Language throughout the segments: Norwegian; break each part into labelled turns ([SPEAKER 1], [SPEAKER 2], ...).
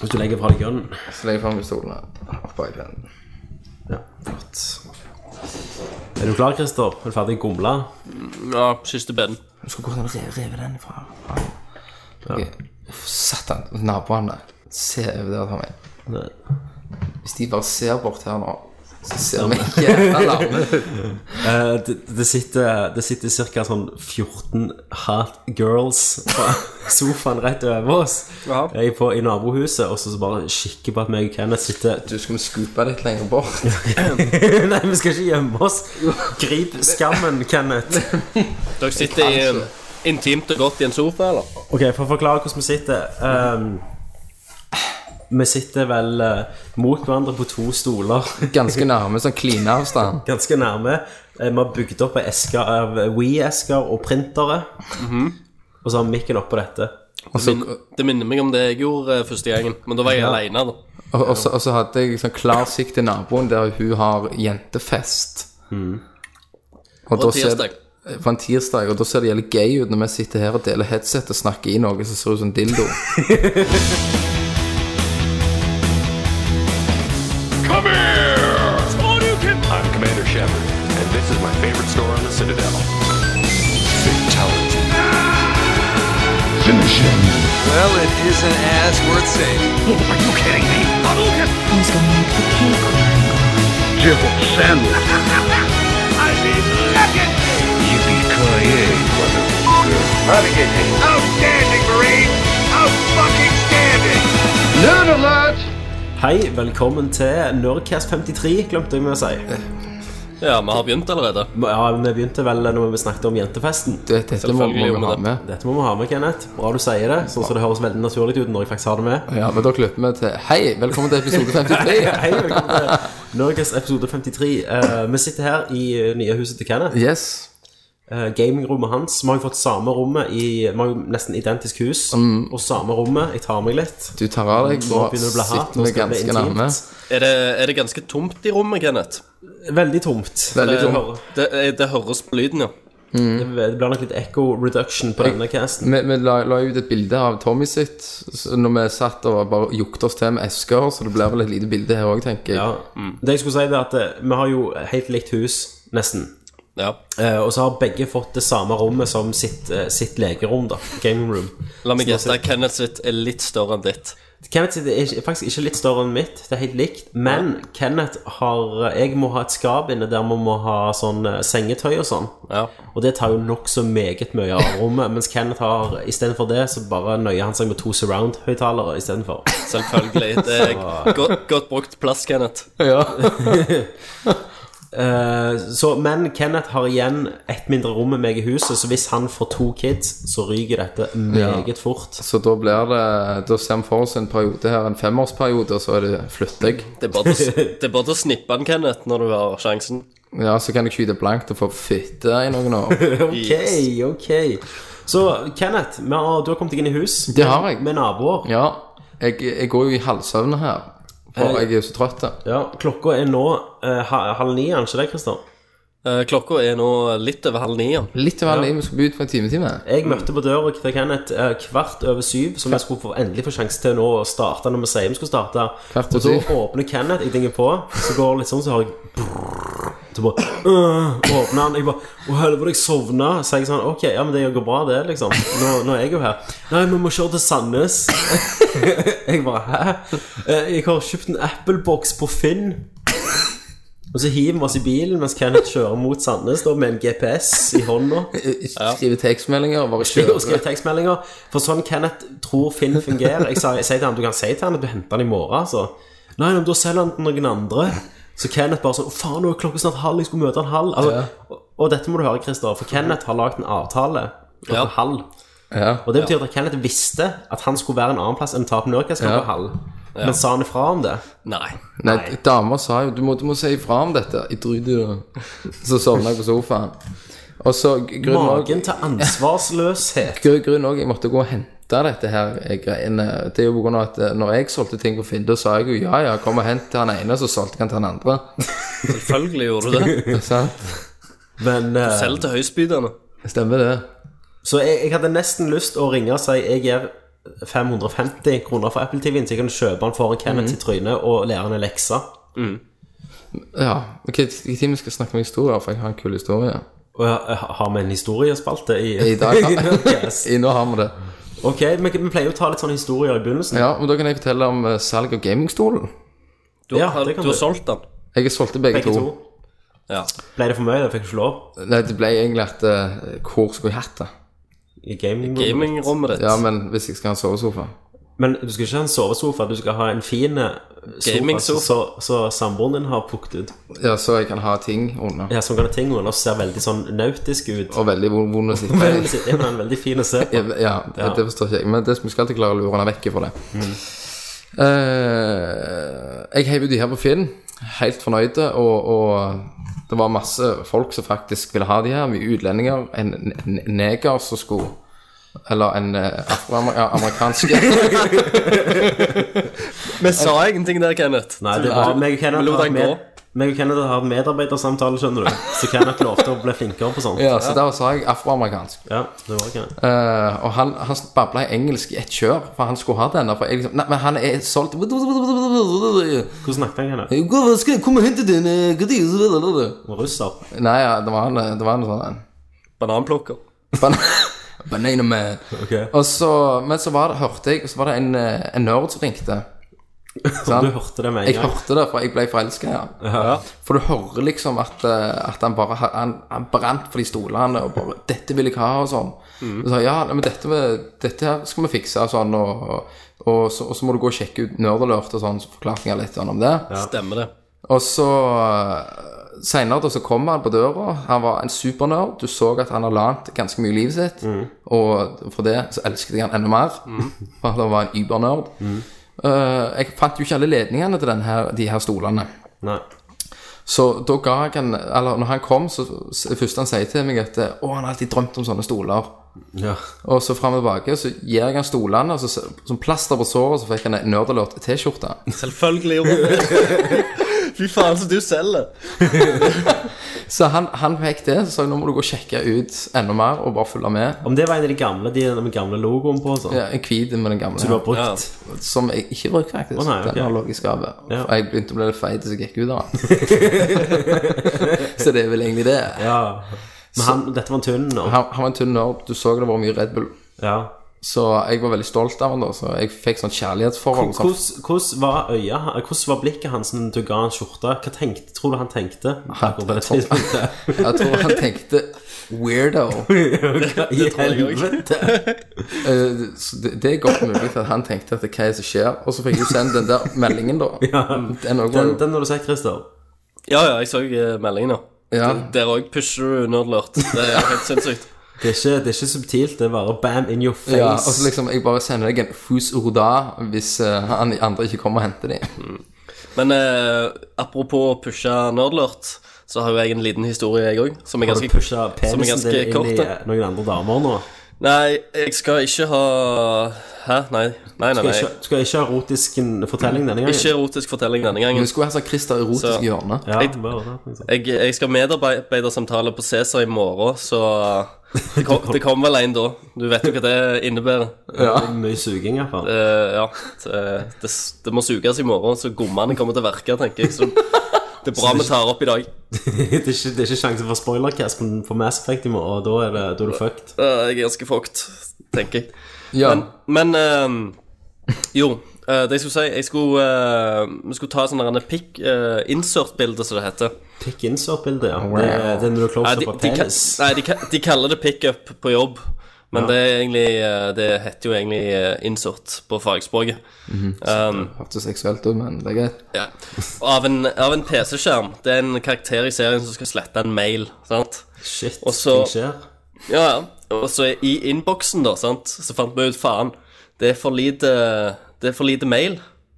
[SPEAKER 1] Hvis du legger fra deg gunnen.
[SPEAKER 2] Så legger jeg fram pistolen her, oppå iPaden.
[SPEAKER 1] Ja, flott. Er du klar, Christer? Er du ferdig gomla?
[SPEAKER 3] Ja, siste ben.
[SPEAKER 2] Du skulle gått an å re- reve den ifra. Ok. Uff, Satan, naboene. Se over der for meg.
[SPEAKER 1] Nei.
[SPEAKER 2] Hvis de bare ser bort her nå, så ser vi ikke alarmen.
[SPEAKER 1] Eh, det, det sitter, det sitter ca. sånn 14 hot girls på sofaen rett over oss
[SPEAKER 3] Jaha.
[SPEAKER 1] Jeg er på, i nabohuset, og så så bare kikker på at meg og Kenneth sitter
[SPEAKER 2] Du skal vi scoope litt lenger bort.
[SPEAKER 1] Nei, vi skal ikke gjemme oss. Grip skammen, Kenneth.
[SPEAKER 3] Dere sitter i, um, intimt og godt i en sofa, eller?
[SPEAKER 1] Ok, for å forklare hvordan vi sitter ehm, Vi sitter vel eh, mot hverandre på to stoler
[SPEAKER 2] Ganske nærme sånn klineavstand.
[SPEAKER 1] Ganske nærme Eh, Vi har bygd opp en eske av Wii-esker og printere Og så har vi mikken oppå dette
[SPEAKER 2] Og så,
[SPEAKER 3] Min, det minner meg om det jeg gjorde eh, første gangen, men da var jeg
[SPEAKER 1] Ja.
[SPEAKER 3] alene da.
[SPEAKER 2] og, og, så, og så hadde jeg sånn klar sikt til naboen der hun har jentefest. Og
[SPEAKER 3] På
[SPEAKER 2] da ser-
[SPEAKER 3] tirsdag.
[SPEAKER 2] På en tirsdag, og da ser det jævlig gøy ut når vi sitter her og deler headset og snakker i noe som ser ut som dildo.
[SPEAKER 4] Come here! I'm Commander Shepard, and this is my favorite store on the Citadel. Fatality. Finish him.
[SPEAKER 5] Well, it isn't as worth saving.
[SPEAKER 4] Are you kidding me?
[SPEAKER 6] Who's gonna make the cake?
[SPEAKER 4] Jibble sandwich. I mean, look at me! Yippee-ki-yay, motherfucker. Navigating. Outstanding, Marine! Out-fucking-standing! Nerd alert!
[SPEAKER 1] Hei, velkommen til Nerdcast 53, glemte jeg med å si Ja,
[SPEAKER 3] Ja, vi har begynt allerede.
[SPEAKER 1] vi begynte vel når vi snakket om jentefesten
[SPEAKER 2] Det, dette må må
[SPEAKER 3] Selvfølgelig
[SPEAKER 2] vi
[SPEAKER 3] gjør vi
[SPEAKER 2] ha
[SPEAKER 3] det.
[SPEAKER 2] med.
[SPEAKER 1] Dette må vi ha med, Kenneth Bra du sier det, sånn som det høres veldig naturlig ut når jeg faktisk har det med
[SPEAKER 2] Ja, men da klipper vi til Hei, velkommen til episode 53.
[SPEAKER 1] Hei, velkommen til Norges episode 53. Eh, vi sitter her i eh, nye huset til Kenneth.
[SPEAKER 2] Yes.
[SPEAKER 1] Eh, gamingrommet hans. Vi har jo fått samme rommet i Vi har jo nesten identisk hus. Og samme rommet. Jeg tar meg litt.
[SPEAKER 2] Du tar av deg,
[SPEAKER 1] Nå
[SPEAKER 2] og
[SPEAKER 1] begynner det å bli hardt.
[SPEAKER 2] sitter
[SPEAKER 1] Nå
[SPEAKER 2] vi
[SPEAKER 1] skal det bli
[SPEAKER 2] ganske nærme.
[SPEAKER 1] intimt.
[SPEAKER 3] Er det, er det ganske tomt i rommet, Kenneth?
[SPEAKER 1] Veldig tomt.
[SPEAKER 2] Veldig
[SPEAKER 1] Det-
[SPEAKER 2] tomt.
[SPEAKER 3] Det, eh, det høres på lyden, ja.
[SPEAKER 1] Det, det blir nok litt echo reduction på denne casten.
[SPEAKER 2] Vi, vi la, la ut et bilde av Tommy sitt så når vi satt og bare jukte oss til med esker, så det blir vel et lite bilde her òg, tenker jeg.
[SPEAKER 1] Ja. Det jeg skulle si, det er at eh, vi har jo helt likt hus, nesten.
[SPEAKER 3] Ja.
[SPEAKER 1] Eh, og så har begge fått det samme rommet som sitt, eh, sitt legerom, da. Gaming room.
[SPEAKER 3] La meg gjette, Kenneth sitt er litt større enn ditt.
[SPEAKER 1] Kenneth sitt er ikke- faktisk ikke litt større enn mitt, det er helt likt. Men Kenneth har Jeg må ha et skap inne der vi må ha sånn eh, sengetøy og sånn.
[SPEAKER 3] Ja.
[SPEAKER 1] Og det tar jo nokså meget mye av rommet. Mens Kenneth har istedenfor det, så bare nøyer han seg med to surround-høyttalere istedenfor.
[SPEAKER 3] Selvfølgelig. Det er godt, godt brukt plass, Kenneth.
[SPEAKER 1] Eh, så- Men Kenneth har igjen ett mindre rom med meg i huset, så hvis han får to kids, så ryker dette meget fort.
[SPEAKER 2] Så da blir det Da ser vi for oss en periode her, en femårsperiode, og så er det flytting.
[SPEAKER 3] Det er bare til å s- det er bare til å snippe han, Kenneth, når du har sjansen.
[SPEAKER 2] Ja, så kan jeg skyte blankt og få fitte i noen år.
[SPEAKER 1] Ok, ok. Så Kenneth, vi har, du har kommet deg inn i hus.
[SPEAKER 2] Det har jeg.
[SPEAKER 1] Med naboer.
[SPEAKER 2] Ja, jeg, jeg går jo i halvsøvne her,
[SPEAKER 1] Eh.
[SPEAKER 2] for jeg er jo så trøtt.
[SPEAKER 1] Ja, klokka er nå eh, ha- halv ni, er den ikke det, Kristian?
[SPEAKER 3] Eh, Klokka er nå litt over halv ni. ja.
[SPEAKER 2] Litt over halv ni, vi skal bli ut på en timetime.
[SPEAKER 1] Jeg møtte på døra til Kenneth eh, kvart over syv, som jeg skulle få, endelig få sjanse til nå å starte når vi sier vi skulle starte.
[SPEAKER 2] Kvart over
[SPEAKER 1] og da
[SPEAKER 2] syv.
[SPEAKER 1] åpner Kenneth, jeg dinger på, så går det litt sånn, så hører jeg brrrr. så bare øh, åpner han. Jeg bare Å, helvete, jeg sovna. Så jeg sånn Ok, ja, men det går bra, det, liksom. Nå, nå er jeg jo her. Nei, vi må kjøre til Sandnes. jeg bare Hæ? Eh, Jeg har kjøpt en Apple-boks på Finn. Og så hiver vi oss i bilen mens Kenneth kjører mot Sandnes da, med en GPS i hånda. eh,
[SPEAKER 2] Skrive tekstmeldinger, bare
[SPEAKER 1] Ligger og
[SPEAKER 2] kjøre.
[SPEAKER 1] skriver tekstmeldinger. For sånn Kenneth tror Finn fungerer. Jeg sa- jeg sier til han, Du kan si til han at du henter han i morgen. Altså. Nei, men da selger han til noen andre. Så Kenneth bare sånn Faen, nå er klokka snart halv. Jeg skulle møte han halv. Altså, og, og dette må du høre, Christer, for Kenneth har lagd en avtale klokka
[SPEAKER 3] Ja.
[SPEAKER 1] halv.
[SPEAKER 2] Ja.
[SPEAKER 1] Og det betyr at Kenneth visste at han skulle være en annen plass enn Tap Nurkas klokka
[SPEAKER 2] Ja.
[SPEAKER 1] halv. Men sa han ifra om det?
[SPEAKER 3] Nei.
[SPEAKER 2] Nei, dama sa jo du må, du må si ifra om dette. Jeg driter i det. Så sovna jeg på sofaen. Og så gr- grunnen også-
[SPEAKER 1] Magen til ansvarsløshet.
[SPEAKER 2] Gru- Grunnen òg jeg måtte gå og hente dette her eh, greiene. Det er jo på grunn av at eh, når jeg solgte ting på Finn, da sa jeg jo ja, ja, kom og hent til han ene, så solgte jeg han til han andre.
[SPEAKER 3] Selvfølgelig gjorde du det.
[SPEAKER 2] Sant?
[SPEAKER 1] Men eh,
[SPEAKER 3] Selv til høystbydende.
[SPEAKER 2] Stemmer det.
[SPEAKER 1] Så jeg, jeg hadde nesten lyst å ringe og si jeg er 550 kroner for Apple TV-en, så jeg kan kjøpe den foran
[SPEAKER 2] Mhm.
[SPEAKER 1] Kenneth sitt tryne og lære han en lekse.
[SPEAKER 2] Ja. Ok, i timen skal jeg snakke om historier, for jeg har en kul historie.
[SPEAKER 1] Og jeg har vi en historiespalte i,
[SPEAKER 2] I dag, ja.
[SPEAKER 1] Nerdcast?
[SPEAKER 2] I nå har vi det.
[SPEAKER 1] Ok, men vi pleier jo å ta litt sånne historier i begynnelsen.
[SPEAKER 2] Ja, men da kan jeg fortelle om eh, salg av gamingstolen.
[SPEAKER 3] Du,
[SPEAKER 1] Ja,
[SPEAKER 3] har-
[SPEAKER 1] det kan
[SPEAKER 3] du har
[SPEAKER 1] du.
[SPEAKER 3] solgt den.
[SPEAKER 2] Jeg solgte begge,
[SPEAKER 1] Begge to.
[SPEAKER 3] Ja.
[SPEAKER 1] Ble det for mye? Det fikk jeg ikke lov.
[SPEAKER 2] Nei, det ble egentlig at eh, Hvor skulle jeg hatt det?
[SPEAKER 1] I gaming
[SPEAKER 3] Gamingrommet ditt.
[SPEAKER 2] Ja, men hvis jeg skal ha en sovesofa
[SPEAKER 1] Men du skal ikke ha en sovesofa, du skal ha en fin eh, sofa
[SPEAKER 3] Gamingsofa.
[SPEAKER 1] som- så- så samboeren din har plukket ut.
[SPEAKER 2] Ja, så jeg kan ha ting under.
[SPEAKER 1] Ja, Som kan ha ting under og ser veldig sånn nautisk ut.
[SPEAKER 2] Og veldig vond vond å sitte i.
[SPEAKER 1] Men sitter inne, en veldig fin å se på.
[SPEAKER 2] Ja, Mm. det, det forstår ikke jeg. Men det, vi skal alltid klare å lure henne vekk fra det. Eh, jeg heiv ut de her på Finn, helt fornøyde, og, og det var masse folk som faktisk ville ha de her. Vi utlendinger, en en- en neger som skulle Eller en eh, afroamerikansk
[SPEAKER 3] Vi sa ingenting der, Kenneth.
[SPEAKER 1] Nei,
[SPEAKER 3] Du-
[SPEAKER 1] det var
[SPEAKER 3] du-
[SPEAKER 1] meg og
[SPEAKER 3] vi
[SPEAKER 1] Kenneth
[SPEAKER 3] lot
[SPEAKER 1] har
[SPEAKER 3] den
[SPEAKER 1] med-
[SPEAKER 3] gå.
[SPEAKER 1] meg og Kenneth har hatt medarbeidersamtale, skjønner du. Så Kenneth lovte å bli flinkere på sånt.
[SPEAKER 2] Ja, så der sa jeg afroamerikansk.
[SPEAKER 1] Ja, det var Kenneth.
[SPEAKER 2] Eh, og han, han babla i engelsk i ett kjør, for han skulle ha denne. For jeg liksom, Nei, men han er solgt
[SPEAKER 1] Hvordan snakket han, Kenneth?
[SPEAKER 2] Kom og hente den
[SPEAKER 1] Han var Russer?
[SPEAKER 2] Nei, ja, det var en, det var en sånn en.
[SPEAKER 3] Bananplukker.
[SPEAKER 2] Ban Banana man.
[SPEAKER 1] Ok.
[SPEAKER 2] Og så, men så var det, hørte jeg, så var det en, eh, en nerd som ringte.
[SPEAKER 1] Om
[SPEAKER 2] Sant?
[SPEAKER 1] du hørte det med en
[SPEAKER 2] Jeg
[SPEAKER 1] gang?
[SPEAKER 2] hørte det, for jeg ble forelska i han. For du hører liksom at, eh, at han bare ha- han, han brant for de stolene og bare 'Dette vil jeg ha', og sånn. Og så, ja, men dette, med- dette her skal vi fikse, og sånn. Og, og, og, så, og så må du gå og sjekke ut Nerdalert og sånn, så forklarte jeg litt sånn om det.
[SPEAKER 3] Stemmer det.
[SPEAKER 2] Og så eh, Senere da så kom han på døra Han var en supernerd Du så at han har lant ganske mye i livet sitt Og for det så elsket jeg han enda mer For han var en übernerd Eh, Jeg fant jo ikke alle ledningene til den her, de her stolene
[SPEAKER 1] Nei.
[SPEAKER 2] så da ga jeg han Eller når han kom, så så- det første han sier til meg at Å, han har alltid drømt om sånne stoler.
[SPEAKER 1] Ja.
[SPEAKER 2] Og så fram og tilbake, så gir jeg han stolene, og så, så- som plaster på såret, så fikk han en Nerdalert T-skjorte.
[SPEAKER 3] Selvfølgelig gjorde vi det. Fy faen, så du selger.
[SPEAKER 2] Så han, han fikk det, så sa jeg nå må du gå og sjekke ut enda mer, og bare følge med.
[SPEAKER 1] Om det var en av de gamle, de med gamle logoen på og sånn?
[SPEAKER 2] Ja, en hvit med den gamle
[SPEAKER 1] Du har
[SPEAKER 2] her,
[SPEAKER 1] brukt
[SPEAKER 3] Ja.
[SPEAKER 2] som jeg ikke brukte, faktisk.
[SPEAKER 1] Å, nei, ok.
[SPEAKER 2] Den har ligget i skapet.
[SPEAKER 1] Ja.
[SPEAKER 2] For Jeg begynte å bli litt feit, så jeg gikk ut av den. så det er vel egentlig det.
[SPEAKER 1] Ja. Men han, dette var en tynn nå.
[SPEAKER 2] Han, han var en tynn nerd, du så det var mye Red Bull.
[SPEAKER 1] Ja.
[SPEAKER 2] Så jeg var veldig stolt av han da, så jeg fikk sånn kjærlighetsforhold. Sånn.
[SPEAKER 1] Hvordan hvordan var øya Hvordan var blikket hans når du ga han skjorta? Hva tenkte, tror du han tenkte? akkurat på det
[SPEAKER 2] jeg tror-
[SPEAKER 1] tidspunktet?
[SPEAKER 2] Jeg tror han tenkte weirdo.
[SPEAKER 1] Hva i helvete?
[SPEAKER 2] Eh, så det, det er godt mulig at han tenkte at hva er det som skjer? Og så fikk jeg jo sendt den der meldingen, da. Den, også var
[SPEAKER 1] Den,
[SPEAKER 2] jo-
[SPEAKER 1] den har du sett, Christer.
[SPEAKER 3] Ja, ja, jeg så eh, meldingen, ja.
[SPEAKER 2] ja.
[SPEAKER 3] Der òg pusher du nerdlert. Det er helt sinnssykt.
[SPEAKER 1] Det er, ikke, det er ikke subtilt, det er bare bam in your face.
[SPEAKER 2] Ja, og så liksom, jeg bare sender deg en fus urda hvis eh, han andre ikke kommer og henter
[SPEAKER 3] Mm.
[SPEAKER 2] dem.
[SPEAKER 3] Men eh, apropos å pushe nerdlert, så har jo jeg en liten historie, jeg òg. Som er
[SPEAKER 1] Har du
[SPEAKER 3] ganske
[SPEAKER 1] pusha
[SPEAKER 3] som er
[SPEAKER 1] penisen
[SPEAKER 3] ganske
[SPEAKER 1] din inn
[SPEAKER 3] kort,
[SPEAKER 1] i
[SPEAKER 3] da.
[SPEAKER 1] eh, noen andre damer nå?
[SPEAKER 3] Nei, jeg skal ikke ha Hæ? Nei, nei, nei.
[SPEAKER 1] Skal
[SPEAKER 3] nei.
[SPEAKER 1] ikke, skal ikke ha erotisk en fortelling denne gangen?
[SPEAKER 3] Ikke erotisk fortelling denne gangen.
[SPEAKER 2] Vi skulle ha sånn Christer erotisk
[SPEAKER 3] Så-
[SPEAKER 2] i hjørnet.
[SPEAKER 1] ja,
[SPEAKER 3] Jeg-
[SPEAKER 1] bare, det, liksom.
[SPEAKER 3] Jeg, jeg skal ha medarbeidersamtale på Cæsar i morgen, så det kom, det kom vel en da. Du vet jo hva det innebærer.
[SPEAKER 1] Det er Mye suging, i hvert fall.
[SPEAKER 3] Eh, ja, det, det, det må suges i morgen, så gommene kommer til å verke, tenker jeg. Så det er bra vi tar opp i dag.
[SPEAKER 1] det, er ikke, det er ikke sjanse for spoilercast på, på Mass Effect i morgen, og da er, det, da er du fucked.
[SPEAKER 3] Eh, jeg er ganske fucked, tenker jeg.
[SPEAKER 2] Ja,
[SPEAKER 3] Men, men eh, jo, eh, det jeg skulle si jeg skulle, eh, Vi skulle ta sånn der en pick eh, insert-bilde, som det heter.
[SPEAKER 1] Pick insert-bildet, ja. Det, er- det er når du
[SPEAKER 3] Nei,
[SPEAKER 1] closer
[SPEAKER 3] de,
[SPEAKER 1] på
[SPEAKER 3] de, ka-
[SPEAKER 1] penis.
[SPEAKER 3] nei de, ka- de kaller det pickup på jobb, men det, er egentlig, eh, det heter jo egentlig eh, insert på fagspråket.
[SPEAKER 1] Mhm.
[SPEAKER 3] um,
[SPEAKER 2] hørtes seksuelt ut, men det er greit.
[SPEAKER 3] Ja. Og Av en, av en PC-skjerm. Det er en karakter i serien som skal slette en mail. sant?
[SPEAKER 1] Shit,
[SPEAKER 3] Og så-
[SPEAKER 1] ting skjer.
[SPEAKER 3] Ja, ja. Og så i innboksen, da, sant, så fant vi ut faen, det er for lite, det er for lite mail.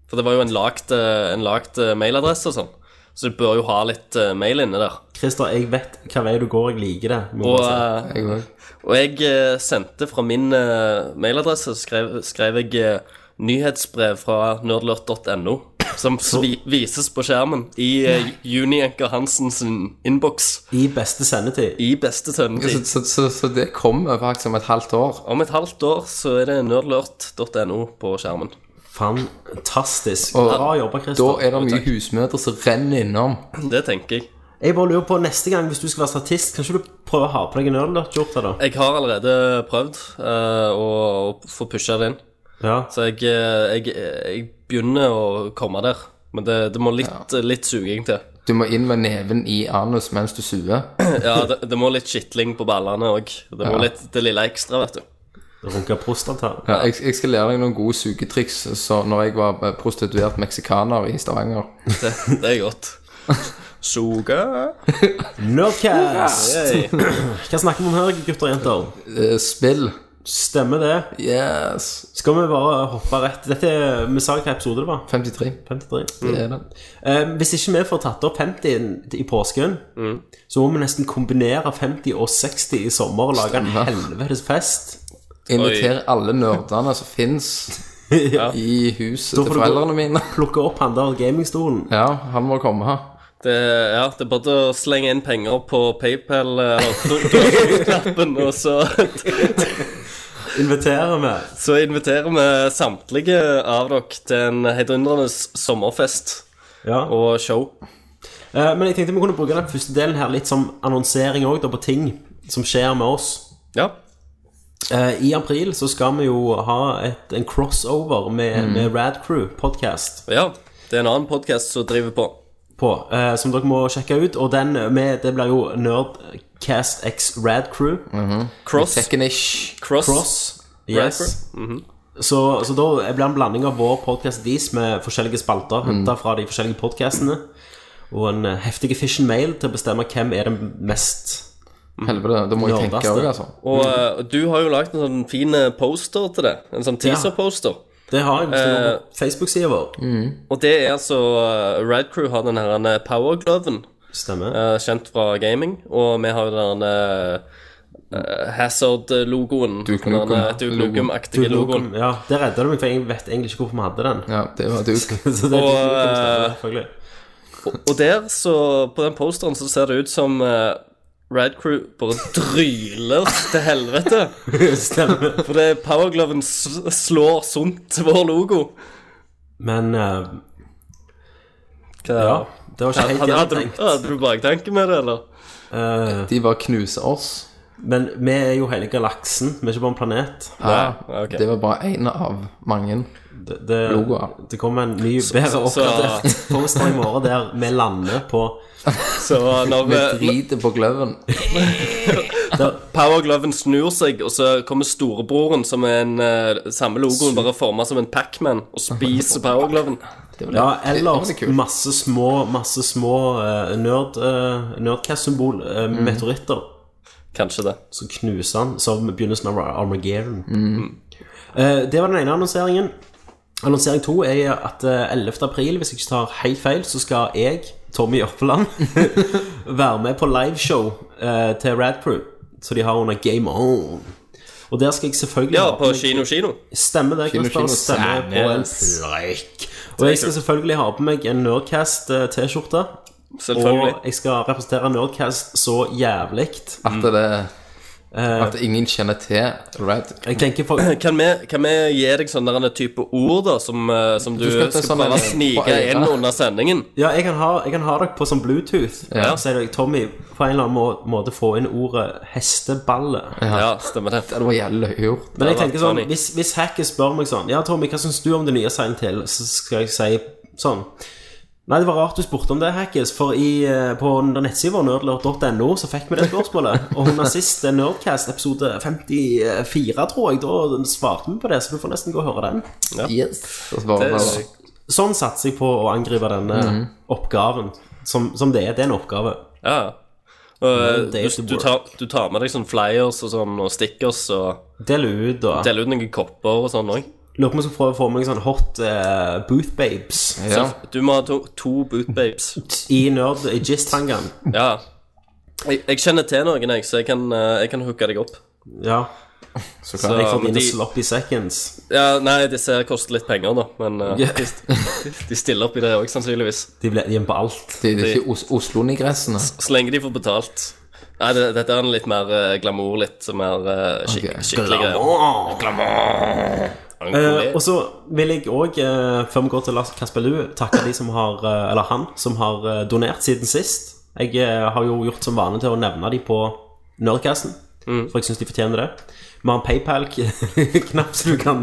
[SPEAKER 3] For det var jo en lagt, eh, en lagt eh, mailadresse og sånn. Så du bør jo ha litt eh, mail inne der.
[SPEAKER 1] Christer, jeg vet hva vei du går, jeg liker det. må
[SPEAKER 3] Og,
[SPEAKER 1] jeg bare si.
[SPEAKER 3] eh,
[SPEAKER 2] Jeg òg.
[SPEAKER 3] og jeg eh, sendte fra min eh, mailadresse, skrev, skrev jeg eh, nyhetsbrev fra nerdlurt.no. Som svi vises på skjermen i eh, Junianker Hansens innboks
[SPEAKER 1] I beste sendetid.
[SPEAKER 3] eh, i beste
[SPEAKER 2] Så,
[SPEAKER 3] sendetid.
[SPEAKER 2] så, så, så det kommer faktisk om et halvt år.
[SPEAKER 3] Om et halvt år så er det nerdlurt.no på skjermen.
[SPEAKER 1] Fantastisk.
[SPEAKER 2] Og
[SPEAKER 1] Bra jobba,
[SPEAKER 2] Da
[SPEAKER 1] Christer.
[SPEAKER 2] er det mye husmødre som renner innom.
[SPEAKER 3] Det tenker jeg.
[SPEAKER 1] Jeg bare lurer på, neste gang hvis du skal være statist, kan ikke du prøve å ha på deg en nerdlert-skjorte, da?
[SPEAKER 3] Jeg har allerede prøvd eh, å, å få pusha det inn.
[SPEAKER 1] Ja.
[SPEAKER 3] Så jeg, eh, jeg, jeg begynner å komme der. Men det, det må litt, litt suging til.
[SPEAKER 2] Du må inn med neven i anus mens du suer.
[SPEAKER 3] Ja, det, det må litt skitling på ballene òg. Det må
[SPEAKER 2] Ja.
[SPEAKER 3] litt det lille ekstra, vet du.
[SPEAKER 1] Runke prostata.
[SPEAKER 2] Ja, jeg, jeg skal lære deg noen gode sugetriks så når jeg var eh, prostituert meksikaner i Stavanger.
[SPEAKER 3] Det, det er godt. Suge
[SPEAKER 1] Nerdcast!
[SPEAKER 3] Hey.
[SPEAKER 1] Hva snakker vi om her, gutter og jenter?
[SPEAKER 2] Eh, Spill.
[SPEAKER 1] Stemmer det?
[SPEAKER 2] Yes.
[SPEAKER 1] Skal vi bare hoppe rett Dette er, Vi sa hvilken episode det var.
[SPEAKER 2] 53.
[SPEAKER 1] 53.
[SPEAKER 2] Det er det.
[SPEAKER 1] Eh, hvis ikke vi får tatt opp 50 i påsken, så må vi nesten kombinere 50 og 60 i sommer og lage en
[SPEAKER 2] Stemmer.
[SPEAKER 1] helvetes fest.
[SPEAKER 2] Inviter alle nerdene som fins i huset
[SPEAKER 1] Da
[SPEAKER 2] til
[SPEAKER 1] får du gå-
[SPEAKER 2] foreldrene mine.
[SPEAKER 1] Plukke opp han der gamingstolen.
[SPEAKER 2] Ja, han må komme her.
[SPEAKER 3] Det, ja, det er bare å slenge inn penger på PayPal eh, eller knappen, og så,
[SPEAKER 1] Inviterer vi.
[SPEAKER 3] så inviterer vi samtlige av dere til en heidundrende sommerfest
[SPEAKER 1] Ja.
[SPEAKER 3] og show.
[SPEAKER 1] Eh, men jeg tenkte vi kunne bruke den første delen her litt som annonsering òg, på ting som skjer med oss.
[SPEAKER 3] Ja.
[SPEAKER 1] Eh, I april så skal vi jo ha et, en crossover med,
[SPEAKER 3] Mm.
[SPEAKER 1] med Rad Crew podcast
[SPEAKER 3] ja. Det er en annen podkast som driver på.
[SPEAKER 1] på, eh, som dere må sjekke ut. Og den med, det blir jo Nerdcast x Rad Crew.
[SPEAKER 3] Cross.
[SPEAKER 2] Tekken-ish.
[SPEAKER 3] Cross.
[SPEAKER 1] Cross.
[SPEAKER 3] Rad Mhm.
[SPEAKER 1] Yes. så, så da blir det en blanding av vår podcast dis med forskjellige spalter
[SPEAKER 3] Mm.
[SPEAKER 1] henta fra de forskjellige podcastene. Og en eh, heftig fish and mail til å bestemme hvem er den mest
[SPEAKER 2] Helvete, da må jeg
[SPEAKER 1] Nerdeste.
[SPEAKER 2] tenke òg, altså.
[SPEAKER 3] Og eh, du har jo lagd en sånn fin eh, poster til det. En sånn teaser-poster.
[SPEAKER 1] Det har jeg
[SPEAKER 3] Eh,
[SPEAKER 1] bestemt på Facebook-sida vår.
[SPEAKER 3] mm. Og det er altså eh, Red Crew har den her eh, Power Gloven,
[SPEAKER 1] Stemmer.
[SPEAKER 3] eh, kjent fra gaming. Og vi har jo den her eh, Hazard-logoen.
[SPEAKER 2] Duke
[SPEAKER 3] den her,
[SPEAKER 2] Nukem.
[SPEAKER 3] eh, Duke Nukem-aktige logoen.
[SPEAKER 1] Ja, det redda du meg, for jeg vet egentlig ikke hvorfor vi hadde den.
[SPEAKER 2] Ja, det var duk.
[SPEAKER 1] Så det er
[SPEAKER 3] Og,
[SPEAKER 1] litt utenom stedet,
[SPEAKER 3] eh,
[SPEAKER 1] selvfølgelig.
[SPEAKER 3] Og der, så På den posteren så ser det ut som eh, Red Crew bare dryler til helvete.
[SPEAKER 1] Stemmer.
[SPEAKER 3] For det Power Gloven s- slår sunt til vår logo.
[SPEAKER 1] Men eh,
[SPEAKER 3] Hva-
[SPEAKER 1] ja, det var ikke
[SPEAKER 3] Hadde,
[SPEAKER 1] helt
[SPEAKER 3] hadde, du-
[SPEAKER 1] gjennomtenkt.
[SPEAKER 3] hadde du baktanke med det, eller?
[SPEAKER 2] De bare knuser oss.
[SPEAKER 1] Men vi er jo hele galaksen, vi er ikke bare en planet.
[SPEAKER 2] Ja,
[SPEAKER 3] ok.
[SPEAKER 2] Det var bare én av mange.
[SPEAKER 1] Det, det,
[SPEAKER 2] Logoer.
[SPEAKER 1] det kommer en ny, bedre
[SPEAKER 3] så-
[SPEAKER 1] oppdatert poster i morgen der vi lander på
[SPEAKER 3] Så når
[SPEAKER 2] Vi
[SPEAKER 3] eh,
[SPEAKER 2] driter på gløven.
[SPEAKER 3] Power Gloven snur seg, og så kommer storebroren som er en eh, samme logoen, bare forma som en Pacman, og spiser Power Gloven.
[SPEAKER 2] Det var litt-
[SPEAKER 1] Ja, eller
[SPEAKER 2] det var litt kult.
[SPEAKER 1] masse små Masse små eh, nerd, eh, nerdcast-symbol, eh,
[SPEAKER 2] Mhm.
[SPEAKER 1] meteoritter.
[SPEAKER 3] Kanskje det.
[SPEAKER 1] Så knuser han som begynnelsen av Armageddon. Eh, det var den ene annonseringen. Annonsering to er at eh, 11. april, hvis jeg ikke tar helt feil, så skal jeg, Tommy Jørpeland, være med på liveshow eh, til Rad Crew. Så de har under Game On. Og der skal jeg selvfølgelig
[SPEAKER 3] Ja,
[SPEAKER 1] ha
[SPEAKER 3] på Kino Kino.
[SPEAKER 1] Stemmer det,
[SPEAKER 2] Kino,
[SPEAKER 1] Christian.
[SPEAKER 2] kino,
[SPEAKER 1] Stemmer på en fløyk. Og jeg skal selvfølgelig ha på meg en Nerdcast-T-skjorte.
[SPEAKER 3] Selvfølgelig.
[SPEAKER 1] Og jeg skal representere Nerdcast så jævlig.
[SPEAKER 2] At det
[SPEAKER 1] Eh.
[SPEAKER 2] At ingen kjenner til Red.
[SPEAKER 1] Jeg tenker for
[SPEAKER 3] Kan vi, kan vi gi deg sånne der type ord da som, eh, som du,
[SPEAKER 2] skal
[SPEAKER 3] skal,
[SPEAKER 2] til sånn en-
[SPEAKER 3] bare
[SPEAKER 2] på
[SPEAKER 3] snike
[SPEAKER 2] øret.
[SPEAKER 3] inn under sendingen?
[SPEAKER 1] Ja, jeg kan ha, jeg kan ha dere på sånn Bluetooth.
[SPEAKER 2] Ja.
[SPEAKER 1] Så sier dere, Tommy, på en eller annen må- måte få inn ordet hesteballe.
[SPEAKER 3] Ja, stemmer det.
[SPEAKER 2] Det var jævlig gjort.
[SPEAKER 1] Men jeg
[SPEAKER 3] det hadde
[SPEAKER 1] tenker
[SPEAKER 3] vært
[SPEAKER 1] sånn,
[SPEAKER 3] funny.
[SPEAKER 1] hvis, hvis hacket spør meg sånn Ja, Tommy, hva syns du om det nye Silent Hill? Så skal jeg si sånn Nei, det var rart du spurte om det, Hackes, for i, eh, på den nettsida vår, nerdlord.no, så fikk vi det spørsmålet. Og under sist eh, Nerdcast, episode 54, tror jeg, da svarte vi på det, så du får nesten gå og høre den.
[SPEAKER 2] Yes. Og så bare,
[SPEAKER 3] Det-
[SPEAKER 1] Sånn satser jeg på å angripe denne
[SPEAKER 3] Mhm.
[SPEAKER 1] oppgaven, som, som det er. Det er en oppgave.
[SPEAKER 3] Ja. Og, eh,
[SPEAKER 1] Dave the
[SPEAKER 3] du, du, tar, du tar med deg sånn flyers og sånn, og stickers, og
[SPEAKER 1] Del ut, og
[SPEAKER 3] deler ut noen kopper og sånn òg.
[SPEAKER 1] Lurer på om jeg skal prøve å få meg sånn hot eh, booth babes
[SPEAKER 2] ja.
[SPEAKER 3] Du må ha to, to boot babes.
[SPEAKER 1] i nerd i jizz-tangaen.
[SPEAKER 3] Ja. Jeg, jeg kjenner til noen, jeg, så jeg kan, eh, jeg kan hooke deg opp.
[SPEAKER 1] Ja.
[SPEAKER 2] Så
[SPEAKER 3] Så-
[SPEAKER 2] klart.
[SPEAKER 1] Jeg får
[SPEAKER 3] men
[SPEAKER 1] dine
[SPEAKER 3] de-
[SPEAKER 1] sloppy seconds.
[SPEAKER 3] Ja, nei, disse her koster litt penger, da, men eh,
[SPEAKER 2] Ja.
[SPEAKER 3] de, de stiller opp i det òg, sannsynligvis.
[SPEAKER 1] De blir hjemme på alt.
[SPEAKER 2] Det, det er ikke Os Oslo-nigressene.
[SPEAKER 3] Så lenge de får betalt. Nei, det, dette er en litt mer eh, glamour, litt mer eh, skik
[SPEAKER 2] Ok.
[SPEAKER 3] skikkelig greier.
[SPEAKER 1] Eh, og
[SPEAKER 3] Glamour!
[SPEAKER 1] så vil jeg òg, eh, før vi går til Lars Kasperlu, takke de som har eh, Eller han som har eh, donert siden sist. Jeg eh, har jo gjort som vane til å nevne de på Nerdcasten,
[SPEAKER 2] Mm.
[SPEAKER 1] for jeg syns de fortjener det. Vi har en PayPal-knapp som du kan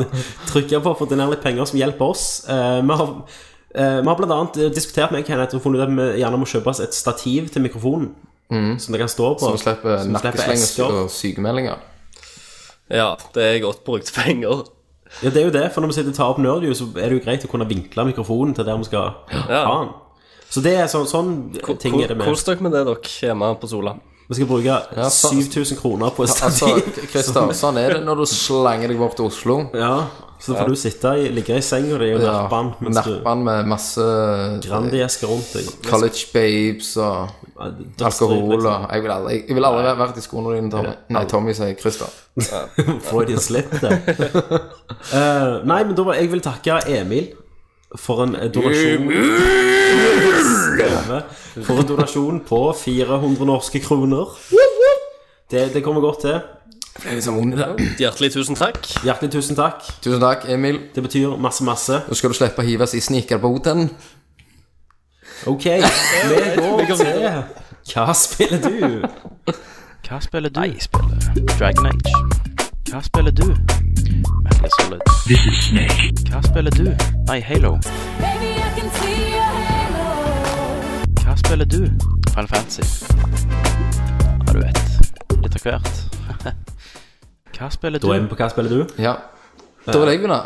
[SPEAKER 1] trykke på for å donere litt penger, som hjelper oss. Eh, vi har eh, vi har blant annet diskutert med Kenneth og funnet ut at vi gjerne må kjøpe oss et stativ til mikrofonen. Som det kan stå på.
[SPEAKER 2] Så vi Mm. slipper
[SPEAKER 1] som
[SPEAKER 2] nakkeslenger
[SPEAKER 1] esker.
[SPEAKER 2] og sykemeldinger.
[SPEAKER 3] Ja, det er godt brukt penger.
[SPEAKER 1] Ja, det er jo det, for når vi sitter og tar opp Nerdview, så er det jo greit å kunne vinkle mikrofonen til der vi skal ha den. Så det er sånn, sånn ting er det med.
[SPEAKER 3] Kos dere med det, dere, hjemme på Sola.
[SPEAKER 1] Vi skal bruke
[SPEAKER 2] så-
[SPEAKER 1] 7000 kroner på et
[SPEAKER 2] Altså,
[SPEAKER 1] stativ.
[SPEAKER 2] Christer, sånn er det når du slenger deg bort til Oslo.
[SPEAKER 1] Ja, så da får du sitte i, ligge i senga di og
[SPEAKER 2] Ja,
[SPEAKER 1] nappe den mens du
[SPEAKER 2] Napper med masse
[SPEAKER 1] grandiesker rundt deg.
[SPEAKER 2] college babes og
[SPEAKER 1] Dødsdritt,
[SPEAKER 2] alkohol
[SPEAKER 1] liksom.
[SPEAKER 2] og Jeg vil aldri, jeg vil aldri ha vært i skoene dine, Tommy. Nei, Tommy sier Christer.
[SPEAKER 1] Freudian slip der. Eh, nei, men da var jeg vil takke Emil for en eh, donasjon Stemme. For en donasjon på 400 norske kroner. Det, det kommer godt til.
[SPEAKER 2] liksom
[SPEAKER 3] Hjertelig tusen takk.
[SPEAKER 1] Hjertelig tusen takk.
[SPEAKER 2] Tusen takk, Emil.
[SPEAKER 1] Det betyr masse, masse.
[SPEAKER 2] Nå skal du slippe å hives i snikerbåten.
[SPEAKER 1] Ok, vi går til Hva spiller du?
[SPEAKER 7] Hva spiller du? Jeg spiller Dragon Age. Hva spiller du? Metal Gear Solid. This is Snake. Hva spiller du? Nei, Halo.
[SPEAKER 8] Baby, I can see your halo.
[SPEAKER 7] Hva spiller du? Final Fantasy. Ja, du vet. Litt av hvert. Hva spiller du?
[SPEAKER 1] Da er vi på Hva spiller du?
[SPEAKER 2] Ja. Da vil jeg begynne.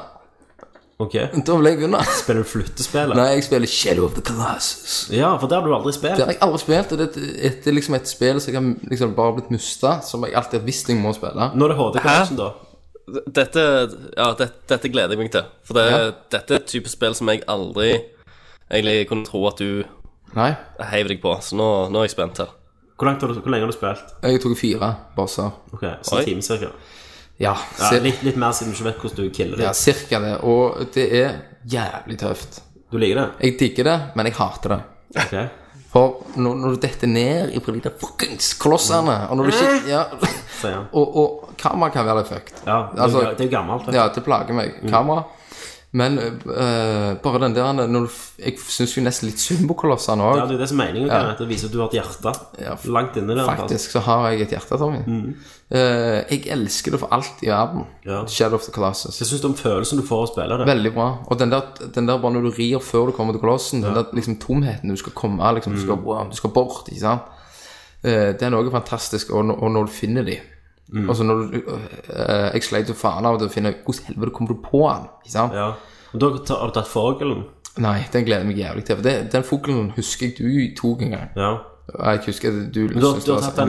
[SPEAKER 1] Ok,
[SPEAKER 2] Da vil jeg begynne.
[SPEAKER 1] Spiller du flyttespill?
[SPEAKER 2] Nei, jeg spiller Shadow of the Colossus.
[SPEAKER 1] Ja, for det har du aldri
[SPEAKER 2] Det
[SPEAKER 1] spilt.
[SPEAKER 2] har jeg aldri spilt, og det er et, et, det er liksom et spill som jeg har liksom bare blitt mista, som jeg alltid har visst jeg må spille.
[SPEAKER 1] Nå er det HD Collection, da.
[SPEAKER 3] Dette, ja, det, dette gleder jeg meg til. For det,
[SPEAKER 2] Ja.
[SPEAKER 3] dette er et type spill som jeg aldri egentlig kunne tro at du
[SPEAKER 2] Nei,
[SPEAKER 3] heiv deg på. Så nå, nå er jeg spent her.
[SPEAKER 1] Hvor, langt har du, hvor lenge har du spilt?
[SPEAKER 2] jeg tok fire bosser.
[SPEAKER 1] Ok, så
[SPEAKER 3] Oi.
[SPEAKER 1] en time cirka.
[SPEAKER 2] Ja,
[SPEAKER 1] Ja,
[SPEAKER 2] cir
[SPEAKER 1] litt, litt mer siden du ikke vet hvordan du killer
[SPEAKER 2] ja,
[SPEAKER 1] det.
[SPEAKER 2] cirka det. Og det er jævlig tøft.
[SPEAKER 1] Du liker det?
[SPEAKER 2] Jeg digger det, men jeg hater det.
[SPEAKER 1] Ok.
[SPEAKER 2] For når, når du detter ned i de der fuckings kolossene, og når du ikke ja,
[SPEAKER 1] Sier han.
[SPEAKER 2] og, og kamera kan være litt fucked.
[SPEAKER 1] Eh.
[SPEAKER 2] Altså,
[SPEAKER 1] Ja, det er jo- det er Mm. jo gammelt. vet du.
[SPEAKER 2] Ja, det plager meg. Kamera. Men øh, bare den der når du, f- Jeg syns jo nesten litt synd på kolossene
[SPEAKER 1] Ja,
[SPEAKER 2] òg.
[SPEAKER 1] det er jo det som er meningen. Ja. Det viser at du har et hjerte
[SPEAKER 2] Ja,
[SPEAKER 1] langt inni der.
[SPEAKER 2] Faktisk så har jeg et hjerte, Tommy. Eh, jeg elsker det for alt i verden.
[SPEAKER 1] Mm. Ja.
[SPEAKER 2] Shadow of the Colossus.
[SPEAKER 1] Hva syns du om følelsen du får av å spille det?
[SPEAKER 2] Veldig bra. Og den der, den der bare når du rir før du kommer til kolossen, den der liksom tomheten du skal komme liksom, du,
[SPEAKER 1] Mm.
[SPEAKER 2] skal, wow, du skal bort, ikke sant. Eh, den er også fantastisk, og, når- og når du finner de
[SPEAKER 1] Mm.
[SPEAKER 2] Altså når du eh, Jeg sleit jo faen av det å finne Hvordan helvete kommer du på den? Ikke sant?
[SPEAKER 1] Ja. Og da har du tatt fuglen?
[SPEAKER 2] Nei, den gleder jeg meg jævlig til. For det, den fuglen husker jeg du tok en gang.
[SPEAKER 1] Ja.
[SPEAKER 2] Jeg husker at du
[SPEAKER 1] Du har,
[SPEAKER 2] syntes
[SPEAKER 1] du har
[SPEAKER 2] det var
[SPEAKER 1] tatt den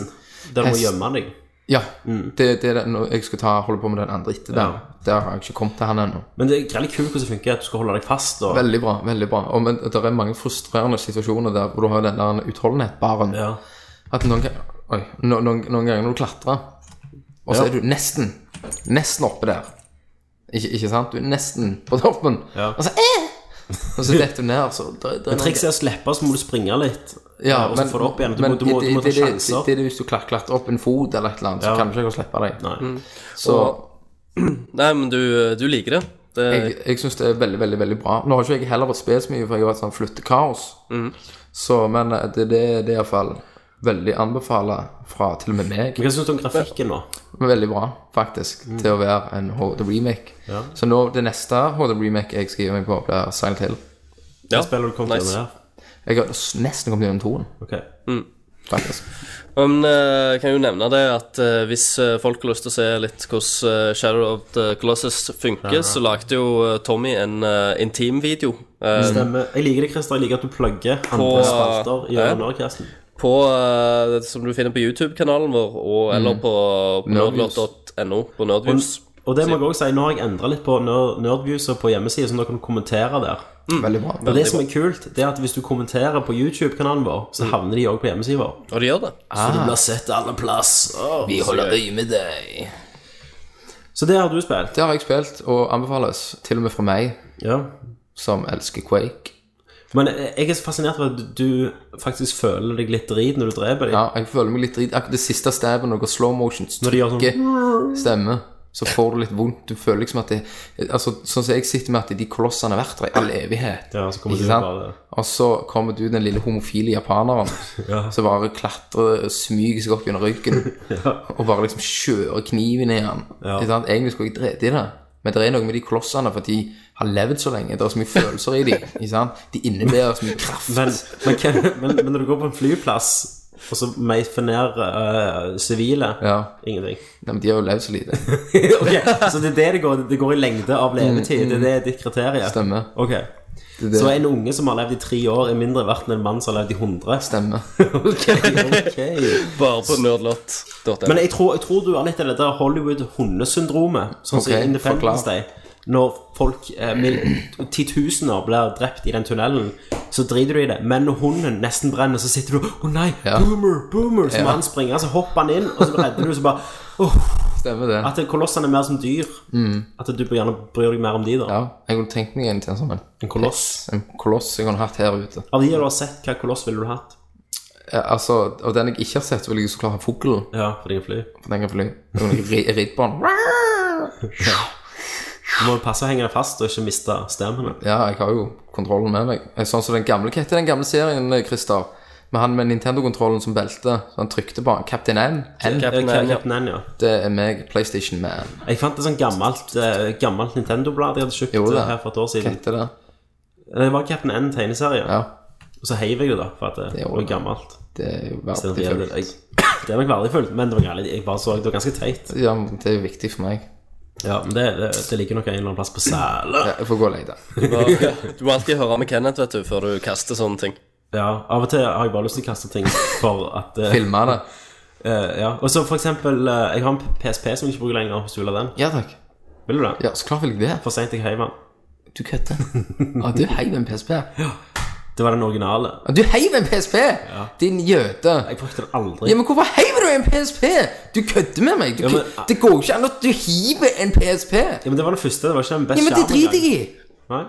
[SPEAKER 1] hesten Mm. der du må
[SPEAKER 2] Hest.
[SPEAKER 1] gjemme deg.
[SPEAKER 2] Ja. Det, det er det, når jeg skal ta, holde på med den andre etter der. Der har jeg ikke kommet til han ennå.
[SPEAKER 1] Men det er veldig kult hvordan det funker at du skal holde deg fast. Og,
[SPEAKER 2] Veldig bra. veldig bra Og men, Det er mange frustrerende situasjoner der hvor du har den der utholdenhet-baren.
[SPEAKER 1] ja.
[SPEAKER 2] At noen, ga- oi, no, noen, noen ganger når du klatrer, og
[SPEAKER 1] Ja.
[SPEAKER 2] så er du nesten Nesten oppe der. Ikke, ikke sant? Du er nesten på toppen.
[SPEAKER 1] Ja.
[SPEAKER 2] Og så eh! Og så detter du ned. og Så, der, der er noen-
[SPEAKER 1] Trikset er å slippe, så må du springe litt.
[SPEAKER 2] Ja,
[SPEAKER 1] og så få det opp igjen. Du, må, du, må, du må ta
[SPEAKER 2] det, det,
[SPEAKER 1] sjanser.
[SPEAKER 2] Det, det, er hvis du klart- klart opp en fot eller et eller annet,
[SPEAKER 1] Ja.
[SPEAKER 2] så kan du ikke gå og slippe deg.
[SPEAKER 1] Nei.
[SPEAKER 2] Så
[SPEAKER 3] Nei, men du, du liker det. det
[SPEAKER 2] jeg, jeg syns det er veldig, veldig veldig bra. Nå har ikke jeg heller vært spilt så mye, for jeg har vært sånn flyttekaos. Så, men eh, det, det, det er iallfall veldig anbefala fra til og med meg.
[SPEAKER 1] Men hva syns du om grafikken nå?
[SPEAKER 2] Men Veldig bra, faktisk, til å være en HD remake. Så nå, det neste HD remake jeg skriver meg på, blir Silent Hill.
[SPEAKER 3] ja,
[SPEAKER 1] Hva spiller du kommet
[SPEAKER 3] nice.
[SPEAKER 1] gjennom her?
[SPEAKER 2] Jeg har s- nesten kommet gjennom toen,
[SPEAKER 1] Ok.
[SPEAKER 2] Mm. faktisk.
[SPEAKER 3] Men eh, jeg kan jo nevne det at eh, hvis eh, folk har lyst til å se litt hvordan eh, Shadow of the Colossus funker, så lagde jo eh, Tommy en eh, intimvideo eh,
[SPEAKER 2] Mm.
[SPEAKER 1] Stemmer. Jeg liker det, Christer. Jeg liker at du plugger
[SPEAKER 3] På-
[SPEAKER 1] andre spalter i
[SPEAKER 3] Ja.
[SPEAKER 1] Nordcasten.
[SPEAKER 3] på, eh, som du finner på YouTube-kanalen vår, og, eller på, på
[SPEAKER 2] Mm. Nerdviews.
[SPEAKER 3] nerdlot.no på Nerdviews.
[SPEAKER 1] Og det må jeg også si, nå har jeg endra litt på nerd nerdviews og på hjemmesida, så nå kan du kommentere der.
[SPEAKER 2] Veldig bra. Mm.
[SPEAKER 1] Og det som er kult, det er at hvis du kommenterer på YouTube-kanalen vår, så havner de òg på hjemmesida vår.
[SPEAKER 2] Ah.
[SPEAKER 3] Og de gjør det.
[SPEAKER 1] Så du blir sett alle plass. Åh,
[SPEAKER 2] Vi holder øye med deg.
[SPEAKER 1] Så det har du spilt.
[SPEAKER 2] Det har jeg spilt, og anbefales til og med fra meg,
[SPEAKER 1] Ja.
[SPEAKER 2] som elsker Quake.
[SPEAKER 1] Men jeg er så fascinert av at du faktisk føler deg litt drit når du dreper dem.
[SPEAKER 2] Ja, jeg føler meg litt drit. Akkurat det siste stabben, noe slow motion,
[SPEAKER 1] Når de gjør sånn-
[SPEAKER 2] trykker stemme, så får du litt vondt. Du føler liksom at det Altså, sånn som jeg sitter med at de kolossene har vært der i all evighet.
[SPEAKER 1] Ja, så kommer
[SPEAKER 2] Ikke
[SPEAKER 1] du
[SPEAKER 2] sant?
[SPEAKER 1] bare
[SPEAKER 2] Og så kommer du, den lille homofile japaneren,
[SPEAKER 1] Ja.
[SPEAKER 2] som bare klatrer og smyger seg opp gjennom ryggen. Og bare liksom kjører kniven i han.
[SPEAKER 1] Ja.
[SPEAKER 2] Ikke sant? Egentlig skulle jeg drete i det, men det er noe med de kolossene, for de har levd så lenge. Det er så mye følelser i dem. Ikke sant? De innebærer så mye kraft.
[SPEAKER 1] men, men, hvem- men, men når du går på en flyplass, og så meifer ned eh, sivile
[SPEAKER 2] Ja.
[SPEAKER 1] Ingenting.
[SPEAKER 2] Nei, men de har jo levd så lite.
[SPEAKER 1] Ok, Så det er det det går Det går i lengde av levetid. Det er det ditt kriterium.
[SPEAKER 2] Mm, Stemmer.
[SPEAKER 1] Ok.
[SPEAKER 2] Det er det.
[SPEAKER 1] Så en unge som har levd i tre år, er mindre verdt enn en mann som har levd i 100?
[SPEAKER 2] Stemmer.
[SPEAKER 1] Ok, ok
[SPEAKER 3] Bare på nerdlot.no.
[SPEAKER 1] Men jeg tror, jeg tror du har litt av det der Hollywood-hundesyndromet, sånn som
[SPEAKER 2] Ok,
[SPEAKER 1] i Independence
[SPEAKER 2] forklar.
[SPEAKER 1] Day. Når folk, eh, mil, titusener, blir drept i den tunnelen, så driter du i det. Men når hunden nesten brenner, så sitter du Å nei,
[SPEAKER 2] Ja.
[SPEAKER 1] boomer, boomer! Så
[SPEAKER 2] Ja.
[SPEAKER 1] må han springe, så hopper han inn, og så redder du, så bare åh,
[SPEAKER 2] Stemmer det.
[SPEAKER 1] At kolossene er mer som dyr. At du gjerne bryr deg mer om de, da.
[SPEAKER 2] Mm. Ja, jeg kunne tenkt meg en til en sånn en.
[SPEAKER 1] En koloss.
[SPEAKER 2] En koloss jeg kunne hatt her ute.
[SPEAKER 1] Av de du har sett, hva koloss ville du hatt?
[SPEAKER 2] Eh, altså, Av den jeg ikke har sett, så vil jeg så klart ha fuglen.
[SPEAKER 1] Ja, fordi jeg fly.
[SPEAKER 2] For den kan fly. Jeg kunne ri- ridd på den.
[SPEAKER 1] Du må passe å henge deg fast og ikke miste stemmene.
[SPEAKER 2] Ja, jeg har jo kontrollen med meg. Eh, Sånn som den gamle hva heter den gamle serien, eh, Christer. Med han med Nintendo-kontrollen som belte. Så han trykte på han. Captain N. N.
[SPEAKER 3] Captain N,
[SPEAKER 1] Eh,
[SPEAKER 3] ja.
[SPEAKER 1] Captain N, ja.
[SPEAKER 2] Det er meg, PlayStation Man.
[SPEAKER 1] Jeg fant et sånt gammelt, eh, gammelt Nintendo-blad jeg hadde kjøpt eh,
[SPEAKER 2] Gjorde du det?
[SPEAKER 1] her for et år
[SPEAKER 2] Hva
[SPEAKER 1] siden.
[SPEAKER 2] heter det?
[SPEAKER 1] Det var Captain N tegneserie.
[SPEAKER 2] Ja.
[SPEAKER 1] Og så heiv jeg det, da, for at eh, det,
[SPEAKER 2] Det gjorde
[SPEAKER 1] var
[SPEAKER 2] det.
[SPEAKER 1] gammelt.
[SPEAKER 2] Det er jo
[SPEAKER 1] Det,
[SPEAKER 2] verdt
[SPEAKER 1] det,
[SPEAKER 2] det.
[SPEAKER 1] jeg, det er nok verdifullt, men det var gærlig. Jeg bare så det var ganske teit.
[SPEAKER 2] Ja, men det er jo viktig for meg.
[SPEAKER 1] Ja, men det, det, det ligger nok en eller annen plass på sæla.
[SPEAKER 2] Ja, Jeg får gå og lete.
[SPEAKER 3] Du må alltid høre med Kenneth vet du, før du kaster sånne ting.
[SPEAKER 1] Ja, av og til har jeg bare lyst til å kaste ting for at eh,
[SPEAKER 2] Filme det.
[SPEAKER 1] eh, Ja, og så for eksempel eh, Jeg har en PSP som jeg ikke bruker lenger, hvis du vil ha den.
[SPEAKER 2] Ja takk.
[SPEAKER 1] Vil du det?
[SPEAKER 2] Ja, så klart vil jeg det.
[SPEAKER 1] For seint jeg heiv den.
[SPEAKER 2] Du kødder. Ja, du heiv en PSP. Ja,
[SPEAKER 1] Det var den originale.
[SPEAKER 2] Du heiv en PSP! Din jøde.
[SPEAKER 1] Jeg brukte den aldri.
[SPEAKER 2] Ja, men hvorfor heiver du en PSP? Du kødder med meg. Du,
[SPEAKER 1] Ja, men-
[SPEAKER 2] kø- det går jo ikke an at du hiver en PSP.
[SPEAKER 1] Ja, men det var den første. Det var ikke den
[SPEAKER 2] Ja,
[SPEAKER 1] beste
[SPEAKER 2] men det driter jeg i.
[SPEAKER 1] Nei,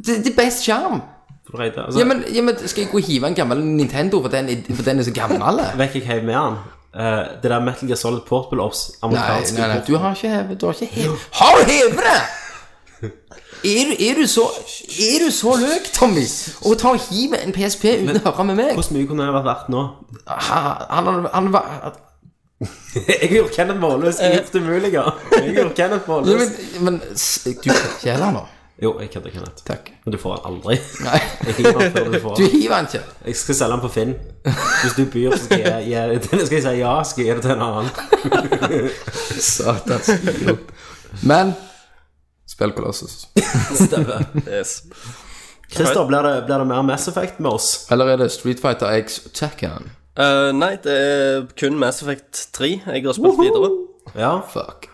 [SPEAKER 2] Det, det er best skjerm.
[SPEAKER 1] for det, altså,
[SPEAKER 2] Ja men, ja, men skal jeg gå og hive en gammel Nintendo, for den, er- for den er så gammel?
[SPEAKER 1] Vet ikke hva jeg med han. Eh, det der Metal Gear Solid Portable Ops
[SPEAKER 2] Nei,
[SPEAKER 1] amerikanske
[SPEAKER 2] nei, nei,
[SPEAKER 1] port-
[SPEAKER 2] du har ikke hevet Du har ikke hevet Har du hevet det?! Er du, er, du så, er du så løk, Tommy, å ta og hive en PSP uten å høre med meg?
[SPEAKER 1] Hvor mye kunne det vært verdt nå?
[SPEAKER 2] Han, han, han var
[SPEAKER 1] jeg gjorde Kenneth målløs. Jeg gjorde det mulige. Jeg gjorde Kenneth
[SPEAKER 2] Ja,
[SPEAKER 1] målløs.
[SPEAKER 2] men, men s- du kjeler han nå.
[SPEAKER 1] Jo, jeg kødder, Kenneth.
[SPEAKER 2] Takk.
[SPEAKER 1] Men du får han aldri.
[SPEAKER 2] Nei,
[SPEAKER 1] Jeg hiver han før du får
[SPEAKER 2] du
[SPEAKER 1] han.
[SPEAKER 2] hiver han ikke.
[SPEAKER 1] Jeg skal selge han på Finn. Hvis du byr, så skal jeg, jeg, skal jeg si ja. Skal jeg gi det til en annen.
[SPEAKER 2] Satans idiot. Men spill Colossus.
[SPEAKER 3] Yes.
[SPEAKER 1] Christer, blir det, blir det mer Mass Effect med oss?
[SPEAKER 2] Eller er det Street Fighter X Tekken?
[SPEAKER 3] Eh, nei, det er kun Mass Effect 3 jeg har spilt videre.
[SPEAKER 1] Ja.
[SPEAKER 2] Fuck.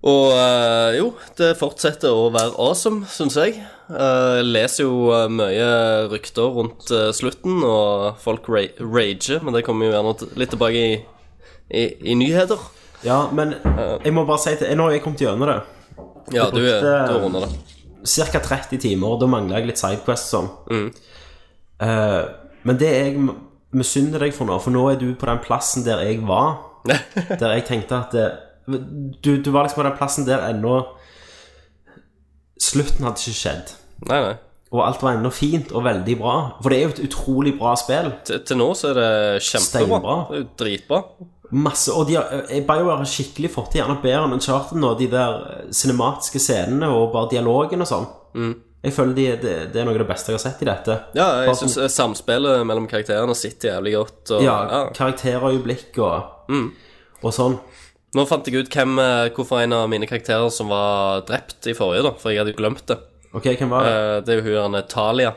[SPEAKER 3] Og eh, jo, det fortsetter å være awesome, syns jeg. Eh, Jeg leser jo eh, mye rykter rundt eh, slutten, og folk ra rager, men det kommer jo gjerne t- litt tilbake i, i, i nyheter.
[SPEAKER 1] ja, men
[SPEAKER 2] Eh.
[SPEAKER 1] jeg må bare si til Nå har jeg kommet gjennom det.
[SPEAKER 3] Ja, du er, du er under det.
[SPEAKER 1] ca. 30 timer, og da mangler jeg litt sidequest sånn.
[SPEAKER 3] Mm.
[SPEAKER 1] Eh, men det jeg m- misunner deg for nå, for nå er du på den plassen der jeg var, der jeg tenkte at det, du, du var liksom på den plassen der ennå Slutten hadde ikke skjedd.
[SPEAKER 3] Nei, nei.
[SPEAKER 1] Og alt var ennå fint og veldig bra. For det er jo et utrolig bra spill.
[SPEAKER 3] Til, til nå så er det kjempebra.
[SPEAKER 1] Steinbra.
[SPEAKER 3] Det er jo dritbra.
[SPEAKER 1] Masse, og de har, eh, BioWare har skikkelig fått til gjerne bedre enn Uncharted nå, de der eh, cinematiske scenene og bare dialogen og sånn. Jeg føler de, det, det er noe av det beste jeg har sett i dette.
[SPEAKER 3] Mm. Ja,
[SPEAKER 1] Bare sånn
[SPEAKER 3] jeg syns samspillet mellom karakterene sitter jævlig godt. Og,
[SPEAKER 1] ja,
[SPEAKER 3] ja. Mm.
[SPEAKER 1] karakterøyeblikk og, og sånn.
[SPEAKER 3] Nå fant jeg ut hvem, eh, hvorfor en av mine karakterer som var drept i forrige, da, for jeg hadde jo glemt det.
[SPEAKER 1] Ok, hvem var det?
[SPEAKER 3] Eh, Det er jo hun her Natalia.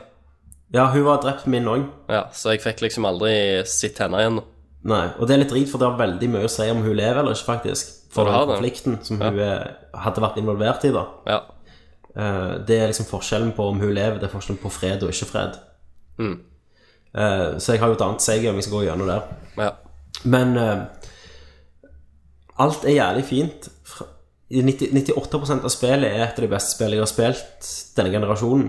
[SPEAKER 1] Ja, hun var drept min òg.
[SPEAKER 3] Ja, så jeg fikk liksom aldri sett henne igjen.
[SPEAKER 1] Nei, og det er litt drit, for det har veldig mye å si om hun lever eller ikke, faktisk. For den
[SPEAKER 3] Ja, det har det.
[SPEAKER 1] konflikten som hun eh, hadde vært involvert i, da.
[SPEAKER 3] Ja.
[SPEAKER 1] Eh, det er liksom forskjellen på om hun lever, det er forskjellen på fred og ikke fred.
[SPEAKER 3] Mm.
[SPEAKER 1] Eh, så jeg har jo et annet seig om jeg skal gå gjennom der.
[SPEAKER 3] ja.
[SPEAKER 1] Men eh, alt er jævlig fint fra, 90, 98 av spillet er et av de beste spillene jeg har spilt denne generasjonen.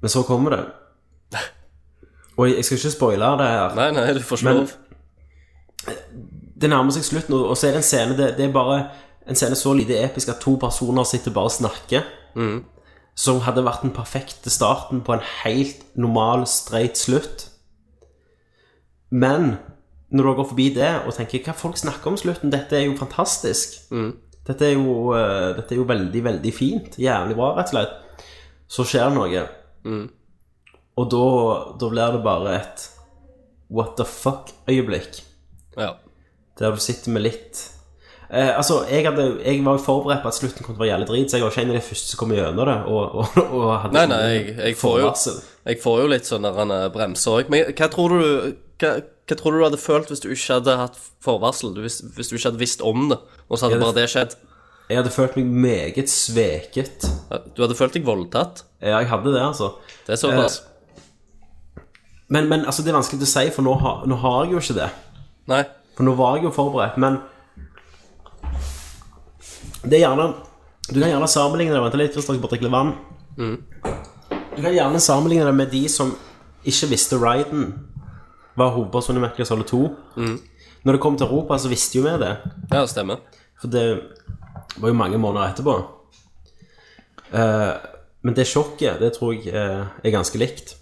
[SPEAKER 1] Men så kommer det. Og jeg, jeg skal ikke spoile det her.
[SPEAKER 3] Nei, nei, du får ikke
[SPEAKER 1] Men-
[SPEAKER 3] lov.
[SPEAKER 1] Det nærmer seg slutten, og og så er det en scene Det, det er bare en scene så lite episk at to personer sitter bare og snakker. Som hadde vært den perfekte starten på en helt normal, streit slutt. Men når du går forbi det og tenker hva folk snakker om slutten, dette er jo fantastisk. Dette, er jo, eh, dette er jo veldig, veldig fint. Jævlig bra, rett og slett. Så skjer det noe. Og da, da blir det bare et what the fuck-øyeblikk.
[SPEAKER 3] Ja.
[SPEAKER 1] Der du sitter med litt eh, Altså, jeg, hadde, jeg var jo forberedt på at slutten kom til å være jævlig drit, så jeg var ikke en av de første som kom gjennom det. Og, og, og hadde
[SPEAKER 3] Nei, nei, jeg, jeg, får jo,
[SPEAKER 1] forvarsel.
[SPEAKER 3] jeg får jo litt sånn der en eh, bremse òg. Men hva tror, du, hva, hva tror du du hadde følt hvis du ikke hadde hatt forvarsel? Du- Hvis, hvis du ikke hadde visst om det, og så hadde
[SPEAKER 1] Ja, det-
[SPEAKER 3] bare det skjedd?
[SPEAKER 1] Jeg hadde følt meg meget sveket.
[SPEAKER 3] Du hadde følt deg voldtatt?
[SPEAKER 1] Ja, jeg hadde det, altså.
[SPEAKER 3] Det er såpass.
[SPEAKER 1] Men, men altså, det er vanskelig å si, for nå, har- nå har jeg jo ikke det.
[SPEAKER 3] Nei.
[SPEAKER 1] For nå var jeg jo forberedt, men Det er gjerne Du kan gjerne sammenligne det Vent litt, Kristian, jeg skal bare drikke litt vann. Du kan gjerne sammenligne det med de som ikke visste Ryden var hovedpersonen i Metal Gear Solid 2. Når det kom til Europa, så visste jo vi det.
[SPEAKER 3] Ja, det stemmer.
[SPEAKER 1] For det var jo mange måneder etterpå. Eh, men det sjokket, det tror jeg eh, er ganske likt.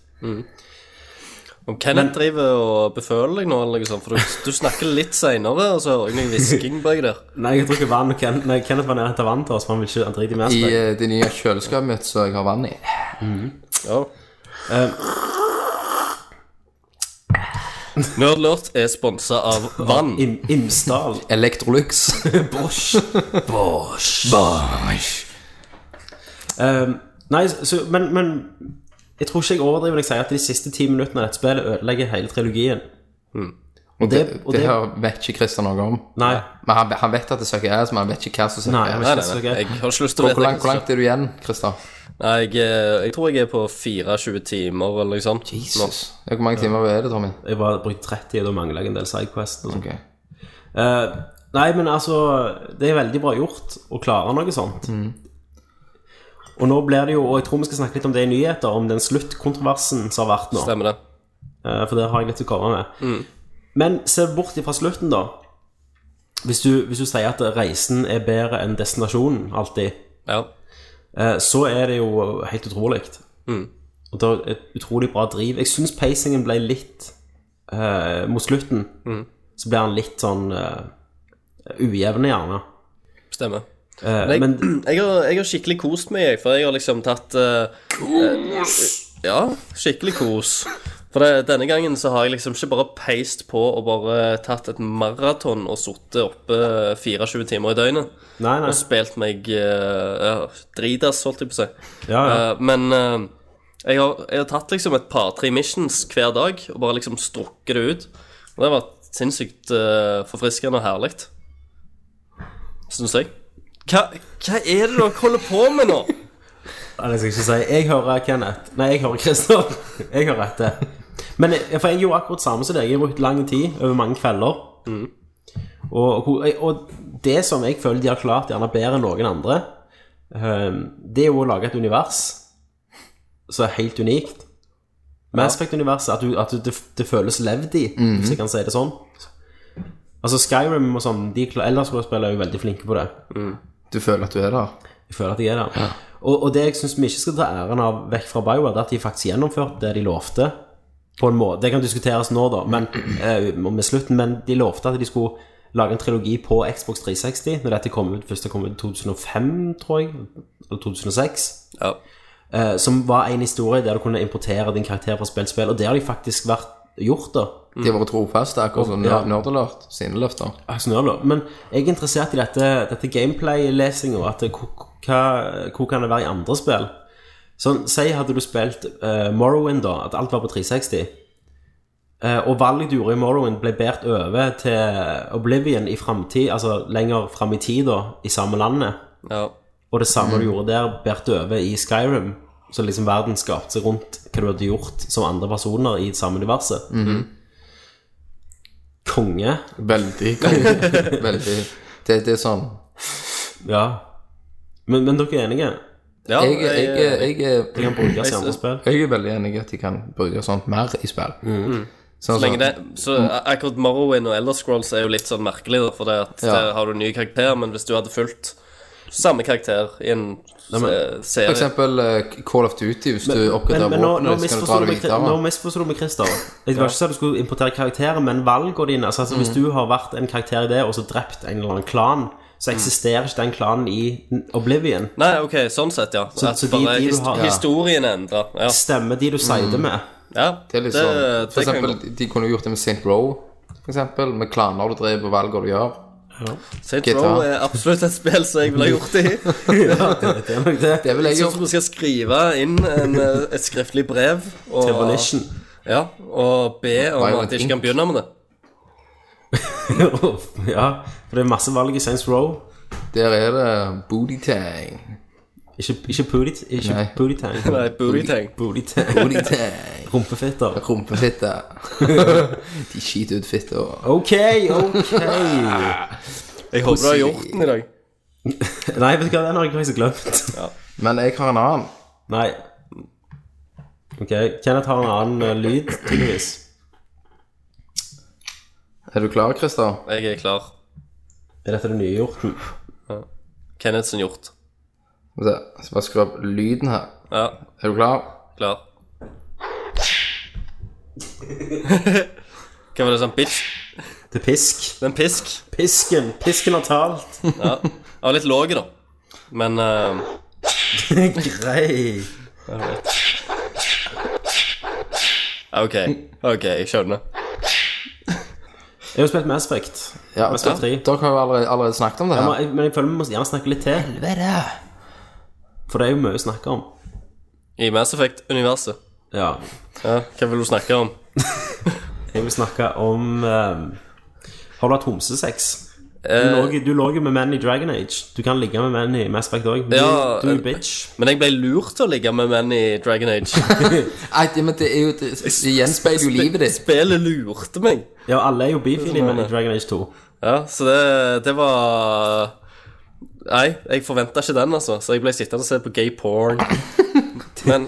[SPEAKER 3] Om Kenneth driver og beføler deg nå, eller noe sånt, for du, du snakker litt seinere, og så hører jeg noe hvisking baki der.
[SPEAKER 1] Nei, jeg tror ikke vann Ken, Nei, Kenneth var nede og hentet vann til oss, for han vil ikke han driter i mer
[SPEAKER 2] I
[SPEAKER 1] spøk.
[SPEAKER 2] eh, det nye kjøleskapet mitt som jeg har vann i.
[SPEAKER 3] Ja. Nerdlurt er sponsa av vann.
[SPEAKER 1] Im, Imsdal.
[SPEAKER 2] Electrolux.
[SPEAKER 1] Bosch. Bosch. Ehm, nei, så, men, men jeg tror ikke jeg overdriver når jeg sier at de siste ti minuttene av dette spillet ødelegger hele trilogien. Og
[SPEAKER 2] Det,
[SPEAKER 1] det, og
[SPEAKER 2] det
[SPEAKER 1] det,
[SPEAKER 2] her vet ikke Christer noe om.
[SPEAKER 1] Nei.
[SPEAKER 2] Men han, han vet at det søker ass, men han vet ikke hva som søker
[SPEAKER 1] Nei, jeg
[SPEAKER 2] ass.
[SPEAKER 1] vet
[SPEAKER 3] Nei,
[SPEAKER 1] ikke
[SPEAKER 3] nei,
[SPEAKER 1] så
[SPEAKER 3] nei.
[SPEAKER 1] gøy.
[SPEAKER 3] Jeg har ikke lyst til
[SPEAKER 2] Hvor,
[SPEAKER 3] å vite
[SPEAKER 2] hvor, langt, hvor langt er du igjen, Christer?
[SPEAKER 3] Nei, jeg, eh, jeg tror jeg er på 24 timer eller noe sånt.
[SPEAKER 2] Jesus. Ja, Hvor mange timer er det, Tommy?
[SPEAKER 1] Jeg bare brukte 30, og da mangler jeg en del sidequests. og sånt.
[SPEAKER 2] Ok.
[SPEAKER 3] Mm.
[SPEAKER 1] Eh, nei, men altså Det er veldig bra gjort å klare noe sånt.
[SPEAKER 3] Mm.
[SPEAKER 1] Og nå blir det jo Og jeg tror vi skal snakke litt om det i nyheter, om den sluttkontroversen som har vært nå.
[SPEAKER 3] Nå. Stemmer Mm. det.
[SPEAKER 1] Eh, For det har jeg litt å komme med. Men se bort ifra slutten, da. Hvis du, hvis du sier at reisen er bedre enn destinasjonen alltid,
[SPEAKER 3] Ja.
[SPEAKER 1] eh, så er det jo helt utrolig. Og det er et utrolig bra driv. Jeg syns pacingen ble litt eh, Mot slutten så ble han litt sånn eh, ujevn, gjerne.
[SPEAKER 3] Stemmer.
[SPEAKER 1] Eh,
[SPEAKER 3] Men jeg,
[SPEAKER 1] men
[SPEAKER 3] jeg, har, jeg har skikkelig kost meg, jeg, for jeg har liksom tatt Kos! ja, skikkelig kos. For det, denne gangen så har jeg liksom ikke bare peist på og bare tatt et maraton og sittet oppe 24 timer i døgnet.
[SPEAKER 1] Nei, nei.
[SPEAKER 3] Og spilt meg eh, ja, dritass, holdt jeg på å si.
[SPEAKER 1] Ja, ja.
[SPEAKER 3] Eh, men eh, jeg, har, jeg har tatt liksom et par-tre missions hver dag og bare liksom strukket det ut. Og det har vært sinnssykt eh, forfriskende og herlig. Syns jeg. Hva, hva er det dere holder på med nå?
[SPEAKER 1] Nei, det skal jeg ikke si. Jeg hører Kenneth. Nei, jeg hører Christer. Jeg hører etter. Men jeg, for jeg gjorde akkurat samme som deg. Jeg brukte lang tid over mange kvelder. Og, og, og det som jeg føler de har klart gjerne bedre enn noen andre, ehm, det er jo å lage et univers som er helt unikt. Mass Effect-universet, at, du, at du, det, det føles levd i, hvis jeg kan si det sånn. Altså Skyrim og sånn, de kla- Elderscrolls-spillere er jo veldig flinke på det.
[SPEAKER 2] Du føler at du er der?
[SPEAKER 1] Jeg føler at jeg er der. Og, og det jeg syns vi ikke skal ta æren av vekk fra BioWare, det er at de faktisk gjennomførte det de lovte. På en måte. Det kan diskuteres nå, da, men, eh, med slutten, men de lovte at de skulle lage en trilogi på Xbox 360 når dette kom ut. Først det kom ut i 2005, tror jeg. Eller 2006.
[SPEAKER 3] Ja.
[SPEAKER 1] Eh, som var en historie der du kunne importere din karakter fra spill til spill. Og det har de faktisk vært gjort, da.
[SPEAKER 2] De har vært trofaste, akkurat som
[SPEAKER 1] Ja.
[SPEAKER 2] Nerd- Nerdelert sine løfter.
[SPEAKER 1] Altså, nå, da. Men jeg er interessert i dette, dette gameplay-lesinga. At det- hvor- hva- hvor kan det være i andre spill? Sånn, Si hadde du spilt eh, Morrowind, da, at alt var på 360. eh, og valget du gjorde i Morrowind, ble båret over til Oblivion i framtid, altså lenger fram i tid, da, i samme landet.
[SPEAKER 3] ja.
[SPEAKER 1] Og det samme du gjorde der, båret over i Skyrim. Så liksom verden skapte seg rundt hva du hadde gjort som andre personer i det samme universet. Konge.
[SPEAKER 2] Veldig konge. Veldig. Det, det er sånn
[SPEAKER 1] Ja. Men, men dere er enige?
[SPEAKER 3] Ja, eh,
[SPEAKER 2] Jeg, jeg, jeg, jeg,
[SPEAKER 1] De kan brukes i andre spill?
[SPEAKER 2] jeg er veldig enig i at de kan bruke sånt mer i spill. Sånn
[SPEAKER 3] så lenge
[SPEAKER 2] som-
[SPEAKER 3] det, så akkurat Morrowind og Elder Scrolls er jo litt sånn merkelig, da, for det at
[SPEAKER 2] Ja.
[SPEAKER 3] der har du nye karakterer, men hvis du hadde fulgt samme karakter i en eh, serie
[SPEAKER 2] For eksempel eh, Call of Duty, hvis du
[SPEAKER 1] Men,
[SPEAKER 2] oppgraderer
[SPEAKER 1] men nå, nå
[SPEAKER 2] våpenet, så kan
[SPEAKER 1] misforstod du
[SPEAKER 2] du dra det
[SPEAKER 1] meg,
[SPEAKER 2] videre.
[SPEAKER 1] nå misforstod du meg, Christer. Jeg var ikke sånn at du skulle importere karakterer, men valgene dine altså, altså, Hvis
[SPEAKER 2] Mm.
[SPEAKER 1] du har vært en karakter i det, og så drept en eller annen klan,
[SPEAKER 2] Mm.
[SPEAKER 1] så eksisterer ikke den klanen i Oblivion.
[SPEAKER 3] Nei, ok, sånn sett, ja.
[SPEAKER 1] Så-
[SPEAKER 3] at
[SPEAKER 1] så de-
[SPEAKER 3] bare
[SPEAKER 1] de du
[SPEAKER 3] his,
[SPEAKER 1] har- ja.
[SPEAKER 3] historien er endra. Ja.
[SPEAKER 1] Stemmer
[SPEAKER 2] Mm.
[SPEAKER 1] de du sider med?
[SPEAKER 3] ja,
[SPEAKER 2] Det er litt sånn, for
[SPEAKER 3] det kan
[SPEAKER 2] eksempel,
[SPEAKER 3] gå.
[SPEAKER 2] de kunne jo gjort det med St. Row, for eksempel, med klaner du driver og valger du gjør.
[SPEAKER 3] Saint
[SPEAKER 2] GTA.
[SPEAKER 3] Row er absolutt et spill som jeg ville ha gjort det i.
[SPEAKER 1] Det er nok det.
[SPEAKER 2] Det vil jeg
[SPEAKER 3] Jeg syns
[SPEAKER 2] gjort.
[SPEAKER 3] vi skal skrive inn en, eh, et skriftlig brev og,
[SPEAKER 1] Til Volition.
[SPEAKER 3] ja, og be om
[SPEAKER 2] Violent
[SPEAKER 3] at de
[SPEAKER 2] Ink.
[SPEAKER 3] ikke kan begynne med det.
[SPEAKER 1] ja, for det er masse valg i Saints Row.
[SPEAKER 2] Der er det booty tang.
[SPEAKER 1] Ikke, ikke booty- ikke
[SPEAKER 2] Nei.
[SPEAKER 1] bootytang.
[SPEAKER 3] Nei, bootytang.
[SPEAKER 1] Bootytang.
[SPEAKER 2] Booty tang.
[SPEAKER 1] Rumpefitter.
[SPEAKER 2] Rumpefitte. de skiter ut fitte og
[SPEAKER 1] Ok, ok.
[SPEAKER 3] Jeg håper du har gjort den i dag.
[SPEAKER 1] Nei, vet du hva, den har jeg faktisk glemt.
[SPEAKER 2] Men jeg har en annen.
[SPEAKER 1] Nei. Ok, Kenneth har en annen eh, lyd, tydeligvis.
[SPEAKER 2] Er du klar, Christer?
[SPEAKER 3] Jeg er klar.
[SPEAKER 1] Er dette det nye hjorten?
[SPEAKER 3] Kenneth sin hjort.
[SPEAKER 2] Skal vi se, Jeg skal bare skru opp lyden her.
[SPEAKER 3] Ja,
[SPEAKER 2] Er du klar?
[SPEAKER 3] klar. Hva var det sånn bitch?
[SPEAKER 1] Til pisk.
[SPEAKER 3] Det er en pisk.
[SPEAKER 1] Pisken! Pisken har talt.
[SPEAKER 3] Jeg var litt låg, da. Men eh,
[SPEAKER 1] Grei.
[SPEAKER 3] OK. OK, jeg skjønner.
[SPEAKER 1] Jeg har jo spilt Mass Effect.
[SPEAKER 2] Ja,
[SPEAKER 1] Mass Effect 3.
[SPEAKER 2] dere har jo allerede, allerede snakket om det
[SPEAKER 1] Jeg
[SPEAKER 2] her.
[SPEAKER 1] må- jeg- Men jeg føler vi må gjerne snakke litt til.
[SPEAKER 2] Helvete.
[SPEAKER 1] For det er jo mye å snakke om.
[SPEAKER 3] I Mass Effect-universet.
[SPEAKER 1] Ja.
[SPEAKER 3] Ja, hva vil du snakke om?
[SPEAKER 1] Jeg vil snakke om eh, Har du hatt homsesex? Du
[SPEAKER 3] Eh,
[SPEAKER 1] lå- Du lå jo med menn i Dragon Age. Du kan ligge med menn i Mass Effect òg.
[SPEAKER 3] Ja,
[SPEAKER 1] Du er
[SPEAKER 3] eh,
[SPEAKER 1] bitch.
[SPEAKER 3] men jeg ble lurt til å ligge med menn i eh, Dragon Age.
[SPEAKER 2] Nei, det- men det er jo Det, det gjenspeiler jo livet ditt.
[SPEAKER 3] Spillet lurte meg.
[SPEAKER 1] Ja, alle er jo bifile menn i Dragon Age 2.
[SPEAKER 3] Ja, så det, det var Nei, jeg forventa ikke den, altså. Så jeg ble sittende og se på gay porn. Men,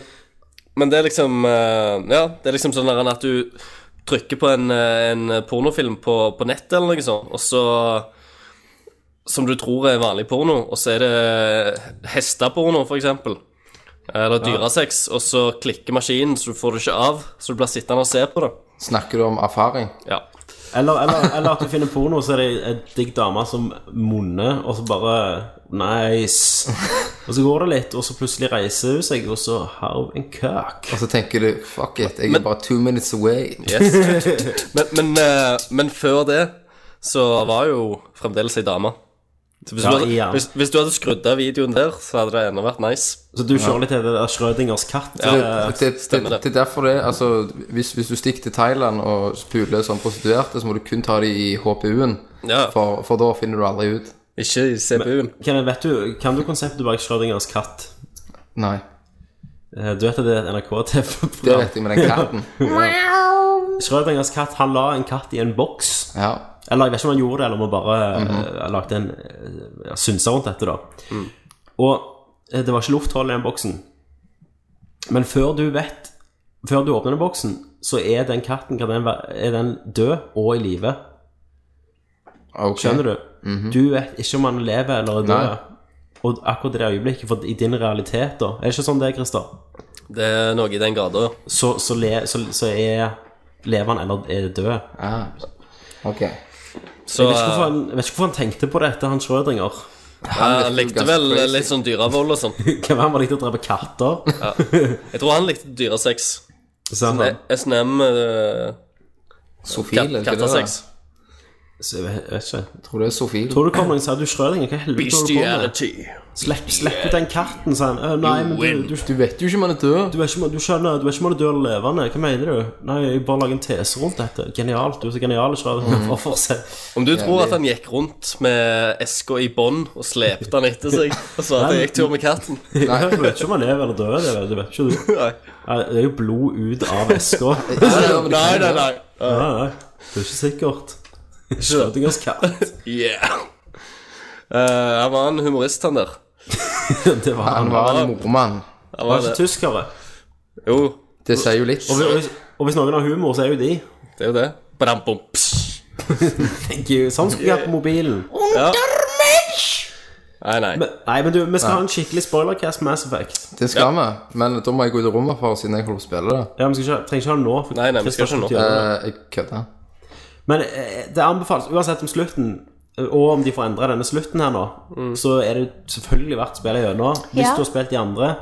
[SPEAKER 3] men det er liksom eh, Ja, det er liksom sånn der at du trykker på en, eh, en pornofilm på, på nettet eller noe sånt, og så Som du tror er vanlig porno, og så er det hesteporno, for eksempel. Eller dyresex, og så klikker maskinen, så du får det ikke av. Så du blir sittende og se på det.
[SPEAKER 2] Snakker du om erfaring?
[SPEAKER 3] Ja.
[SPEAKER 1] Eller, eller, eller at du finner porno, så er det en digg dame som munner, og så bare Nice. Og så går det litt, og så plutselig reiser hun seg, og så har hun en køk.
[SPEAKER 2] Og så tenker du fuck it, jeg er bare two minutes away.
[SPEAKER 3] Yes. men, men, eh, men før det så var jo fremdeles ei dame. Så hvis,
[SPEAKER 1] Ja,
[SPEAKER 3] du hadde,
[SPEAKER 1] igjen.
[SPEAKER 3] hvis, hvis du hadde skrudd av videoen der, så hadde det ennå vært nice.
[SPEAKER 1] Så du kjører litt til det der Schrødingers katt. eh,
[SPEAKER 2] det, det,
[SPEAKER 3] stemmer det.
[SPEAKER 2] det er derfor det altså, hvis, hvis du stikker til Thailand og puler som prostituerte, så må du kun ta dem i HPU-en.
[SPEAKER 3] Ja.
[SPEAKER 2] For, for da finner du aldri ut.
[SPEAKER 3] Ikke i CPU-en.
[SPEAKER 1] Kenneth, vet du, kan du konseptet bak Schrødingers katt?
[SPEAKER 2] Nei.
[SPEAKER 1] Eh, Du vet at det er et
[SPEAKER 2] Det
[SPEAKER 1] NRK-TV-program?
[SPEAKER 2] vet jeg med den katten.
[SPEAKER 1] Schrødingers katt, han la en katt i en boks.
[SPEAKER 2] Ja.
[SPEAKER 1] Eller jeg vet ikke om han gjorde det, eller om han bare mm
[SPEAKER 2] Mhm.
[SPEAKER 1] lagde en eh, ja, synser rundt dette, da.
[SPEAKER 2] Mm.
[SPEAKER 1] Og eh, det var ikke lufthold i den boksen. Men før du vet Før du åpner den boksen, så er den katten kan den, være- er den død og i live.
[SPEAKER 2] ok. Mhm.
[SPEAKER 1] Skjønner du? Du vet ikke om han lever eller er død.
[SPEAKER 2] Nei.
[SPEAKER 1] Og akkurat det øyeblikket, for i din realitet, da Er det ikke sånn det er, Christer?
[SPEAKER 3] Det er noe i den gata. ja.
[SPEAKER 1] Så, så, le, så, så er Lever han eller er det død?
[SPEAKER 2] Ah. Ok.
[SPEAKER 3] Så
[SPEAKER 1] Jeg vet, ikke
[SPEAKER 3] eh,
[SPEAKER 1] hvorfor han, jeg vet ikke hvorfor han tenkte på dette, han Schrødinger.
[SPEAKER 3] ja, han eh, likte vel
[SPEAKER 2] Ganske crazy.
[SPEAKER 3] litt sånn dyrevold og sånn.
[SPEAKER 1] Hvem var det han likte å drepe katter?
[SPEAKER 3] Jeg tror han likte dyresex.
[SPEAKER 1] Sånn,
[SPEAKER 3] Sånn SNM eh,
[SPEAKER 2] Sofil,
[SPEAKER 3] kat
[SPEAKER 2] er det ikke det?
[SPEAKER 3] kattesex.
[SPEAKER 2] da?
[SPEAKER 1] Så jeg vet, jeg vet ikke.
[SPEAKER 2] Jeg Tror det er Sofil.
[SPEAKER 1] Tror du kom noen og sa du Schrødinger, hva i helvete holder du på med?
[SPEAKER 3] Bestiality.
[SPEAKER 1] Slipp, slipp ut den katten, sa han. «Øh, Nei, men du, du,
[SPEAKER 2] Du vet jo ikke om han er død.
[SPEAKER 1] du, er ikke, du skjønner, du er ikke om du dør eller levende. Hva mener du? Nei, jeg bare lager en tese rundt dette. Genialt. Du er så genial, Schrødinger. For fortsett.
[SPEAKER 3] Om du tror at han gikk rundt med eska i bånd og slepte han etter seg og sa at jeg gikk tur med katten
[SPEAKER 1] Du vet ikke om han lever eller dør, det vet- det vet ikke du.
[SPEAKER 3] Nei.
[SPEAKER 1] Nei, Det er jo blod ut av eska.
[SPEAKER 2] Ja, men det
[SPEAKER 3] Nei,
[SPEAKER 2] kan
[SPEAKER 3] nei,
[SPEAKER 2] jo-
[SPEAKER 3] nei.
[SPEAKER 1] Ja, ja. Det er ikke sikkert. Schrødingers katt.
[SPEAKER 3] Yeah. Eh, han var en humorist, han der.
[SPEAKER 1] det var han.
[SPEAKER 2] Han var en mormann.
[SPEAKER 3] Han
[SPEAKER 1] Han
[SPEAKER 3] var
[SPEAKER 1] var ikke
[SPEAKER 3] det.
[SPEAKER 1] tyskere.
[SPEAKER 3] Jo,
[SPEAKER 2] Det sier jo litt.
[SPEAKER 1] Og hvis, og hvis noen har humor, så er jo de.
[SPEAKER 3] det er jo det. Badampum. Psh.
[SPEAKER 1] Thank you. Sånn skulle vi hatt på mobilen.
[SPEAKER 3] Nei, nei.
[SPEAKER 1] Men, nei, men du, vi skal ha en skikkelig spoilercast Mass Effect.
[SPEAKER 2] Det skal vi. Men da må jeg gå ut av rommet for, siden jeg holder på å spille det.
[SPEAKER 1] Ja, vi skal ikke, trenger ikke ha den nå. for
[SPEAKER 3] Nei, nei, vi skal
[SPEAKER 1] Christopher
[SPEAKER 3] ikke
[SPEAKER 1] skal
[SPEAKER 3] nå.
[SPEAKER 1] gjøre det.
[SPEAKER 2] Eh, jeg kødder.
[SPEAKER 1] Men eh, det anbefales uansett om slutten, eh, og om de får endra denne slutten her nå, så er det selvfølgelig verdt å spille gjennom. Hvis
[SPEAKER 8] Ja.
[SPEAKER 1] du har spilt de andre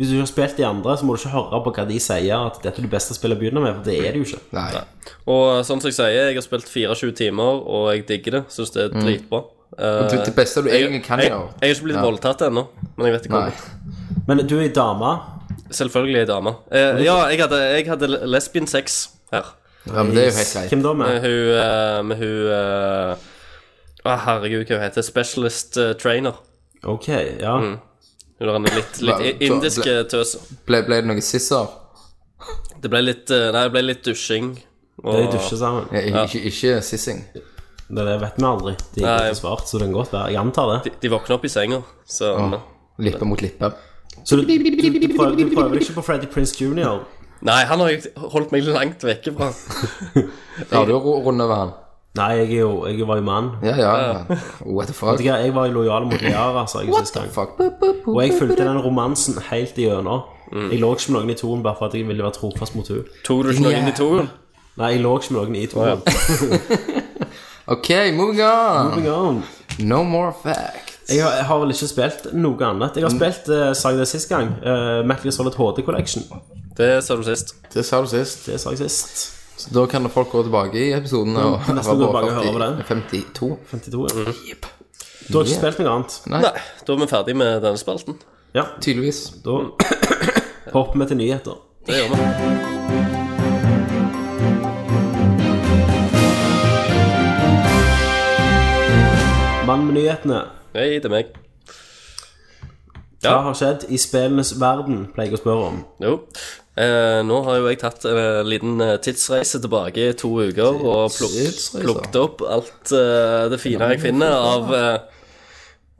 [SPEAKER 1] Hvis du ikke har spilt de andre, så må du ikke høre på hva de sier at dette er det beste spillet å begynne med, for det er det jo ikke.
[SPEAKER 2] Nei.
[SPEAKER 3] Og sånn som jeg sier, jeg har spilt 24 timer, og jeg digger det. Syns det er dritbra. Eh,
[SPEAKER 2] Mm. Du, det beste du egentlig kan
[SPEAKER 3] jeg,
[SPEAKER 2] gjøre
[SPEAKER 3] jeg er ikke blitt
[SPEAKER 2] Ja.
[SPEAKER 3] voldtatt ennå, men jeg vet ikke
[SPEAKER 2] Nei.
[SPEAKER 3] hvor.
[SPEAKER 1] Men du er ei dame.
[SPEAKER 3] Selvfølgelig ei dame. Eh, ja, jeg hadde, jeg hadde lesbian sex her.
[SPEAKER 2] Ja, men det er jo helt greit.
[SPEAKER 1] Hvem da
[SPEAKER 3] Med
[SPEAKER 1] med?
[SPEAKER 3] hun, eh, med hun eh, Å, herregud, hva hun heter Specialist eh, trainer.
[SPEAKER 1] Ok, ja.
[SPEAKER 3] Hun er en litt,
[SPEAKER 2] Hva-
[SPEAKER 3] litt indisk
[SPEAKER 2] ble-
[SPEAKER 3] eh, tøs.
[SPEAKER 2] Ble, ble det noe sisser?
[SPEAKER 3] Det ble litt eh, Nei, det ble litt dusjing. Og,
[SPEAKER 1] De dusjer sammen.
[SPEAKER 2] Ja, ikke, ikke, ikke sissing.
[SPEAKER 1] Det, det vet vi aldri. De har
[SPEAKER 3] Nei.
[SPEAKER 1] ikke svart, så det kan godt være. Jeg antar det.
[SPEAKER 3] De, de våkner opp i senga, så
[SPEAKER 2] Ah. Lippe mot lippe.
[SPEAKER 1] Så du, du, du, prøver, du prøver deg ikke på Freddy Prince Jr.?
[SPEAKER 3] Nei, han har jo holdt meg langt vekke fra.
[SPEAKER 2] Da har du jo ru- rundet over han.
[SPEAKER 1] Nei, jeg, er jo, jeg var jo mann.
[SPEAKER 2] Ja, ja. What the fuck?
[SPEAKER 1] Vet du hva, Jeg var jo lojal mot Liara, sa jeg sist gang.
[SPEAKER 2] Fuck. Boop, boop, boop. Mm.
[SPEAKER 1] Og jeg fulgte den romansen helt igjennom. Jeg lå ikke med noen i toen bare for at jeg ville være trofast mot hun
[SPEAKER 3] Tok du ikke noen i toen?
[SPEAKER 1] Nei, jeg lå ikke med noen i toen.
[SPEAKER 2] Ok, moving on.
[SPEAKER 1] Moving on.
[SPEAKER 2] No more facts.
[SPEAKER 1] Jeg har, jeg har vel ikke spilt noe annet.
[SPEAKER 3] Mm.
[SPEAKER 1] Jeg har spilt, eh, sa jeg det sist gang, uh, Metal Gear Solid HD Collection.
[SPEAKER 3] Det sa du sist.
[SPEAKER 2] Det sa du sist.
[SPEAKER 1] Det sa jeg sist.
[SPEAKER 2] Så da kan folk gå tilbake i episoden og
[SPEAKER 1] nesten gå tilbake og høre på
[SPEAKER 2] 52.
[SPEAKER 1] 52.
[SPEAKER 2] Mm.
[SPEAKER 1] ja. Du har ikke spilt noe annet?
[SPEAKER 2] Nei,
[SPEAKER 3] Nei, da er vi ferdig med denne spalten.
[SPEAKER 1] Ja,
[SPEAKER 2] tydeligvis.
[SPEAKER 1] da hopper vi til nyheter.
[SPEAKER 3] Det gjør vi.
[SPEAKER 1] Mann med nyhetene.
[SPEAKER 3] Hei, det er meg.
[SPEAKER 1] Hva
[SPEAKER 3] Ja.
[SPEAKER 1] har skjedd i spillenes verden, pleier jeg å spørre om.
[SPEAKER 3] Jo. Eh, nå har jo jeg tatt en eh, liten eh, tidsreise tilbake i to uker og pluk
[SPEAKER 2] Tidsreise.
[SPEAKER 3] plukket opp alt eh, det fine jeg finner av, eh,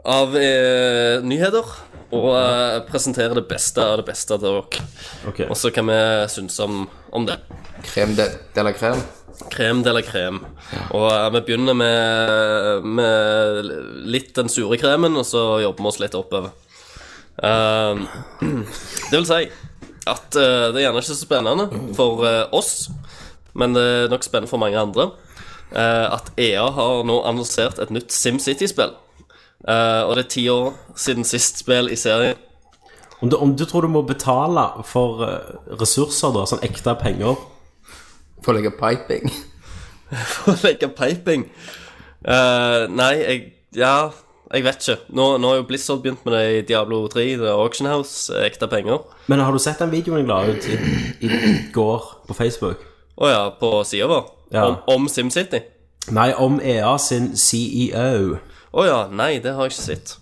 [SPEAKER 3] av eh, nyheter. Og eh, presenterer det beste av det beste til dere.
[SPEAKER 1] Ok,
[SPEAKER 3] Og så kan vi synes om, om det.
[SPEAKER 2] Krem de, de la krem.
[SPEAKER 3] Krem de la krem. Og eh, vi begynner med, med litt den sure kremen, og så jobber vi oss litt oppover. Ehm, det vil si at eh, det er gjerne ikke så spennende for eh, oss, men det er nok spennende for mange andre, eh, at EA har nå annonsert et nytt SimCity-spill. Eh, og det er ti år siden sist spill i serien.
[SPEAKER 1] Om du, om du tror du må betale for eh, ressurser, da, sånn ekte penger
[SPEAKER 2] For å legge piping.
[SPEAKER 3] å leke piping. Eh, nei, jeg Ja, jeg vet ikke. Nå, nå har jo Blizzard begynt med det i Diablo 3. Det er Auction House. eh, Ekte penger. Å
[SPEAKER 1] Men har du sett den videoen jeg la ut i, i går på Facebook?
[SPEAKER 3] ja, på sida vår?
[SPEAKER 1] Ja.
[SPEAKER 3] Om, om SimCity?
[SPEAKER 1] Nei, om EA sin E CEO.
[SPEAKER 3] Å ja, nei, det har jeg ikke sett.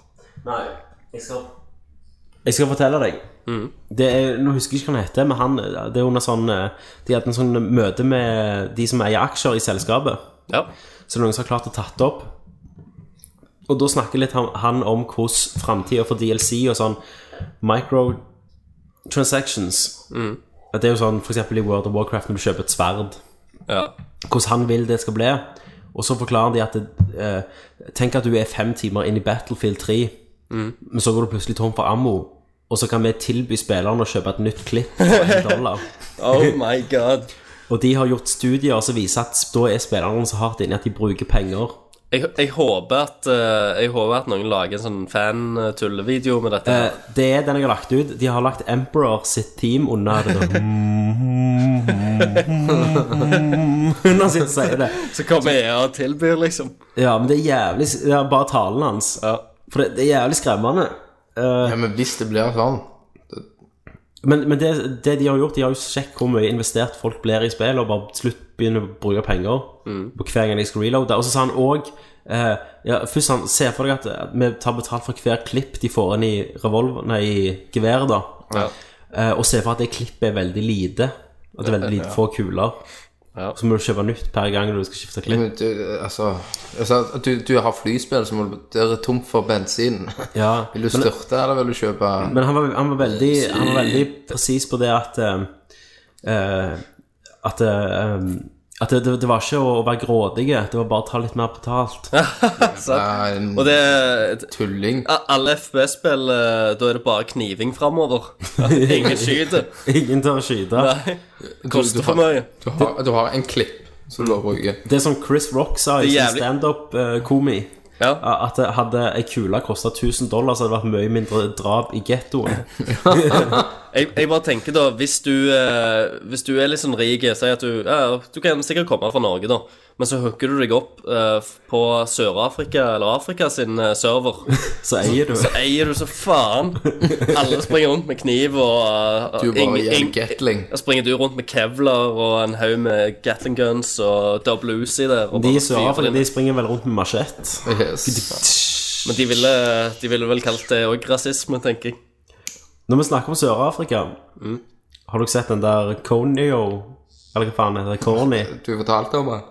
[SPEAKER 1] Nei, jeg skal Mm. Jeg skal fortelle deg. Det er, nå husker jeg ikke hva han heter, men han, det er under sånn eh, De hadde en sånn møte med de som eier aksjer i selskapet.
[SPEAKER 3] Ja.
[SPEAKER 1] Så noen som har klart å tatt opp. Og da snakker litt han, han om hvordan framtida for DLC og sånn microtransactions At Det er jo sånn f.eks. i World of Warcraft når du kjøper et sverd.
[SPEAKER 3] ja.
[SPEAKER 1] Hvordan han vil det skal bli. Og så forklarer de at det, eh, Tenk at du er fem timer inn i Battlefield 3, men så går du plutselig tom for ammo. Og så kan vi tilby spillerne å kjøpe et nytt klipp for en dollar.
[SPEAKER 3] Oh my god.
[SPEAKER 1] Og de har gjort studier som viser at da er spillerne så hardt inne at de bruker penger.
[SPEAKER 3] Jeg, jeg, håper at, eh, jeg håper at noen lager en sånn fan-tullevideo med dette. her.
[SPEAKER 1] Eh, Det er den jeg har lagt ut. De har lagt Emperor sitt team under det. Under sitt sier det.
[SPEAKER 3] Eh, Så kommer jeg og tilbyr, liksom.
[SPEAKER 1] Ja, men det er jævlig Det er bare talen hans. For det, det er jævlig skremmende.
[SPEAKER 2] Ja, men hvis det blir sånn
[SPEAKER 1] Men, men det, det de har gjort, de har jo sjekket hvor mye investert folk blir i spill, og bare til slutt begynner å bruke penger på hver gang de skal reloade. Og så sa han òg eh, ja, Først han ser for deg at, at vi tar betalt for hver klipp de får inn i revolver, nei, i geværet, da.
[SPEAKER 3] Ja.
[SPEAKER 1] Eh, og ser for at det klippet er veldig lite. At det er veldig lite få kuler.
[SPEAKER 3] Ja.
[SPEAKER 1] Så må du kjøpe nytt per gang du skal skifte klipp.
[SPEAKER 2] Men Du, altså, altså du, du har flyspill, så må du Det er tomt for bensin.
[SPEAKER 1] Ja.
[SPEAKER 2] Vil du styrte, eller vil du kjøpe eh,
[SPEAKER 1] Men han var, han var, veldig,
[SPEAKER 3] Eh,
[SPEAKER 1] han var veldig presis på det at eh, eh, At, eh, at det, det var ikke å være grådige, det var bare å ta litt mer betalt.
[SPEAKER 2] Nei, en
[SPEAKER 3] Og det
[SPEAKER 2] tulling?
[SPEAKER 3] A- Alle FB-spill, eh, da er det bare kniving framover. Ingen skyter.
[SPEAKER 1] Ingen tør å skyte.
[SPEAKER 3] Nei. Koster for mye.
[SPEAKER 2] Du har, du har en klipp som du bare bruker.
[SPEAKER 1] Det er som Chris Rock sa i
[SPEAKER 3] Det er
[SPEAKER 1] sin
[SPEAKER 3] jævlig-
[SPEAKER 1] standup-komi.
[SPEAKER 3] Ja.
[SPEAKER 1] At det hadde ei kule kosta 1000 dollar, så hadde det vært mye mindre drap i gettoen.
[SPEAKER 3] Jeg, jeg bare tenker, da, hvis du, eh, hvis du er litt sånn rik Si at du ja, Du kan sikkert komme fra Norge, da, men så hooker du deg opp eh, på Sør-Afrika eller Afrika sin eh, server.
[SPEAKER 1] Så eier du.
[SPEAKER 3] Så eier du så faen. Alle springer rundt med kniv og eh,
[SPEAKER 2] Du bare
[SPEAKER 3] ing-
[SPEAKER 2] gir en
[SPEAKER 3] ing-
[SPEAKER 2] Gatling.
[SPEAKER 3] Da springer du rundt med kevlar og en haug med Gatling guns og double Uzi der. Og
[SPEAKER 1] De i
[SPEAKER 3] bare fyrer
[SPEAKER 1] Sør-Afrika
[SPEAKER 3] inn.
[SPEAKER 1] de springer vel rundt med machett.
[SPEAKER 2] Yes.
[SPEAKER 3] Men de ville, de ville vel kalt det òg rasisme, tenker jeg.
[SPEAKER 1] Når vi snakker om Sør-Afrika,
[SPEAKER 3] Mm.
[SPEAKER 1] har dere sett den der Conio Eller hva faen heter det? Corny-videoen?
[SPEAKER 2] Du fortalte om det?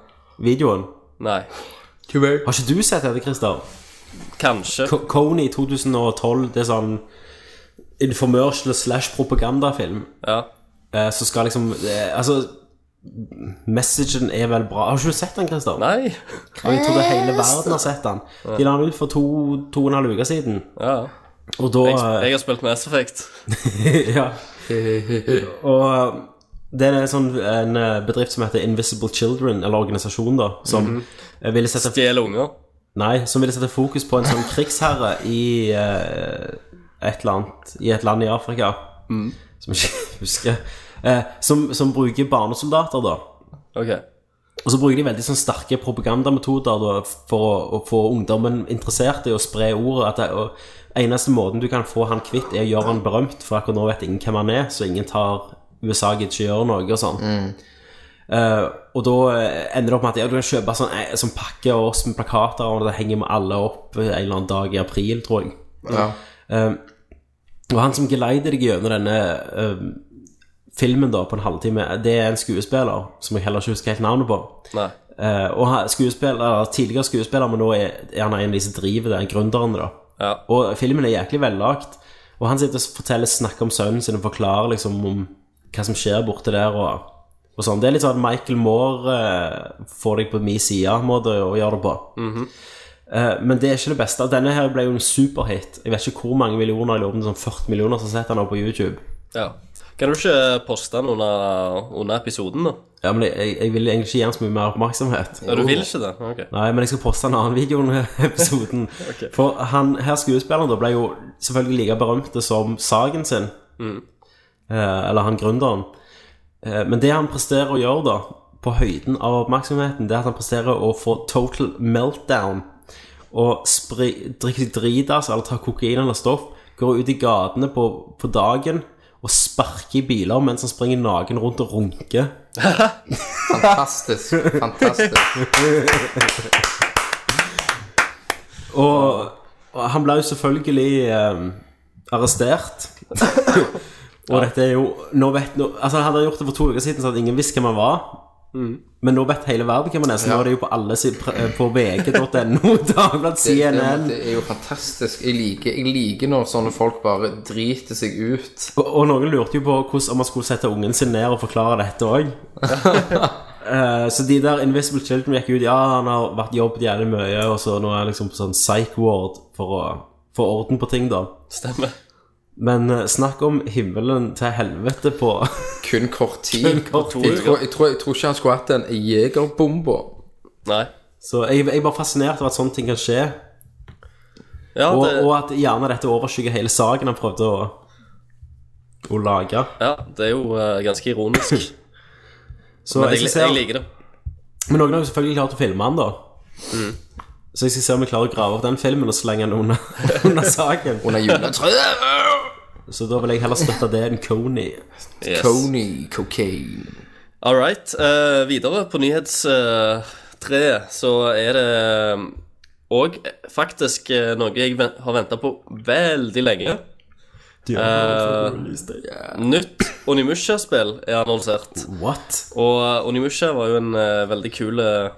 [SPEAKER 3] Nei.
[SPEAKER 1] Har ikke du sett dette, Christer?
[SPEAKER 3] Kanskje.
[SPEAKER 1] Co- Coney 2012, det er sånn informørsel slash propagandafilm.
[SPEAKER 3] Ja.
[SPEAKER 1] Eh, så skal liksom eh, Altså, messagen er vel bra. Har ikke du sett den, Christer?
[SPEAKER 3] Nei.
[SPEAKER 1] Og jeg tror det hele verden har sett den. De la den ut for to, to og en halv uke siden.
[SPEAKER 3] Ja.
[SPEAKER 1] Og da
[SPEAKER 3] Jeg, jeg har spilt Mass Effect.
[SPEAKER 1] ja. Og eh, det er en sånn en eh, bedrift som heter Invisible Children, eller organisasjon, da, som eh, ville sette
[SPEAKER 3] Stjele unger.
[SPEAKER 1] Nei, som ville sette fokus på en sånn krigsherre i eh, et eller annet I et land i Afrika, som jeg ikke husker, eh, som, som bruker barnesoldater, da.
[SPEAKER 3] Ok.
[SPEAKER 1] Og så bruker de veldig sånn sterke propagandametoder da, for å, å få ungdommen interessert i å spre ordet. At det, og eneste måten du kan få han kvitt, er å gjøre han berømt, for akkurat nå vet ingen hvem han er, så ingen tar USA gidder ikke gjøre noe og sånn. Eh, og da eh, ender det opp med at ja, du kan kjøpe sånn, eh, sånn pakke av oss med plakater, og det henger med alle opp en eller annen dag i april, tror jeg.
[SPEAKER 2] Ja.
[SPEAKER 1] Og han som geleider deg gjennom denne eh, filmen da, på en halvtime, det er en skuespiller som jeg heller ikke husker helt navnet på.
[SPEAKER 3] Nei.
[SPEAKER 1] Eh, og han- skuespiller, tidligere skuespiller, men nå er, er han en av de som driver det, gründerne, da.
[SPEAKER 3] Ja.
[SPEAKER 1] Og filmen er jæklig vellagt. Og han sitter og forteller, snakker om sønnen sin og forklarer liksom om hva som skjer borte der. og, og sånn. Det er litt sånn at Michael Moore eh, får deg på min side-måte å gjøre det på. Eh, men det er ikke det beste. Denne her ble jo en superhit. Jeg vet ikke hvor mange millioner, jeg lurer på om det er sånn 40 millioner, som har sett den nå på YouTube.
[SPEAKER 3] ja. Kan du ikke poste den under, under episoden, da?
[SPEAKER 1] Ja, men jeg, jeg vil egentlig ikke gi den så mye mer oppmerksomhet.
[SPEAKER 3] Ja, du vil ikke det? Ok.
[SPEAKER 1] Nei, men jeg skal poste en annen video under episoden. For han her skuespilleren da ble jo selvfølgelig like berømte som Sagen sin. Eh, eller han gründeren. Eh, men det han presterer å gjøre, da, på høyden av oppmerksomheten, det er at han presterer å få total meltdown. Og spri- drikke dritas eller ta kokain eller stoff. Går ut i gatene på, på dagen og sparker i biler mens han springer naken rundt og runker.
[SPEAKER 2] Fantastisk. Fantastisk.
[SPEAKER 1] Og, og han ble jo selvfølgelig eh, arrestert. og dette er jo nå vet, nå, Altså Han hadde gjort det for to uker siden, så hadde ingen visst hvem han var.
[SPEAKER 2] Mm.
[SPEAKER 1] Men nå vet hele verden hvem han er, så nå er det jo på alle si- pre- eh, på vg.no, Dagbladet,
[SPEAKER 2] Det, det,
[SPEAKER 1] CNN
[SPEAKER 2] det er jo fantastisk. Jeg liker, jeg liker når sånne folk bare driter seg ut.
[SPEAKER 1] og, og noen lurte jo på hvordan, om han skulle sette ungen sin ned og forklare dette òg. så de der Invisible Children gikk ut Ja, han har vært jobbet jævlig mye, og så nå er han liksom på sånn psych ward for å få orden på ting, da.
[SPEAKER 3] Stemmer.
[SPEAKER 1] Men eh, snakk om himmelen til helvete på
[SPEAKER 2] Kun kort tid.
[SPEAKER 1] en kort
[SPEAKER 2] Jeg
[SPEAKER 1] tid.
[SPEAKER 2] tror, jeg, tror, jeg tror ikke han skulle hatt en jegerbombe.
[SPEAKER 3] Nei.
[SPEAKER 1] Så jeg, jeg er bare fascinert av at sånne ting kan skje.
[SPEAKER 3] Ja,
[SPEAKER 1] Og,
[SPEAKER 3] det,
[SPEAKER 1] og at gjerne dette overskygger hele saken han prøvde å, å lage.
[SPEAKER 3] ja, det er jo eh, ganske ironisk.
[SPEAKER 1] Så
[SPEAKER 3] Men
[SPEAKER 1] jeg
[SPEAKER 3] jeg,
[SPEAKER 1] skal se
[SPEAKER 3] jeg
[SPEAKER 1] om,
[SPEAKER 3] liker det.
[SPEAKER 1] Men noen har jo selvfølgelig klart å filme han, da. Så jeg skal se om jeg klarer å grave opp den filmen og slenge den under, under saken.
[SPEAKER 2] Under juletreet.
[SPEAKER 1] Så da vil jeg heller støtte det enn Coney.
[SPEAKER 3] Yes.
[SPEAKER 2] Tony Cocaine.
[SPEAKER 3] All right. eh, videre på nyhetstreet så er det òg faktisk eh, noe jeg ven- har venta på veldig lenge.
[SPEAKER 1] Ja,
[SPEAKER 3] Nytt Onimusha-spill er annonsert.
[SPEAKER 1] What?
[SPEAKER 3] Og eh, Onimusha var jo en eh, veldig kul eh,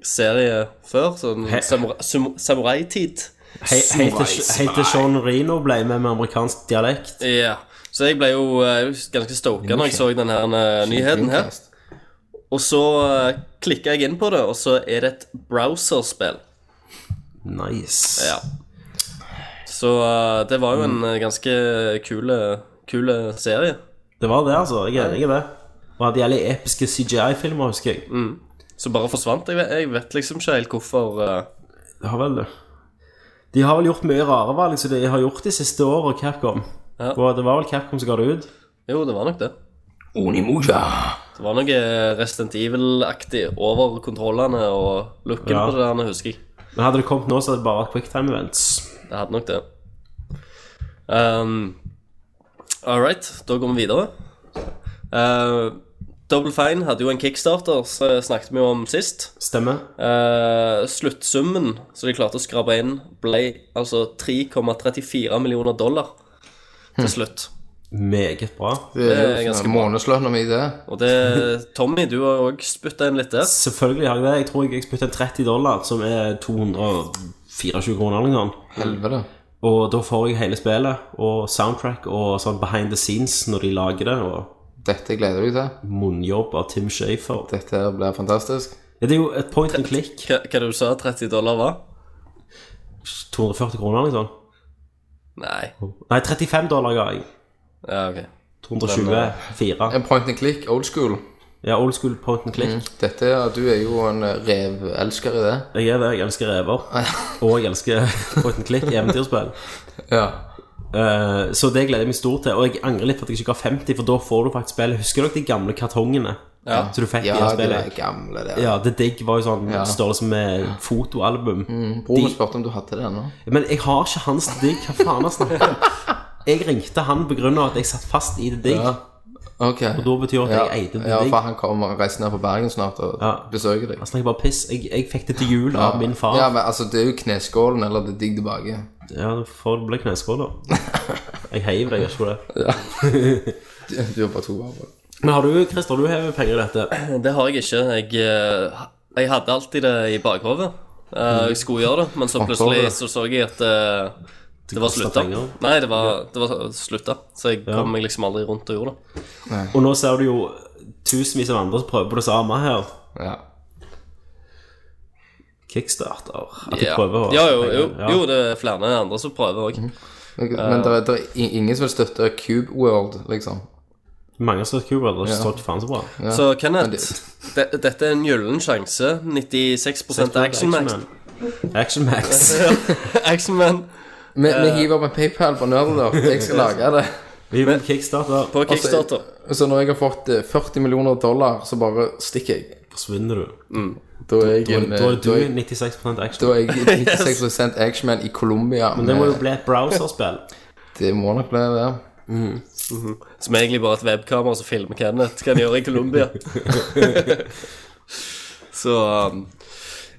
[SPEAKER 3] serie før. Sånn
[SPEAKER 1] He-
[SPEAKER 3] samura- sum- samurai-tid.
[SPEAKER 1] Hei- hei til- Hei til Sean Reno ble med med amerikansk dialekt.
[SPEAKER 3] Ja. Så jeg ble jo eh, ganske stoka når jeg så den her eh, nyheten her.
[SPEAKER 2] Dreamcast.
[SPEAKER 3] Og så uh, klikka jeg inn på det, og så er det et browserspill.
[SPEAKER 1] Nice.
[SPEAKER 3] Ja. Så eh, det var jo en eh, ganske kul kule serie.
[SPEAKER 1] Det var det, altså. Jeg er enig i det. Og hadde jævlig episke CGI-filmer, husker jeg.
[SPEAKER 3] Mm. Så bare forsvant. Jeg vet, jeg vet liksom ikke helt hvorfor. eh,
[SPEAKER 1] Det har vel det. De har vel gjort mye rare valg som de har gjort de siste åra, Capcom.
[SPEAKER 3] Ja.
[SPEAKER 1] Og det var vel Capcom som ga det ut.
[SPEAKER 3] Jo, det var nok det.
[SPEAKER 2] Onimusha.
[SPEAKER 3] Det var noe Resident Evil-aktig over kontrollene og looken
[SPEAKER 1] Ja.
[SPEAKER 3] på det der, husker jeg.
[SPEAKER 1] Men hadde det kommet nå, så hadde det bare vært quicktime events.
[SPEAKER 3] Det hadde nok det. Um, All right, da går vi videre. Uh, Double Fine hadde jo en kickstarter, så snakket vi jo om sist.
[SPEAKER 1] Stemmer.
[SPEAKER 3] Uh, sluttsummen som de klarte å skrape inn, ble altså 3,34 millioner dollar til slutt.
[SPEAKER 1] Meget bra.
[SPEAKER 2] Det
[SPEAKER 3] Det er
[SPEAKER 2] er jo
[SPEAKER 3] ganske
[SPEAKER 2] sånn månedslønna mi, det.
[SPEAKER 3] Og det Tommy, du har òg spytta inn litt der.
[SPEAKER 1] Selvfølgelig har jeg det. Jeg tror jeg- jeg spytta 30 dollar, som er 224 kroner eller noe sånt.
[SPEAKER 2] Helvete.
[SPEAKER 1] Og da får jeg hele spillet og soundtrack og sånn behind the scenes når de lager det, og
[SPEAKER 2] Dette gleder du deg til.
[SPEAKER 1] munnjobb av Tim Shafer.
[SPEAKER 2] Dette her blir fantastisk.
[SPEAKER 1] Det er jo et point and click.
[SPEAKER 3] Hva, hva du sa 30 dollar var?
[SPEAKER 1] 240 kroner, liksom.
[SPEAKER 3] Nei.
[SPEAKER 1] Nei, 35 dollar ga jeg.
[SPEAKER 3] Ja, ok.
[SPEAKER 1] 224.
[SPEAKER 2] En point and click, old school.
[SPEAKER 1] Ja, old school point and click.
[SPEAKER 2] Dette, er- Du er jo en revelsker i det.
[SPEAKER 1] Jeg er det. Jeg elsker rever. Og jeg elsker point and click eventyrspill.
[SPEAKER 2] Ja.
[SPEAKER 1] Eh, så det gleder jeg meg stort til. Og jeg angrer litt på at jeg ikke ga 50, for da får du faktisk spillet. Husker dere de gamle kartongene?
[SPEAKER 3] Ja.
[SPEAKER 1] Så du fikk
[SPEAKER 2] Ja,
[SPEAKER 1] i det
[SPEAKER 2] de er
[SPEAKER 1] spillet?
[SPEAKER 2] gamle der.
[SPEAKER 1] Ja, The Dig var jo sånn
[SPEAKER 2] Ja. Mm.
[SPEAKER 1] størrelse med fotoalbum.
[SPEAKER 2] Broren
[SPEAKER 1] De-
[SPEAKER 2] spurte om du hadde det ennå.
[SPEAKER 1] Men jeg har ikke hans digg. Hva faen har jeg snakket om? Jeg ringte han på grunn av at jeg satt fast i det digg.
[SPEAKER 2] Ja. Ok.
[SPEAKER 1] Og da betyr det at
[SPEAKER 2] Ja,
[SPEAKER 1] jeg eide det
[SPEAKER 2] ja,
[SPEAKER 1] digg.
[SPEAKER 2] for han kommer og reiser ned på Bergen snart og
[SPEAKER 1] Ja.
[SPEAKER 2] besøker deg.
[SPEAKER 1] Han snakker bare piss. Jeg, jeg fikk det til jul av min far.
[SPEAKER 2] Ja,
[SPEAKER 1] Ja,
[SPEAKER 2] men altså, det er jo kneskålen eller det er digg tilbake.
[SPEAKER 1] da får det bli kneskål, da. Jeg heiv deg, jeg gjør ikke det.
[SPEAKER 2] Du har bare to år på det.
[SPEAKER 1] Men har du, Christer, du hever penger i dette?
[SPEAKER 3] Det har jeg ikke. Jeg, eh, jeg hadde alltid det i bakhodet. Eh, Jeg skulle gjøre det, men så plutselig så, så jeg at eh, det var
[SPEAKER 1] kostet
[SPEAKER 3] slutta.
[SPEAKER 1] penger.
[SPEAKER 3] Nei, det var, det var slutta, så jeg kom meg liksom aldri rundt og gjorde det.
[SPEAKER 1] Og nå ser du jo tusenvis av andre som prøver på det samme her.
[SPEAKER 2] Ja.
[SPEAKER 1] Kickstarter. At de
[SPEAKER 3] Ja.
[SPEAKER 1] prøver å
[SPEAKER 3] Ja, jo, jo,
[SPEAKER 1] Ja.
[SPEAKER 3] jo, det er flere andre som prøver òg.
[SPEAKER 2] Men det er, det er i- ingen som vil støtte Cube World, liksom.
[SPEAKER 1] Mange har stått kuber, det står ikke faen så bra.
[SPEAKER 3] Så
[SPEAKER 2] Men
[SPEAKER 3] Kenneth,
[SPEAKER 2] det-
[SPEAKER 3] de, dette er en gyllen sjanse. 96 Action Man.
[SPEAKER 1] Action Max.
[SPEAKER 3] Action Man
[SPEAKER 2] Vi,
[SPEAKER 1] Eh.
[SPEAKER 2] vi hiver opp en PayPal på Nerdler. Jeg skal lage det.
[SPEAKER 1] Vi vil kickstarter.
[SPEAKER 3] på Kickstarter.
[SPEAKER 2] Så når jeg har fått eh, 40 millioner dollar, så bare stikker jeg.
[SPEAKER 1] Forsvinner du.
[SPEAKER 2] Da er jeg
[SPEAKER 1] Da
[SPEAKER 2] en,
[SPEAKER 1] er
[SPEAKER 2] eh, da er jeg-
[SPEAKER 1] du 96 action.
[SPEAKER 2] da er jeg 96 actionman i Colombia.
[SPEAKER 1] Men det må jo
[SPEAKER 2] med-
[SPEAKER 1] bli et browserspill.
[SPEAKER 2] det må nok bli det.
[SPEAKER 3] Som er egentlig bare et webkamera som filmer Kenneth hva han gjør i Colombia. så um,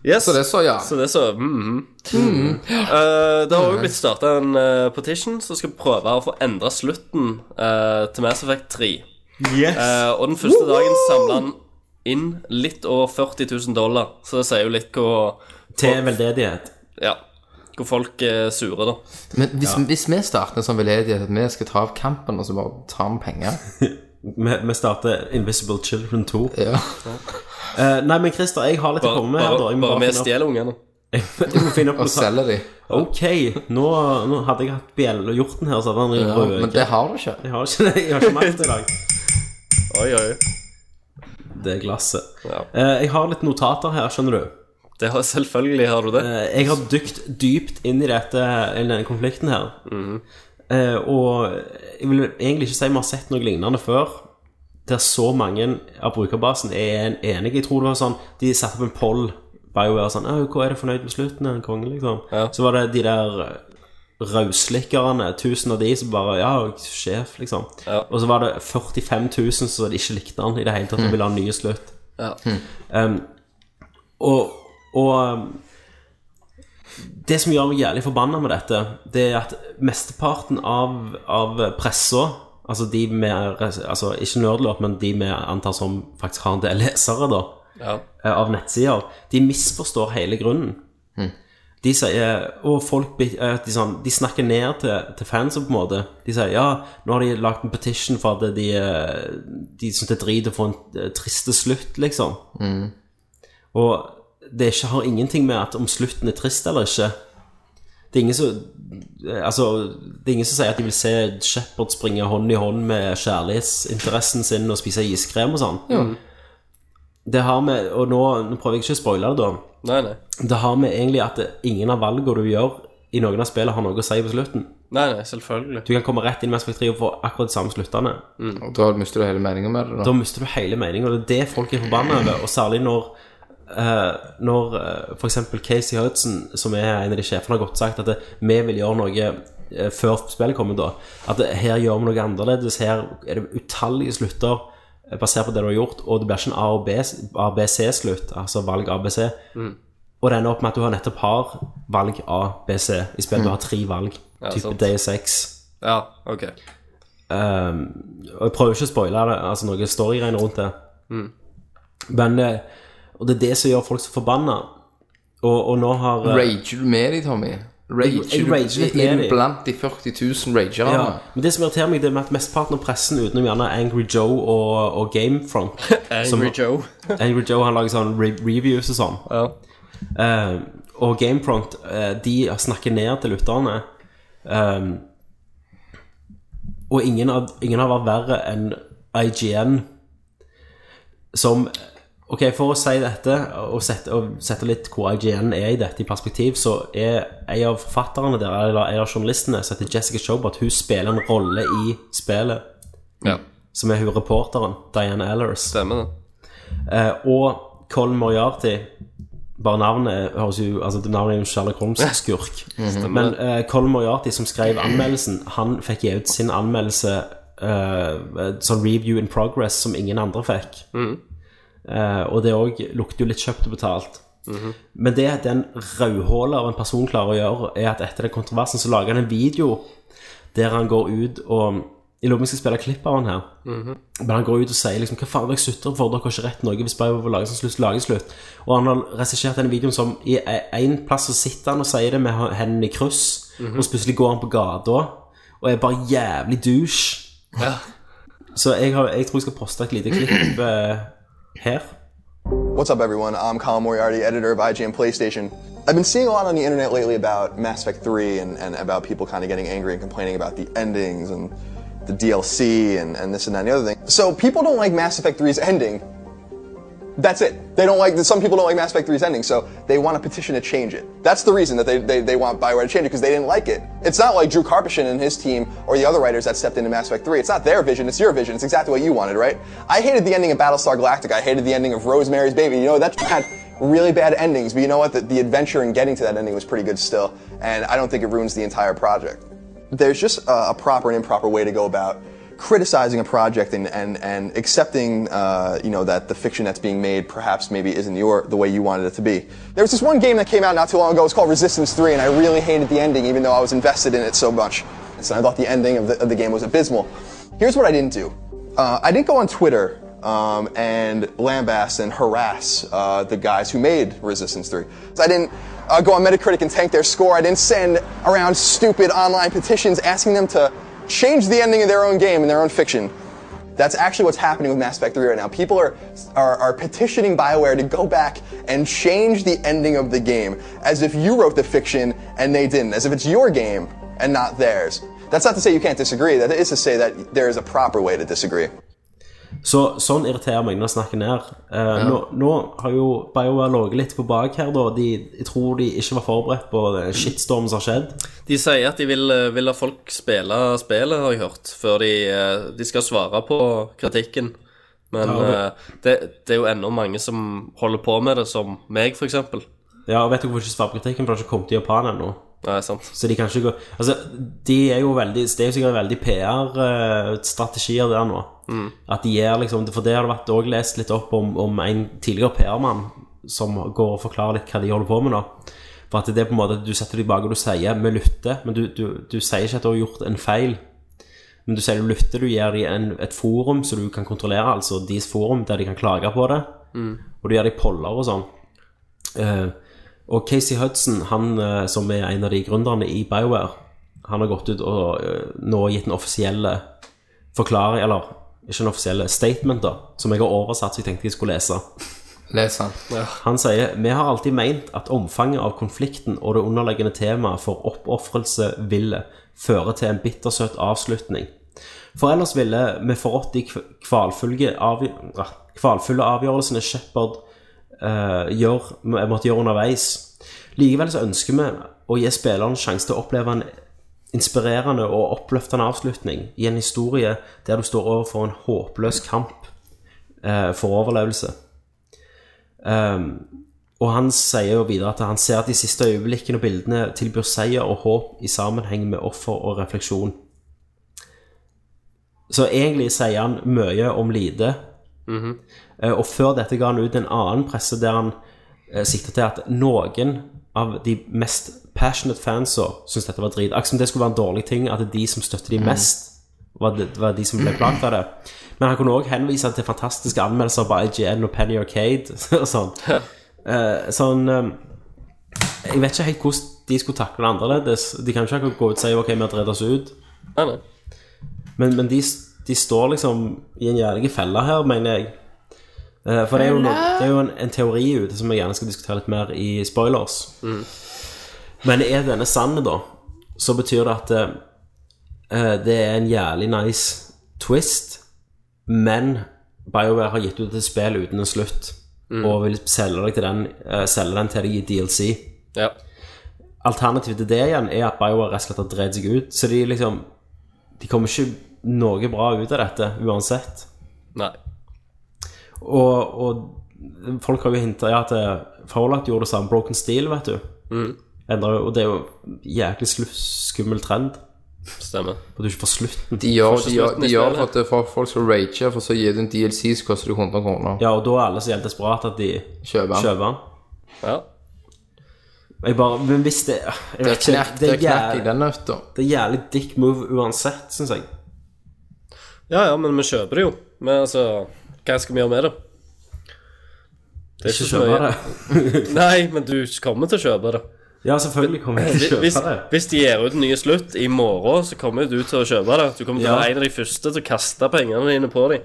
[SPEAKER 3] Yes.
[SPEAKER 2] Så det så, ja.
[SPEAKER 3] Så det er så mhm.
[SPEAKER 1] Mm.
[SPEAKER 3] Eh, Det har òg blitt starta en eh, petition som skal prøve å få endra slutten eh, til Mass Effect 3. Eh, og den første dagen samla han inn litt over 40 000 dollar, så det sier jo litt hvor
[SPEAKER 1] Til veldedighet.
[SPEAKER 3] Ja, hvor folk er sure, da.
[SPEAKER 2] Men hvis, hvis vi starter en sånn veldedighet at vi skal ta av kampen, og så bare tar vi penger
[SPEAKER 1] Vi vi starter Invisible Children 2.
[SPEAKER 2] Ja.
[SPEAKER 1] Eh, nei, men Christer, jeg har litt å
[SPEAKER 3] Bare,
[SPEAKER 1] komme med her. da
[SPEAKER 3] bare,
[SPEAKER 1] Jeg må
[SPEAKER 3] bare vi
[SPEAKER 1] finne opp-
[SPEAKER 3] stjeler ungene.
[SPEAKER 1] Jeg må finne opp
[SPEAKER 2] Og
[SPEAKER 1] noe sånt.
[SPEAKER 2] selger de.
[SPEAKER 1] Ok, nå, nå hadde jeg hatt bjell og hjorten her, så hadde han
[SPEAKER 2] Ja,
[SPEAKER 1] rød
[SPEAKER 2] men det har du ikke.
[SPEAKER 1] Jeg har ikke, jeg har ikke makt i dag.
[SPEAKER 3] Oi, oi.
[SPEAKER 1] Det er glasset.
[SPEAKER 3] Ja.
[SPEAKER 1] Eh, jeg har litt notater her, skjønner du.
[SPEAKER 3] Det har, selvfølgelig har du det.
[SPEAKER 1] Eh, Jeg har dykt dypt inn i dette, eller denne konflikten her.
[SPEAKER 3] Mhm.
[SPEAKER 1] Eh, og jeg vil egentlig ikke si vi har sett noe lignende før, der så mange av brukerbasen er en enige. Jeg tror det var sånn De satte opp en poll. BioWare sånn «Åh, 'Hva er det fornøyd med slutten av en konge?' liksom. Så var det de der eh, rauslikkerne, tusen av de som bare Ja, sjef, liksom.
[SPEAKER 3] Ja.
[SPEAKER 1] Og så var det 45 000 som ikke likte han i det hele tatt, og ville ha en ny slutt.
[SPEAKER 3] Mhm. Ja.
[SPEAKER 1] Um, og, og um, Det som gjør meg jævlig forbanna med dette, det er at mesteparten av, av pressa, Altså de med altså, Ikke nerdlurt, men de vi antar som faktisk har en del lesere, da,
[SPEAKER 3] Ja.
[SPEAKER 1] eh, av nettsider, de misforstår hele grunnen. De sier Og folk blir- eh, at de, sånn, de snakker ned til, til fansen, på en måte. De sier ja, nå har de lagd en petition for at de, eh, de syns det er drit å få en eh, triste slutt, liksom. Og det ikke, har ingenting med at om slutten er trist eller ikke. Det er ingen som eh, Altså, det er ingen som sier at de vil se Shepherd springe hånd i hånd med kjærlighetsinteressen sin og spise iskrem og sånn. Det har vi Og nå, nå prøver jeg ikke å spoile det, da.
[SPEAKER 3] Nei, nei.
[SPEAKER 1] Det har vi egentlig at ingen av valgene du gjør i noen av spillene, har noe å si på slutten.
[SPEAKER 3] Nei, nei, selvfølgelig.
[SPEAKER 1] Du kan komme rett inn i Mass Effect 3 og få akkurat de samme sluttene.
[SPEAKER 2] Og da mister du hele meningen med det.
[SPEAKER 1] Da
[SPEAKER 2] da
[SPEAKER 1] mister du hele meningen, og det er det folk er forbanna over. Og særlig når, eh, når eh, for eksempel Casey Hudson, som er en av de sjefene, har godt sagt at det, vi vil gjøre noe eh, før spillet kommer, da. At det, her gjør vi noe annerledes. Her er det utallige slutter eh, basert på det du har gjort, og det blir ikke en A- og B- ABC-slutt, altså valg ABC. Og det ender opp med at du har nettopp har valg A, B, C, i spillet du har tre valg. type
[SPEAKER 3] sant.
[SPEAKER 1] Day 6.
[SPEAKER 3] Ja, OK.
[SPEAKER 1] Ehm, og jeg prøver ikke å spoile det, altså noen storygreier rundt det. Men eh, Og det er det som gjør folk så forbanna. Og, og nå har eh,
[SPEAKER 2] Rager du med de, Tommy? Rager
[SPEAKER 1] Jeg- jeg rager litt
[SPEAKER 2] du
[SPEAKER 1] med
[SPEAKER 2] inn
[SPEAKER 1] de.
[SPEAKER 2] blant de 40 000 ragerne?
[SPEAKER 1] ja, Men det som irriterer meg, det er med at mesteparten av pressen, utenom gjerne Angry Joe og, og Gamefront som,
[SPEAKER 3] Angry Joe.
[SPEAKER 1] Angry Joe han lager sånn re reviews og sånn.
[SPEAKER 3] Ja.
[SPEAKER 1] Eh, og Gamefront, eh, de snakker ned til lytterne. Ehm, og ingen, av, ingen har vært verre enn IGN, som Ok, for å si dette, og sette, og sette litt hvor IGN er i dette i perspektiv, så er en av forfatterne der, eller en av journalistene, som heter Jessica Shobart, hun spiller en rolle i spillet,
[SPEAKER 3] ja.
[SPEAKER 1] som er hun reporteren, Diane Ellers.
[SPEAKER 3] Stemmer det.
[SPEAKER 1] Eh, og Colin Moriarty Bare navnet er- høres jo Altså det navnet er jo en Sherlock Holmes-skurk. Men eh, Colin Moriarty, som skrev anmeldelsen, han fikk gi ut sin anmeldelse eh, sånn review in progress som ingen andre fikk. Eh, og det òg lukter jo litt kjøpt og betalt. Men det den rødhåla av en person klarer å gjøre, er at etter den kontroversen så lager han en video der han går ut og I loven skal spille klipp av han her. Men han går ut og sier liksom Hva faen er det jeg sutrer for? Dere har ikke rett til noe hvis bare vi lager en slutt, lager en slutt. Og han har regissert denne videoen som i én plass så sitter han og sier det med h- hendene i kryss, og så plutselig går han på gata og er bare jævlig douche. Så jeg, har, jeg tror jeg skal poste et lite klipp eh, her.
[SPEAKER 9] What's up, everyone? I'm Colin Moriarty, editor of IGN PlayStation. I've been seeing a lot on the internet lately about Mass Effect 3 and, and about people kind of getting angry and complaining about the endings and the DLC and, and this and that and the other thing. So people don't like Mass Effect 3's ending. That's it. They don't like, some people don't like Mass Effect 3's ending, so they want a petition to change it. That's the reason that they, they, they want Bioware to change it, because they didn't like it. It's not like Drew Karpyshyn and his team or the other writers that stepped into Mass Effect 3. It's not their vision, it's your vision. It's exactly what you wanted, right? I hated the ending of Battlestar Galactica. I hated the ending of Rosemary's Baby. You know, that had really bad endings, but you know what? The, the adventure in getting to that ending was pretty good still, and I don't think it ruins the entire project there's just a, a proper and improper way to go about criticizing a project and, and, and accepting uh, you know that the fiction that's being made perhaps maybe isn't your the way you wanted it to be. There was this one game that came out not too long ago. It's called Resistance 3, and I really hated the ending, even though I was invested in it so much. So I thought the ending of the, of the game was abysmal. Here's what I didn't do. Uh, I didn't go on Twitter um, and lambast and harass uh, the guys who made Resistance 3. I didn't uh, go on Metacritic and tank their score. I didn't send around stupid online petitions asking them to change the ending of their own game and their own fiction. That's actually what's happening with Mass Effect 3 right now. People are, are, are petitioning BioWare to go back and change the ending of the game as if you wrote the fiction and they didn't, as if it's your game and not theirs. That's not to say you can't disagree, that is to say that there is a proper way to disagree.
[SPEAKER 1] Så, sånn irriterer meg når jeg snakker ned. Eh, nå, nå har jo BioWare ligget litt på bak her, da. De, jeg tror de ikke var forberedt på den shitstormen som har skjedd.
[SPEAKER 3] De sier at de vil, eh, vil la folk spille spillet, har jeg hørt, før de, eh, de skal svare på kritikken. Men
[SPEAKER 1] Ja,
[SPEAKER 3] eh, det, det er jo ennå mange som holder på med det, som meg, for eksempel.
[SPEAKER 1] Ja, og vet dere hvorfor ikke svare på kritikken? For det har ikke kommet til Japan ennå.
[SPEAKER 3] Nei, sant.
[SPEAKER 1] Så de kan ikke gå Altså, de er jo veldig Det er jo sikkert veldig PR-strategier der nå. At de er liksom For det har det vært også lest litt opp om, om en tidligere PR-mann som går og forklarer litt hva de holder på med nå. For at det er på en måte at du setter deg bak og du sier 'vi lytter', men du, du, du sier ikke at du har gjort en feil. Men du sier du lytter, du gir dem en, et forum som du kan kontrollere, altså deres forum der de kan klage på det. Og du gir dem poller og sånn. Eh, og Casey Hudson, han eh, som er en av de gründerne i BioWare, han har gått ut og eh, nå gitt en offisielle forklaring, eller ikke en offisielle statement, da, som jeg har oversatt, så jeg tenkte jeg skulle lese.
[SPEAKER 2] Les han.
[SPEAKER 1] Han sier Vi har alltid meint at omfanget av konflikten og det underliggende temaet for oppofrelse ville føre til en bittersøt avslutning. For ellers ville vi forrådt de kv- kvalfulle, avg ah, kvalfulle avgjørelsene Shepherd eh, gjør, må- måtte gjøre underveis. Likevel så ønsker vi å gi spilleren sjanse til å oppleve en inspirerende og oppløftende avslutning i en historie der du står overfor en håpløs kamp eh, for overlevelse. Og han sier jo videre at han ser at de siste øyeblikkene og bildene tilbyr seier og håp i sammenheng med offer og refleksjon. Så egentlig sier han mye om lite. Eh, Og før dette ga han ut en annen presse der han eh, sikter til at noen av de mest passionate fansa syntes dette var drit. Akkurat som det skulle være en dårlig ting at de som støtter de mest, var de, var de som ble plaget av det. Men han kunne også henvise til fantastiske anmeldelser på IGN og Penny Arcade og sånn. Eh, sånn eh, Jeg vet ikke helt hvordan de skulle takle det annerledes. De kan jo ikke akkurat gå ut og si OK, vi har drevet oss ut.
[SPEAKER 3] Nei, nei.
[SPEAKER 1] Men, men de, de står liksom i en jævlig felle her, mener jeg. Eh, For det er jo, no, det er jo en, en teori ute som jeg gjerne skal diskutere litt mer i spoilers. Men er denne sann, da, så betyr det at eh, det er en jævlig nice twist, men BioWare har gitt ut et spill uten en slutt, og vil selge, deg til den, eh, selge den til deg i DLC.
[SPEAKER 3] Ja.
[SPEAKER 1] Alternativet til det igjen er at BioWare rett og slett har dreid seg ut. Så de liksom De kommer ikke noe bra ut av dette uansett.
[SPEAKER 3] Nei.
[SPEAKER 1] Og, og folk har jo hinta ja, at eh, Fallout gjorde det samme. Broken Steel, vet du.
[SPEAKER 2] Mm.
[SPEAKER 1] Endrer jo- og det er jo en jæklig slu- skummel trend.
[SPEAKER 3] Stemmer.
[SPEAKER 1] At du ikke får slutten.
[SPEAKER 2] De gjør,
[SPEAKER 3] Første
[SPEAKER 2] de gjør,
[SPEAKER 3] slutten i
[SPEAKER 2] de gjør for
[SPEAKER 3] spillet.
[SPEAKER 2] at det- for at folk skal rage, for så gir du en DLC, så koster det 100 kroner.
[SPEAKER 1] Ja, og da er alle så jævlig desperate at de
[SPEAKER 2] Kjøper den.
[SPEAKER 1] kjøper den.
[SPEAKER 3] Ja.
[SPEAKER 1] Jeg bare, men hvis det jeg
[SPEAKER 2] Det
[SPEAKER 1] vet
[SPEAKER 2] er knekk,
[SPEAKER 1] ikke,
[SPEAKER 2] det
[SPEAKER 1] det,
[SPEAKER 2] er
[SPEAKER 1] er
[SPEAKER 2] knekk i
[SPEAKER 1] jævlig,
[SPEAKER 2] den nøtta.
[SPEAKER 1] det er jævlig dick move uansett, syns jeg.
[SPEAKER 3] ja, ja, men vi kjøper det jo. Men altså, hva skal vi gjøre med det? Det er
[SPEAKER 1] Ikke
[SPEAKER 3] så
[SPEAKER 1] kjøpe
[SPEAKER 3] mye.
[SPEAKER 1] det.
[SPEAKER 3] Nei, men du kommer til å kjøpe det.
[SPEAKER 1] Ja, selvfølgelig kommer jeg til å
[SPEAKER 3] Hvis,
[SPEAKER 1] kjøpe det.
[SPEAKER 3] hvis de gir ut en ny slutt i morgen, så kommer jo du til å kjøpe det. Du kommer til
[SPEAKER 1] Ja.
[SPEAKER 3] å være en av de første til å kaste pengene dine på dem.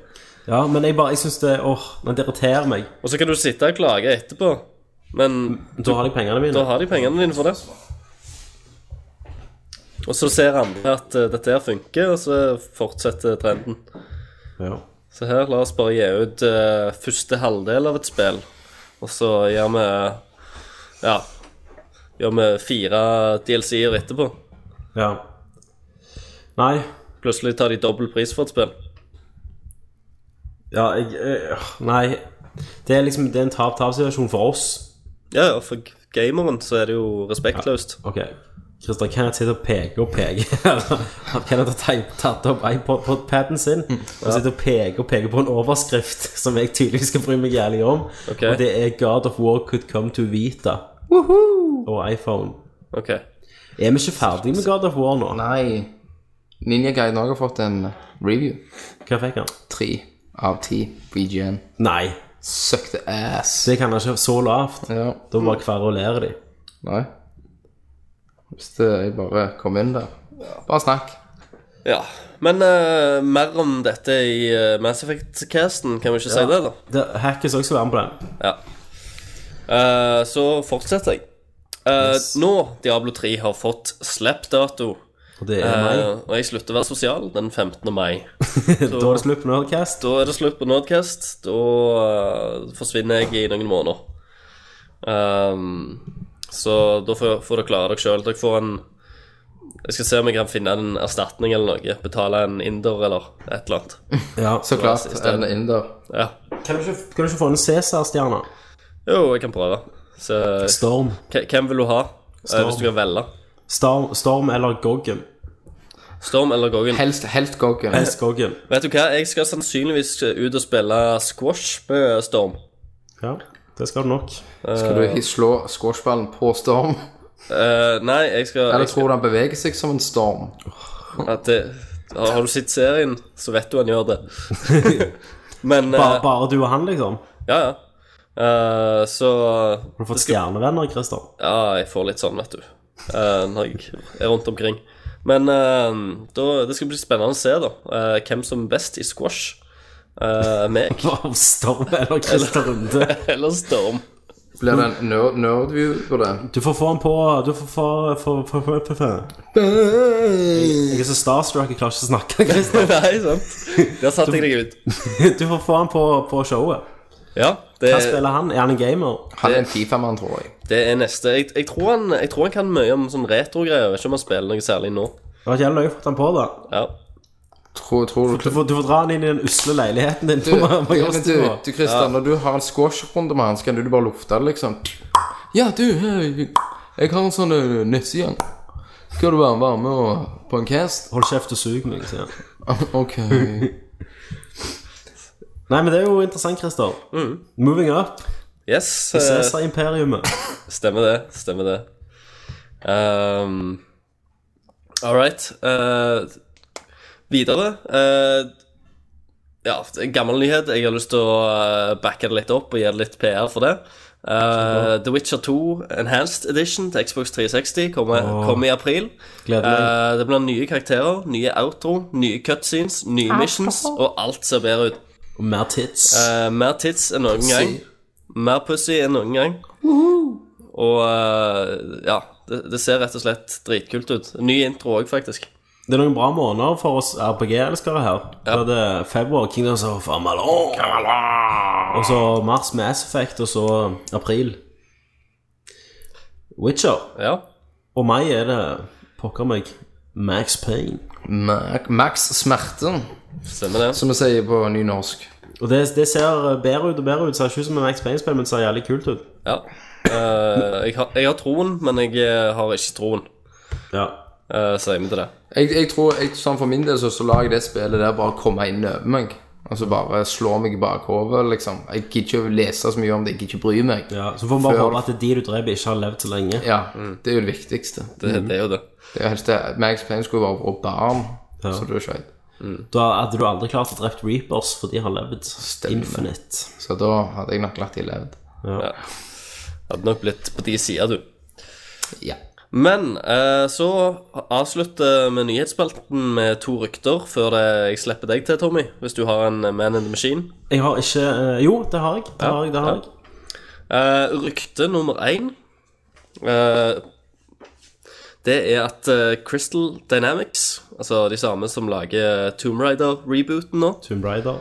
[SPEAKER 1] Ja, men jeg bare, jeg synes det, åh, men det irriterer meg
[SPEAKER 3] Og så kan du sitte og klage etterpå, men
[SPEAKER 1] Da har de pengene mine
[SPEAKER 3] da har de pengene dine for det. Og så ser andre at eh, dette her funker, og så fortsetter trenden.
[SPEAKER 1] ja.
[SPEAKER 3] Så her, la oss bare gi ut eh, første halvdel av et spill. Og så gjør vi Ja. Gjør vi fire DLC-er etterpå.
[SPEAKER 1] ja Nei,
[SPEAKER 3] Plutselig tar de dobbel pris for et spill.
[SPEAKER 1] ja, jeg, eh, åh, nei Det er liksom, det er en tap-tap-situasjon for oss
[SPEAKER 3] Ja, ja, for gameren så er det jo respektløst.
[SPEAKER 1] Ok, Kristian, kan jeg sitte og peke og peke Kan jeg ta teip- tatt opp iPod-padden sin
[SPEAKER 3] Mm.
[SPEAKER 1] Og sitte og peke og peke på en overskrift Som jeg tydeligvis skal bry meg jævlig om
[SPEAKER 3] Ok.
[SPEAKER 1] Og det er God of War could come to Vita Og iPhone
[SPEAKER 3] Ok.
[SPEAKER 1] Er vi ikke ferdige med God of War nå?
[SPEAKER 2] Nei. Ninja Guiden også har fått en review.
[SPEAKER 1] Hva fikk han?
[SPEAKER 2] Tre av ti på IGN.
[SPEAKER 1] Nei,
[SPEAKER 2] Suck the ass.
[SPEAKER 1] det kan han ikke så lavt
[SPEAKER 2] Ja.
[SPEAKER 1] Da bare kverulerer de.
[SPEAKER 2] Nei. Hvis det, jeg bare kom inn der. Bare snakk.
[SPEAKER 3] Ja. Men eh, mer om dette i eh, Mass Effect-casten, kan vi ikke si det, da?
[SPEAKER 1] Det, Hackes også være med på den.
[SPEAKER 3] Ja. Eh, så fortsetter jeg. Eh, Nå, Diablo 3 har fått slippdato.
[SPEAKER 1] Og det er meg.
[SPEAKER 3] Uh, og jeg slutter å være sosial den 15. mai.
[SPEAKER 1] Da er det slutt på Nerdcast.
[SPEAKER 3] Da er det slutt på Nordcast. Da eh, forsvinner jeg i noen måneder. Ehm, så da får, får dere klare dere sjøl. Dere får en Jeg skal se om jeg kan finne en erstatning eller noe. Betale en inder eller et eller annet.
[SPEAKER 1] Ja.
[SPEAKER 2] Så klart.
[SPEAKER 3] i stedet.
[SPEAKER 2] En inder.
[SPEAKER 3] Ja.
[SPEAKER 1] Kan, du ikke, kan du ikke få en Cæsar-stjerne?
[SPEAKER 3] Jo, jeg kan prøve. Så,
[SPEAKER 1] Storm.
[SPEAKER 3] k- hvem vil du ha? Eh,
[SPEAKER 1] Storm.
[SPEAKER 3] hvis du kan velge.
[SPEAKER 1] Storm. Storm eller Goggen.
[SPEAKER 3] Storm eller Goggen?
[SPEAKER 2] Helst, helst Goggen.
[SPEAKER 1] Helst Goggen.
[SPEAKER 3] Vet du hva, jeg skal sannsynligvis ut og spille squash med Storm.
[SPEAKER 1] Ja, det skal du nok.
[SPEAKER 2] Skal du hi- slå squashballen på storm?
[SPEAKER 3] Eh, nei, jeg skal,
[SPEAKER 2] Eller
[SPEAKER 3] jeg skal
[SPEAKER 2] tror du han beveger seg som en storm?
[SPEAKER 3] at det, Har har du sett serien, så vet du han gjør det. Men eh,
[SPEAKER 1] Bare, bare du og han, liksom?
[SPEAKER 3] Ja, ja. Eh, så
[SPEAKER 1] Har du fått stjernevenner, Christer?
[SPEAKER 3] Ja, jeg får litt sånn, vet du. eh, når jeg er rundt omkring. Men eh, da, det skal bli spennende å se, da. eh, hvem som er best i squash. Eh, meg
[SPEAKER 1] Av Storm eller Christer Runde?
[SPEAKER 3] eller Storm.
[SPEAKER 2] Blir det en nerd- nerdview på det?
[SPEAKER 1] Du får få han på Du får få få- få- få- få- få. Jeg er så starstruck, jeg klarer ikke å snakke. Christer.
[SPEAKER 3] Nei, sant? Der satte jeg deg ut.
[SPEAKER 1] Du får få han på, på showet.
[SPEAKER 3] Ja, det,
[SPEAKER 1] Hva spiller han? Er han en gamer?
[SPEAKER 2] Han er en Fifa-mann, tror jeg.
[SPEAKER 3] det er neste. Jeg, jeg, tror han, jeg tror han kan mye om sånn retrogreier. Jeg Vet ikke om han spiller noe særlig nå.
[SPEAKER 1] Det var jævlig løye å få han på, da.
[SPEAKER 3] Ja.
[SPEAKER 2] Tror, tror du
[SPEAKER 1] Du får, du får dra han inn i den usle leiligheten din.
[SPEAKER 2] Du,
[SPEAKER 1] på
[SPEAKER 2] men du,
[SPEAKER 1] Majorstua.
[SPEAKER 2] du Christian, når du har en squash-runde med han, så kan du bare lufte det, liksom. Ja, du, hei, jeg har en sånn eh, nettside. Skal du være, være med og, på en cast?
[SPEAKER 1] Hold kjeft og sug meg, sier han.
[SPEAKER 2] Ok.
[SPEAKER 1] Nei, men det er jo interessant, Christer.
[SPEAKER 2] Mm.
[SPEAKER 1] Moving up.
[SPEAKER 3] Yes. eh,
[SPEAKER 1] Cæsar-imperiumet.
[SPEAKER 3] Stemmer det, stemmer det. Um, All right. eh, videre eh, Ja, det er en gammel nyhet. Jeg har lyst til å eh, backe det litt opp og gi det litt PR for det. Eh, The Witcher 2 Enhanced Edition til Xbox 360 kommer, kommer i april.
[SPEAKER 1] Gleder meg.
[SPEAKER 3] Eh, det blir nye karakterer, nye outro, nye cutscenes, nye missions, og alt ser bedre ut.
[SPEAKER 1] Og mer tits.
[SPEAKER 3] Eh, mer tits enn noen gang. Mer pussy enn noen gang. Og eh, ja, det, det ser rett og slett dritkult ut. Ny intro òg, faktisk.
[SPEAKER 1] Det er noen bra måneder for oss RPG-elskere her. Da er det februar, Kingdoms of Amalon. Og så mars Mass Effect, og så april Witcher.
[SPEAKER 3] Ja.
[SPEAKER 1] Og mai er det pokker meg Max Payne.
[SPEAKER 2] Ma- Max Smerte,
[SPEAKER 3] Stemmer det.
[SPEAKER 2] som vi sier på nynorsk.
[SPEAKER 1] Og det, det ser bedre ut og bedre ut. Ser ikke ut som et Max Payne-spill, men det ser jævlig kult ut.
[SPEAKER 3] Ja. Eh, jeg, har, jeg har troen, men jeg eh, har ikke troen,
[SPEAKER 1] Ja.
[SPEAKER 3] uh, sier vi til det.
[SPEAKER 2] Jeg, jeg tror, jeg, sånn for min del, så, så lar jeg det spillet der bare komme inn over meg. Altså bare slå meg i bakhovet, liksom. Jeg gidder ikke lese så mye om det, jeg gidder ikke bry meg.
[SPEAKER 1] ja. Så får vi bare
[SPEAKER 2] Før-
[SPEAKER 1] håpe at de du dreper, ikke har levd så lenge.
[SPEAKER 2] Ja, det er jo det viktigste.
[SPEAKER 3] Det, det er jo det.
[SPEAKER 2] Det er jo helst det. Max Payne skulle være vår barn,
[SPEAKER 1] Ja.
[SPEAKER 2] så det er skjønt.
[SPEAKER 1] Da hadde du aldri klart å drepe Reapers, for de har levd infinite.
[SPEAKER 2] Så da hadde jeg nok latt de levd.
[SPEAKER 3] Hadde nok blitt på de sider, du.
[SPEAKER 2] Ja.
[SPEAKER 3] Men eh, så avslutter vi nyhetsspalten med to rykter før det, jeg slipper deg til, Tommy, hvis du har en Man in the Machine.
[SPEAKER 1] Jeg har ikke eh, Jo, det har jeg. Det
[SPEAKER 3] Ja,
[SPEAKER 1] har jeg, det har
[SPEAKER 3] ja.
[SPEAKER 1] jeg.
[SPEAKER 3] Eh, rykte nummer én eh, Det er at eh, Crystal Dynamics, altså de samme som lager Tomb Raider-rebooten nå
[SPEAKER 1] Tomb Raider.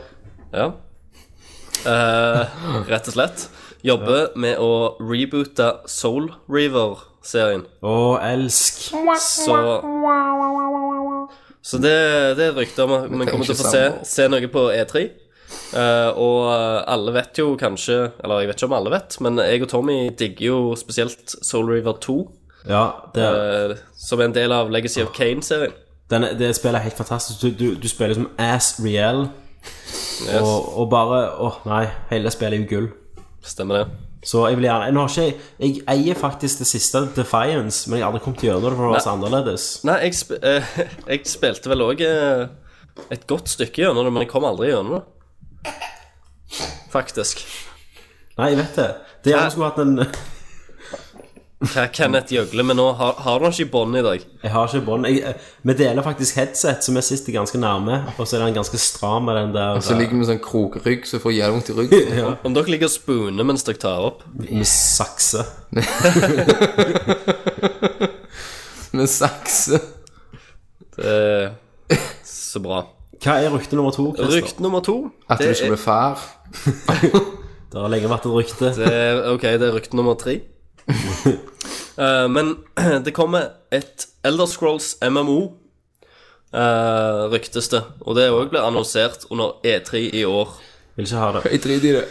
[SPEAKER 3] ja. Eh, Rett og slett jobber med å reboote Soul Reaver-serien.
[SPEAKER 1] Å, elsk.
[SPEAKER 3] Så Så det, det er rykter om at vi kommer til å få se,
[SPEAKER 2] ikke
[SPEAKER 3] se noe på E3. Eh, og eh, alle vet jo kanskje Eller jeg vet ikke om alle vet, men jeg og Tommy digger jo spesielt Soul River 2.
[SPEAKER 1] Ja, det,
[SPEAKER 3] eh, som er en del av Legacy of Kane-serien.
[SPEAKER 1] den, det spillet er helt fantastisk. Du, du, du spiller som Ass Real,
[SPEAKER 3] Yes,
[SPEAKER 1] og, og bare Å, nei. Hele spillet er jo gull.
[SPEAKER 3] Stemmer det.
[SPEAKER 1] Så jeg vil gjerne Nå har ikke jeg Jeg eier faktisk det siste, Defiance, men jeg har aldri kommet gjennom det, for det var så annerledes.
[SPEAKER 3] Nei, jeg, sp eh, jeg spilte vel òg et godt stykke gjennom det, men jeg kom aldri gjennom det. Faktisk.
[SPEAKER 1] Nei, jeg vet det. Det er jeg skulle hatt en
[SPEAKER 3] Hva Kenneth gjøgler med nå? Har, har du han ikke i bånd i dag?
[SPEAKER 1] Jeg har ikke bånd. Jeg- eh, Vi deler faktisk headset, så vi sitter ganske nærme. Og så er den ganske stram med den der
[SPEAKER 2] Så ligger vi med sånn krokrygg, så jeg får jævlig vondt i ryggen.
[SPEAKER 3] Om dere ligger og spooner mens dere tar opp
[SPEAKER 1] eh, med sakse.
[SPEAKER 2] Med sakse.
[SPEAKER 3] Eh, Så bra.
[SPEAKER 1] Hva er rykte nummer to? Christer?
[SPEAKER 3] Rykte nummer to
[SPEAKER 2] At
[SPEAKER 3] det
[SPEAKER 2] du skal bli
[SPEAKER 3] er-
[SPEAKER 2] far.
[SPEAKER 1] Det har lenge vært et rykte.
[SPEAKER 3] det er- Ok, det er rykte nummer tre. Eh, men det kommer et Elder Scrolls MMO, eh, ryktes det. Og det òg ble annonsert under E3 i år.
[SPEAKER 1] Vil ikke ha det.
[SPEAKER 2] Jeg driter i det.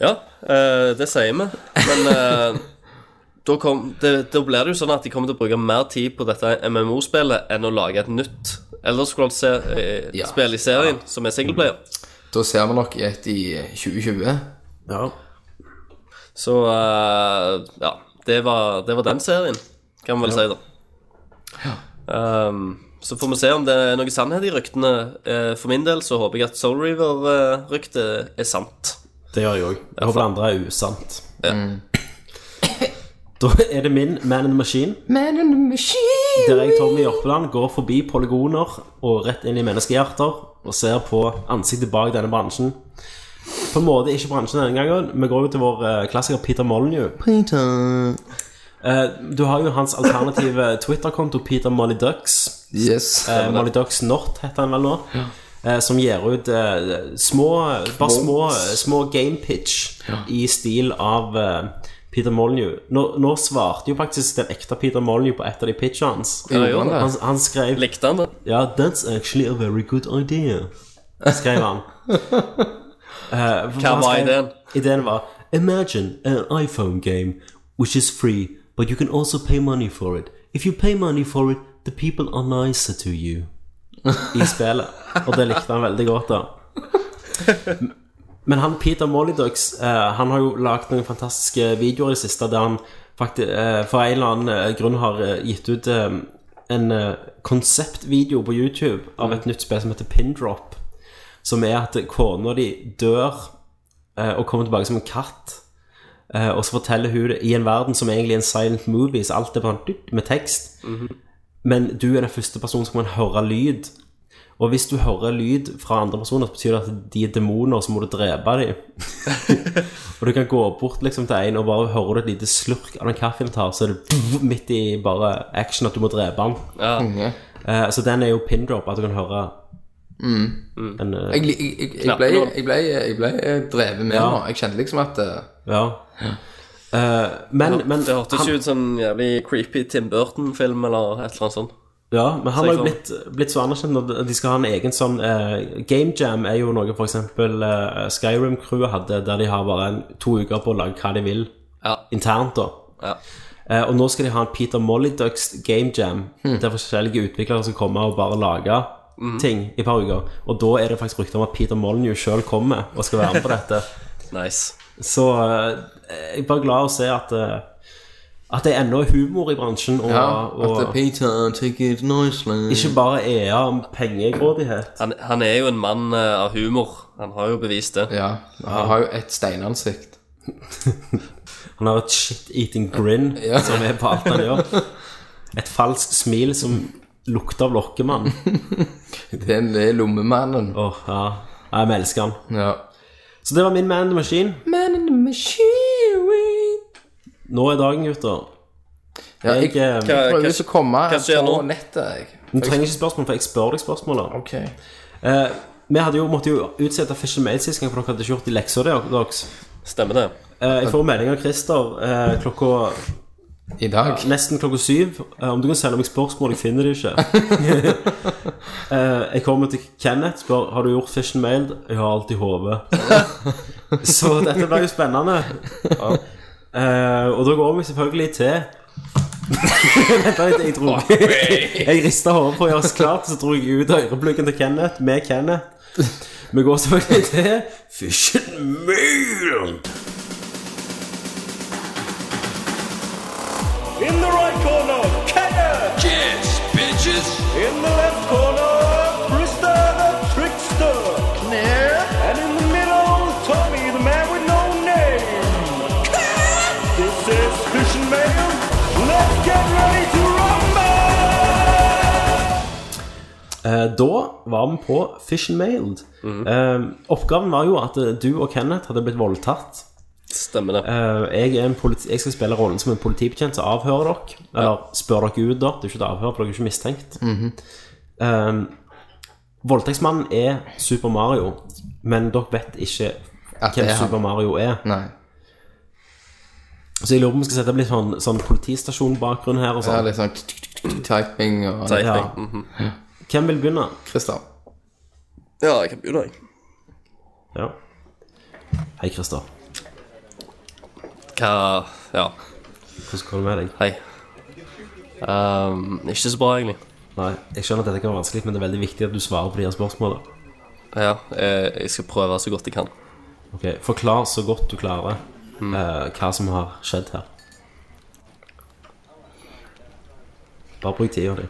[SPEAKER 3] Ja, eh, det sier vi. Men eh, da, kom, det, da blir det jo sånn at de kommer til å bruke mer tid på dette MMO-spillet enn å lage et nytt Elder Scrolls-spill
[SPEAKER 2] Ja.
[SPEAKER 3] i serien, som er singleplayer.
[SPEAKER 2] Da ser vi nok i et i 2020.
[SPEAKER 1] Ja.
[SPEAKER 3] Så eh, ja, det var, det var den serien, kan man vel si, da. Ehm, Så får vi se om det er noe sannhet i ryktene. Eh, For min del så håper jeg at Soul Reaver-ryktet er sant.
[SPEAKER 1] Det gjør jeg òg. Jeg håper det andre er usant. Da er det min Man in the Machine.
[SPEAKER 2] Man in the machine.
[SPEAKER 1] Der jeg, Tommy Jørpeland, går forbi polygoner og rett inn i menneskehjerter og ser på ansiktet bak denne bransjen. På en måte ikke bransjen denne gangen. Vi går jo til vår eh, klassiker Peter Molyneux. Eh, du har jo hans alternative Twitter-konto, Peter Mollyducks.
[SPEAKER 2] Yes.
[SPEAKER 1] Eh, Mollyducks North heter han vel nå. Eh, som gir ut eh, små Bare små, små game pitch i stil av eh, Peter Molyneux. Nå, nå svarte jo faktisk den ekte Peter Molyneux på et av de pitchene hans.
[SPEAKER 2] Gjorde han det?
[SPEAKER 1] Han, han skrev
[SPEAKER 3] Likte han det?
[SPEAKER 1] Ja, that's actually a very good idea Skrev han Uh, Eh, for
[SPEAKER 3] Hva
[SPEAKER 1] han
[SPEAKER 3] var
[SPEAKER 1] skrev-
[SPEAKER 3] ideen?
[SPEAKER 1] Ideen var Imagine an iPhone game Which is free But you can also pay money for it If you pay money for it The people are nicer to you I spillet Og det likte han veldig godt da men han Peter Molydux eh, Han har jo lagt noen fantastiske videoer i det siste Der han faktisk, eh, for en eller annen eh, grunn har eh, gitt ut eh, En eh, konseptvideo på YouTube Av et nytt spill som heter Pindrop Som er at kona de dør eh, Og kommer tilbake som en katt eh, Og så forteller hun det I en verden som egentlig er en silent movie Så alt er bare dytt med tekst Men du er den første personen som kan høre lyd og hvis du hører lyd fra andre personer, så betyr det at de er demoner, så må du drepe dem. og du kan gå bort liksom, til en og bare hører du et lite slurk av den kaffen han tar, så er det midt i bare action at du må drepe han.
[SPEAKER 2] Konge.
[SPEAKER 1] Eh, så den er jo pindrop, at du kan høre en, eh,
[SPEAKER 2] Jeg, jeg, jeg, jeg, ble, jeg, ble, jeg ble drevet med nå. Jeg kjente liksom at eh,
[SPEAKER 1] Ja. Eh, men, men
[SPEAKER 3] Det hørtes
[SPEAKER 1] han-
[SPEAKER 3] ikke ut som en jævlig creepy Tim Burton-film eller et eller annet sånt.
[SPEAKER 1] Ja, men han har
[SPEAKER 3] Så jeg
[SPEAKER 1] jo
[SPEAKER 3] får-
[SPEAKER 1] blitt, blitt så anerkjent når de skal ha en egen sånn eh, Game Jam er jo noe for eksempel eh, Skyrim-crewet hadde, der de har bare en, to uker på å lage hva de vil
[SPEAKER 3] Ja.
[SPEAKER 1] internt. da
[SPEAKER 3] Ja.
[SPEAKER 1] Eh, og nå skal de ha en Peter Mollyducks Game Jam,
[SPEAKER 3] Hmm.
[SPEAKER 1] der forskjellige utviklere skal komme og bare lage
[SPEAKER 3] Mhm.
[SPEAKER 1] ting i et par uker. Og da er det faktisk rykter om at Peter Molyneux sjøl kommer og skal være med på dette.
[SPEAKER 3] Nice.
[SPEAKER 1] Så eh, jeg er bare glad å se at eh, At det ennå er humor i bransjen. Og,
[SPEAKER 2] ja,
[SPEAKER 1] og
[SPEAKER 2] at eh, Peter take it nicely.
[SPEAKER 1] ikke bare EA om pengegrådighet.
[SPEAKER 3] Han, han er jo en mann eh, av humor. Han har jo bevist det.
[SPEAKER 2] Ja, han har jo et steinansikt.
[SPEAKER 1] Han har et shit-eating grin som er på alt han gjør. Et falskt smil som lukter av lokkemann.
[SPEAKER 2] Det er- det er lommemannen.
[SPEAKER 1] Åh, ja. Ja, Jeg elsker han.
[SPEAKER 2] Ja.
[SPEAKER 1] Så det var min Man in the Machine.
[SPEAKER 2] Man in the machine.
[SPEAKER 1] Nå er dagen, gutter.
[SPEAKER 2] Ja,
[SPEAKER 1] Jeg,
[SPEAKER 2] jeg, jeg
[SPEAKER 1] eh,
[SPEAKER 3] Hva-
[SPEAKER 2] prøver
[SPEAKER 3] hva-
[SPEAKER 2] ikke å komme
[SPEAKER 3] hva skjer
[SPEAKER 2] på
[SPEAKER 3] nå?
[SPEAKER 2] nettet, jeg.
[SPEAKER 1] du trenger ikke spørsmål, for jeg spør deg spørsmål. da.
[SPEAKER 2] Ok.
[SPEAKER 1] Eh, vi hadde jo, måtte jo utsette Fish and Mail sist gang, for dere hadde ikke gjort de lekser der- deres.
[SPEAKER 3] Stemmer det?
[SPEAKER 1] Eh, jeg får melding av Christer eh, klokka,
[SPEAKER 2] I dag.
[SPEAKER 1] Eh, nesten klokka syv. Eh, om du kan sende meg spørsmål, jeg finner det ikke. eh, jeg kommer til Kenneth spør har du gjort Fish and Mail. Jeg har alt i hodet. Så dette blir jo spennende. Eh, og da går vi selvfølgelig til Vent litt, jeg dro Jeg rista hodet på å gjøre oss klart, så dro jeg ut ørepluggen til Kenneth med Kenneth. Vi går selvfølgelig til Fishen Mail.
[SPEAKER 4] In the right corner, Kenneth.
[SPEAKER 5] Yes, bitches.
[SPEAKER 4] In the left corner, Krista the trickster. And in the middle, Tommy the man with no name. This is Fish and Mail. Let's get ready to rumble!
[SPEAKER 1] Eh, Da var vi på Fish and Mailed.
[SPEAKER 2] Mhm.
[SPEAKER 1] Eh, oppgaven var jo at eh, du og Kenneth hadde blitt voldtatt.
[SPEAKER 3] Stemmer det.
[SPEAKER 1] Eh, jeg, er en politi jeg skal spille rollen som en politibetjent som avhører dere. Eller spør dere ut, da. Det er ikke et avhør, for dere er ikke mistenkt.
[SPEAKER 2] Mhm.
[SPEAKER 1] Eh, voldtektsmannen er Super Mario, men dere vet ikke
[SPEAKER 2] At det
[SPEAKER 1] hvem
[SPEAKER 2] er han.
[SPEAKER 1] Super Mario er.
[SPEAKER 2] Nei.
[SPEAKER 1] Så jeg lurer på om vi skal sette opp litt sånn, sånn politistasjonbakgrunn her og
[SPEAKER 2] Det er
[SPEAKER 1] sånn.
[SPEAKER 2] litt Mhm. sånn t- t- t- t- typing og
[SPEAKER 3] Typing.
[SPEAKER 1] Ja. Hvem vil begynne?
[SPEAKER 2] Christer.
[SPEAKER 3] Ja, jeg kan begynne, jeg.
[SPEAKER 1] Ja. Hei, Christer.
[SPEAKER 3] Hva Ja,
[SPEAKER 1] Hvordan går det med deg?
[SPEAKER 3] hei. Ehm, ikke så bra, egentlig.
[SPEAKER 1] Nei, jeg skjønner at dette kan være vanskelig, men det er veldig viktig at du svarer på de her spørsmålene.
[SPEAKER 3] Ja, eh, jeg skal prøve så godt jeg kan.
[SPEAKER 1] Ok, Forklar så godt du klarer eh, hva som har skjedd her. Bare bruk tida di.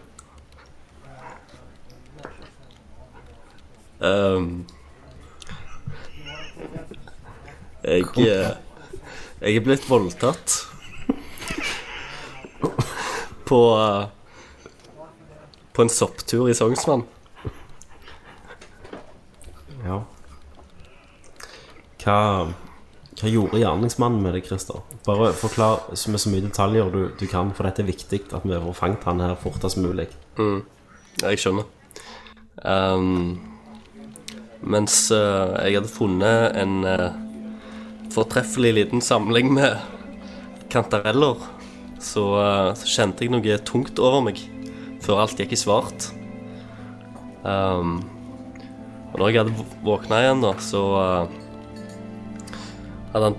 [SPEAKER 3] Ehm, jeg eh, Jeg er blitt voldtatt på eh, På en sopptur i Sognsvann.
[SPEAKER 1] Ja. Hva, hva gjorde gjerningsmannen med det, Christer? Bare forklar så- med så mye detaljer du, du kan, for dette er viktig at vi får fanget han her fortest mulig.
[SPEAKER 3] Ja, Jeg skjønner. Ehm, mens eh, jeg hadde funnet en eh, fortreffelig liten samling med kantareller, så, eh, så kjente jeg noe tungt over meg før alt gikk i svart. Ehm, og når jeg hadde våkna igjen, da, så eh, hadde han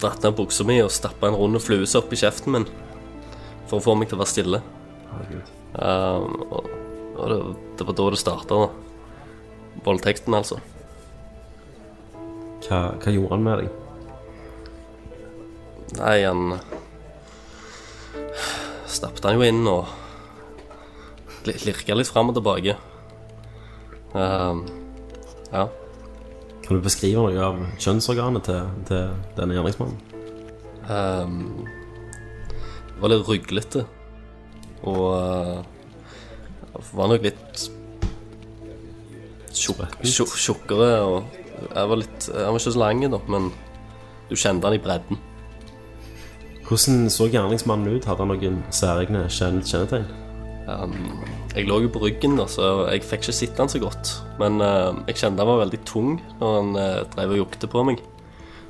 [SPEAKER 3] dratt ned buksa mi og stappa en rund fluse opp i kjeften min for å få meg til å være stille.
[SPEAKER 1] Herregud.
[SPEAKER 3] Um, og og det, det var da det starta, da. Voldtekten, altså.
[SPEAKER 1] Hva, hva gjorde han med deg?
[SPEAKER 3] Nei, han eh, Stappet han jo inn og li- lirka litt fram og tilbake. Um, ja.
[SPEAKER 1] Kan du beskrive noe av kjønnsorganet til, til denne gjerningsmannen?
[SPEAKER 3] Um, det var litt ruglete. Og uh, var nok litt tjukk- tjukk- tjukkere og jeg var litt, Han var ikke så lang, da, men du kjente han i bredden.
[SPEAKER 1] Hvordan så gjerningsmannen ut? Hadde han noen særegne kjenn- kjennetegn?
[SPEAKER 3] Um, jeg lå jo på ryggen, da, så jeg fikk ikke sett han så godt. Men eh, jeg kjente han var veldig tung når han eh, drev og jukte på meg.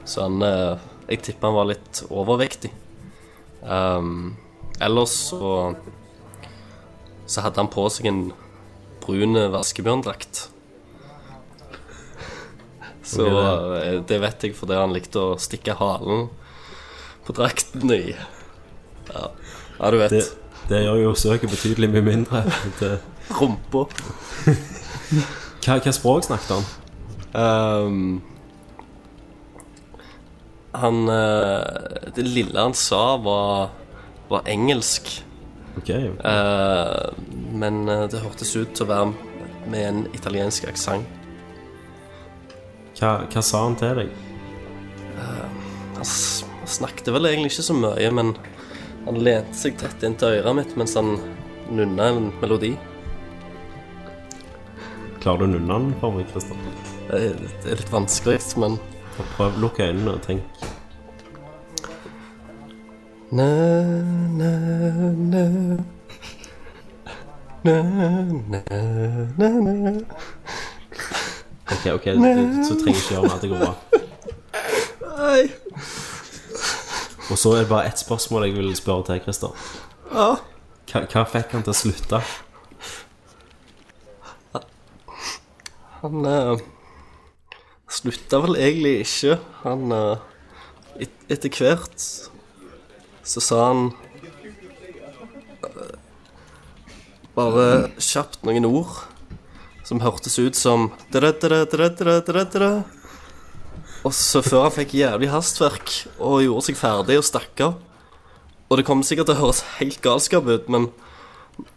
[SPEAKER 3] Så han eh, Jeg tipper han var litt overvektig. Um, ellers så Så hadde han på seg en brun eh, vaskebjørndrakt. Så eh, det vet jeg fordi han likte å stikke halen på drakten i. Ja, ja du vet.
[SPEAKER 1] Det, det gjør jo søket betydelig mye mindre. Det,
[SPEAKER 3] Rumpa.
[SPEAKER 1] hva, hva språk snakket han?
[SPEAKER 3] Ehm, han eh, Det lille han sa, var, var engelsk.
[SPEAKER 1] Ok,
[SPEAKER 3] Eh, men eh, det hørtes ut til å være med en italiensk aksent.
[SPEAKER 1] hva, hva sa han til deg?
[SPEAKER 3] Han s- snakket vel egentlig ikke så mye, men han lente seg tett inn til øret mitt mens han nunna en melodi.
[SPEAKER 1] Klarer du å nunne han for meg, Christer?
[SPEAKER 3] Det er, det er litt vanskelig, men
[SPEAKER 1] Prøv, lukk øynene og tenk.
[SPEAKER 3] Næ, næ, næ. Næ, næ, næ, næ.
[SPEAKER 1] Ok, ok, du, du, så trenger jeg ikke gjøre noe, det går bra.
[SPEAKER 3] Nei.
[SPEAKER 1] Og så er det bare ett spørsmål jeg vil spørre til, Christer. Hva, hva fikk han til å slutte?
[SPEAKER 3] Han eh, slutta vel egentlig ikke. Han eh, et, Etter hvert så sa han eh, bare kjapt noen ord som hørtes ut som dra, dra, dra, dra, dra, dra. Og så før han fikk jævlig hastverk og gjorde seg ferdig og stakk av Og det kommer sikkert til å høres helt galskap ut, men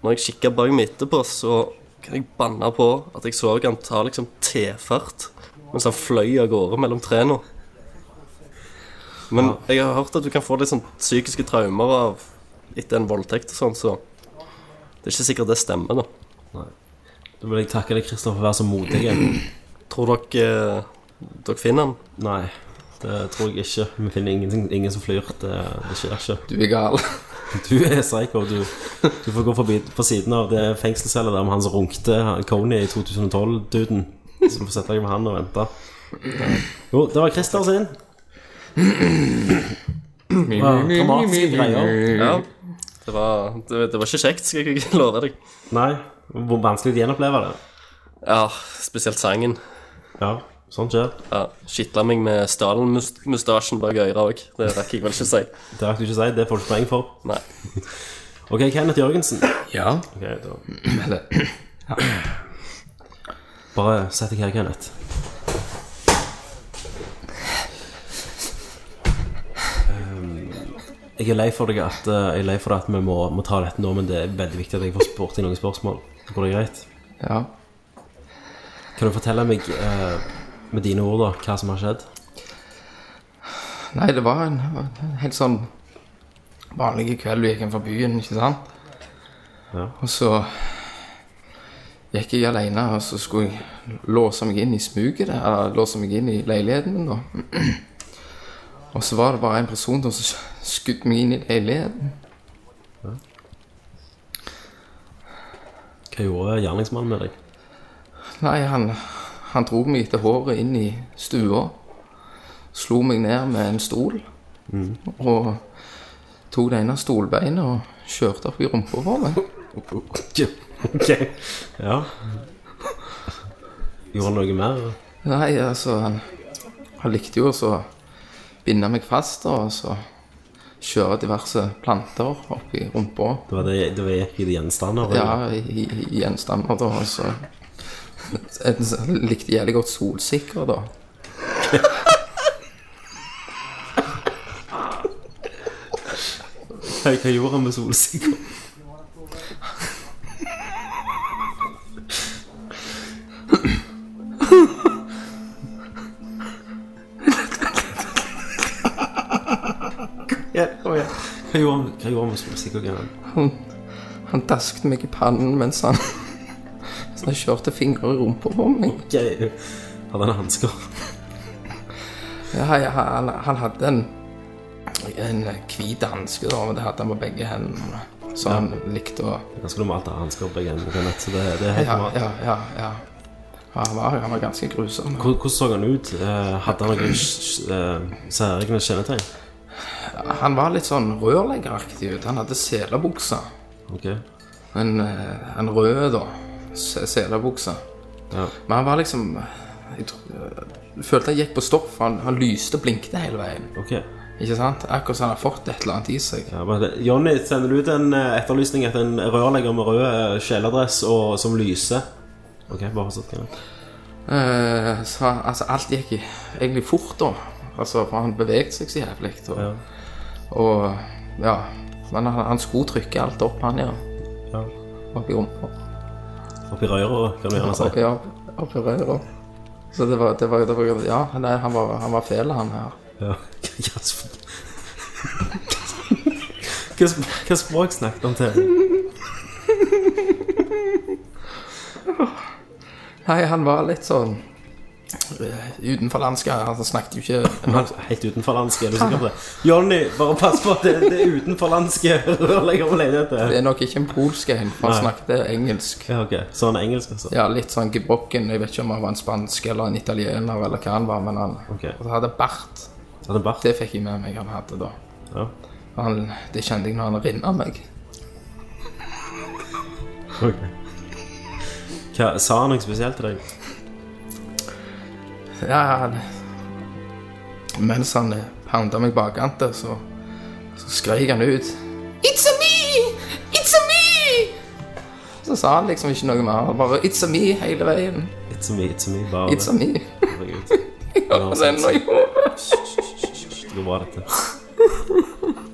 [SPEAKER 3] når jeg kikker bak meg etterpå, så kan jeg banne på at jeg så han ta liksom T-fart mens han fløy av gårde mellom trærne. Men jeg har hørt at du kan få litt sånn psykiske traumer av etter en voldtekt og sånn, så det er ikke sikkert det stemmer, da.
[SPEAKER 1] Da vil jeg takke deg, Christer, for å være så modig.
[SPEAKER 3] Tror dere eh, dere finner han?
[SPEAKER 1] Nei, det tror jeg ikke. Vi finner ingen, ingen som flyr. Det, det skjer ikke.
[SPEAKER 2] Du er gal.
[SPEAKER 1] Du er psycho. Du, du får gå forbi på siden av det fengselscella der med han som runkte han Coney i 2012-duden. Så du får sette deg med han og vente. Jo, det var Christer sin. Ja, dramatiske greier.
[SPEAKER 3] Ja. Mm. Det var, det, det var ikke kjekt, skal jeg ikke love deg.
[SPEAKER 1] Nei, hvor vanskelig de gjenoppleve det.
[SPEAKER 3] Ja, spesielt sangen.
[SPEAKER 1] Ja, sånt skjer.
[SPEAKER 3] Ja, Skitla meg med Stalin-mustasjen bak øret òg. Det rakk jeg vel ikke å si.
[SPEAKER 1] Det rakk du ikke å si. Det får du ikke poeng for.
[SPEAKER 3] Nei.
[SPEAKER 1] Ok, Kenneth Jørgensen.
[SPEAKER 2] Ja.
[SPEAKER 1] Ok, da.
[SPEAKER 2] Eller
[SPEAKER 1] Bare sett deg her, Kenneth. Ehm, Jeg er lei for deg at, eh, jeg er lei for deg at vi må, må ta dette nå, men det er veldig viktig at jeg får spurt deg noen spørsmål. Går det greit?
[SPEAKER 2] Ja.
[SPEAKER 1] Hva Kan du fortelle meg eh, med dine ord da, hva som har skjedd?
[SPEAKER 2] Nei, det var en, en helt sånn vanlig kveld du gikk inn fra byen, ikke sant?
[SPEAKER 1] Ja.
[SPEAKER 2] Og så gikk jeg alene, og så skulle jeg låse meg inn i smuget der, eller låse meg inn i leiligheten min da. Og så var det bare en person som sk- skutt meg inn i leiligheten.
[SPEAKER 1] Hva gjorde gjerningsmannen med deg?
[SPEAKER 2] Nei, han, han dro meg etter håret inn i stua, slo meg ned med en stol, og tok det ene stolbeinet og kjørte opp i rumpa på meg.
[SPEAKER 1] Ok, ja Gjorde han noe mer?
[SPEAKER 2] Nei, altså Han, han likte jo også å binde meg fast da, og så kjøre diverse planter opp i rumpa.
[SPEAKER 1] Det var det, det var gikk i de gjenstander eller?
[SPEAKER 2] Ja, i, i i gjenstander, da. Og så en, så- han likte jævlig godt solsikker, da.
[SPEAKER 1] Hva, hva gjorde han med solsikker? Ja, kom igjen. Hva gjorde han, hva gjorde han med solsikker?
[SPEAKER 2] Han dasket meg i pannen mens han, mens han kjørte fingre i rumpa på meg.
[SPEAKER 1] Okay. Hadde han hansker?
[SPEAKER 2] Ja, ja, han, han hadde en en hvit hanske, da, men det hadde han på begge hendene. Så han likte å
[SPEAKER 1] Ganske normalt å ha hansker på begge ender. Kenneth, Så det, det er helt
[SPEAKER 2] Ja,
[SPEAKER 1] normalt.
[SPEAKER 2] ja, ja. ja. ja han, var, han var ganske grusom.
[SPEAKER 1] Hvor- Hvordan så han ut? Eh, Hadde han noen s- s- eh, særegne kjennetegn?
[SPEAKER 2] Han var litt sånn rørleggeraktig ut. Han hadde selebukse.
[SPEAKER 1] Ok.
[SPEAKER 2] En, eh, en rød, da. se- Selebukse.
[SPEAKER 1] Ja.
[SPEAKER 2] Men han var liksom jeg, tror- jeg følte han gikk på stoff. Han, han lyste og blinkte hele veien.
[SPEAKER 1] ok.
[SPEAKER 2] Ikke sant? Akkurat som han har fått et eller annet i seg.
[SPEAKER 1] Ja, men det- Jonny, sender du ut en eh, etterlysning etter en rørlegger med rød eh, kjeledress og som lyser? Ok, bare fortsett. Kenneth.
[SPEAKER 2] Eh, så han- altså, alt gikk i- egentlig fort, da. Altså, for han bevegde seg så jævlig. Og,
[SPEAKER 1] Ja.
[SPEAKER 2] og ja. Men han, han skulle trykke alt opp, han, ja.
[SPEAKER 1] Ja.
[SPEAKER 2] Oppi rumpa.
[SPEAKER 1] Oppi røret, kan du gjerne si.
[SPEAKER 2] Ja, opp i røret. Så det var, det var, det var Ja, nei, han var, han var fæl, han her.
[SPEAKER 1] Ja. Hva sp- Hva sp- hva språk snakket han til?
[SPEAKER 2] Nei, han var litt sånn eh, utenforlandsk. Han altså, snakket jo ikke
[SPEAKER 1] Han er Helt utenforlandsk, er du sikker på det? Jonny, bare pass på at det, det er utenforlandske rørlegger på leiligheter.
[SPEAKER 2] Det er nok ikke en polsk en, for han
[SPEAKER 1] Nei.
[SPEAKER 2] snakket engelsk.
[SPEAKER 1] Ja, ok. Så han er engelsk, altså?
[SPEAKER 2] Ja, litt sånn gebrokken. Jeg vet ikke om han var en spansk eller en italiener eller hva han var, men han
[SPEAKER 1] Ok.
[SPEAKER 2] og så hadde bart.
[SPEAKER 1] Han er bart?
[SPEAKER 2] Det fikk jeg med meg han hadde da.
[SPEAKER 1] Ja.
[SPEAKER 2] Han, det kjente jeg når han rinna meg.
[SPEAKER 1] Ok. Hva, sa han noe spesielt til deg?
[SPEAKER 2] Ja, han, mens han pounda meg bakante, så, så skrek han ut It's a me! It's a me! Så sa han liksom ikke noe mer. han Bare It's a me hele veien.
[SPEAKER 1] It's a me, it's a me, bare
[SPEAKER 2] It's a me.
[SPEAKER 1] Herregud.
[SPEAKER 2] Og så ennå i hodet.
[SPEAKER 1] Hvor var dette?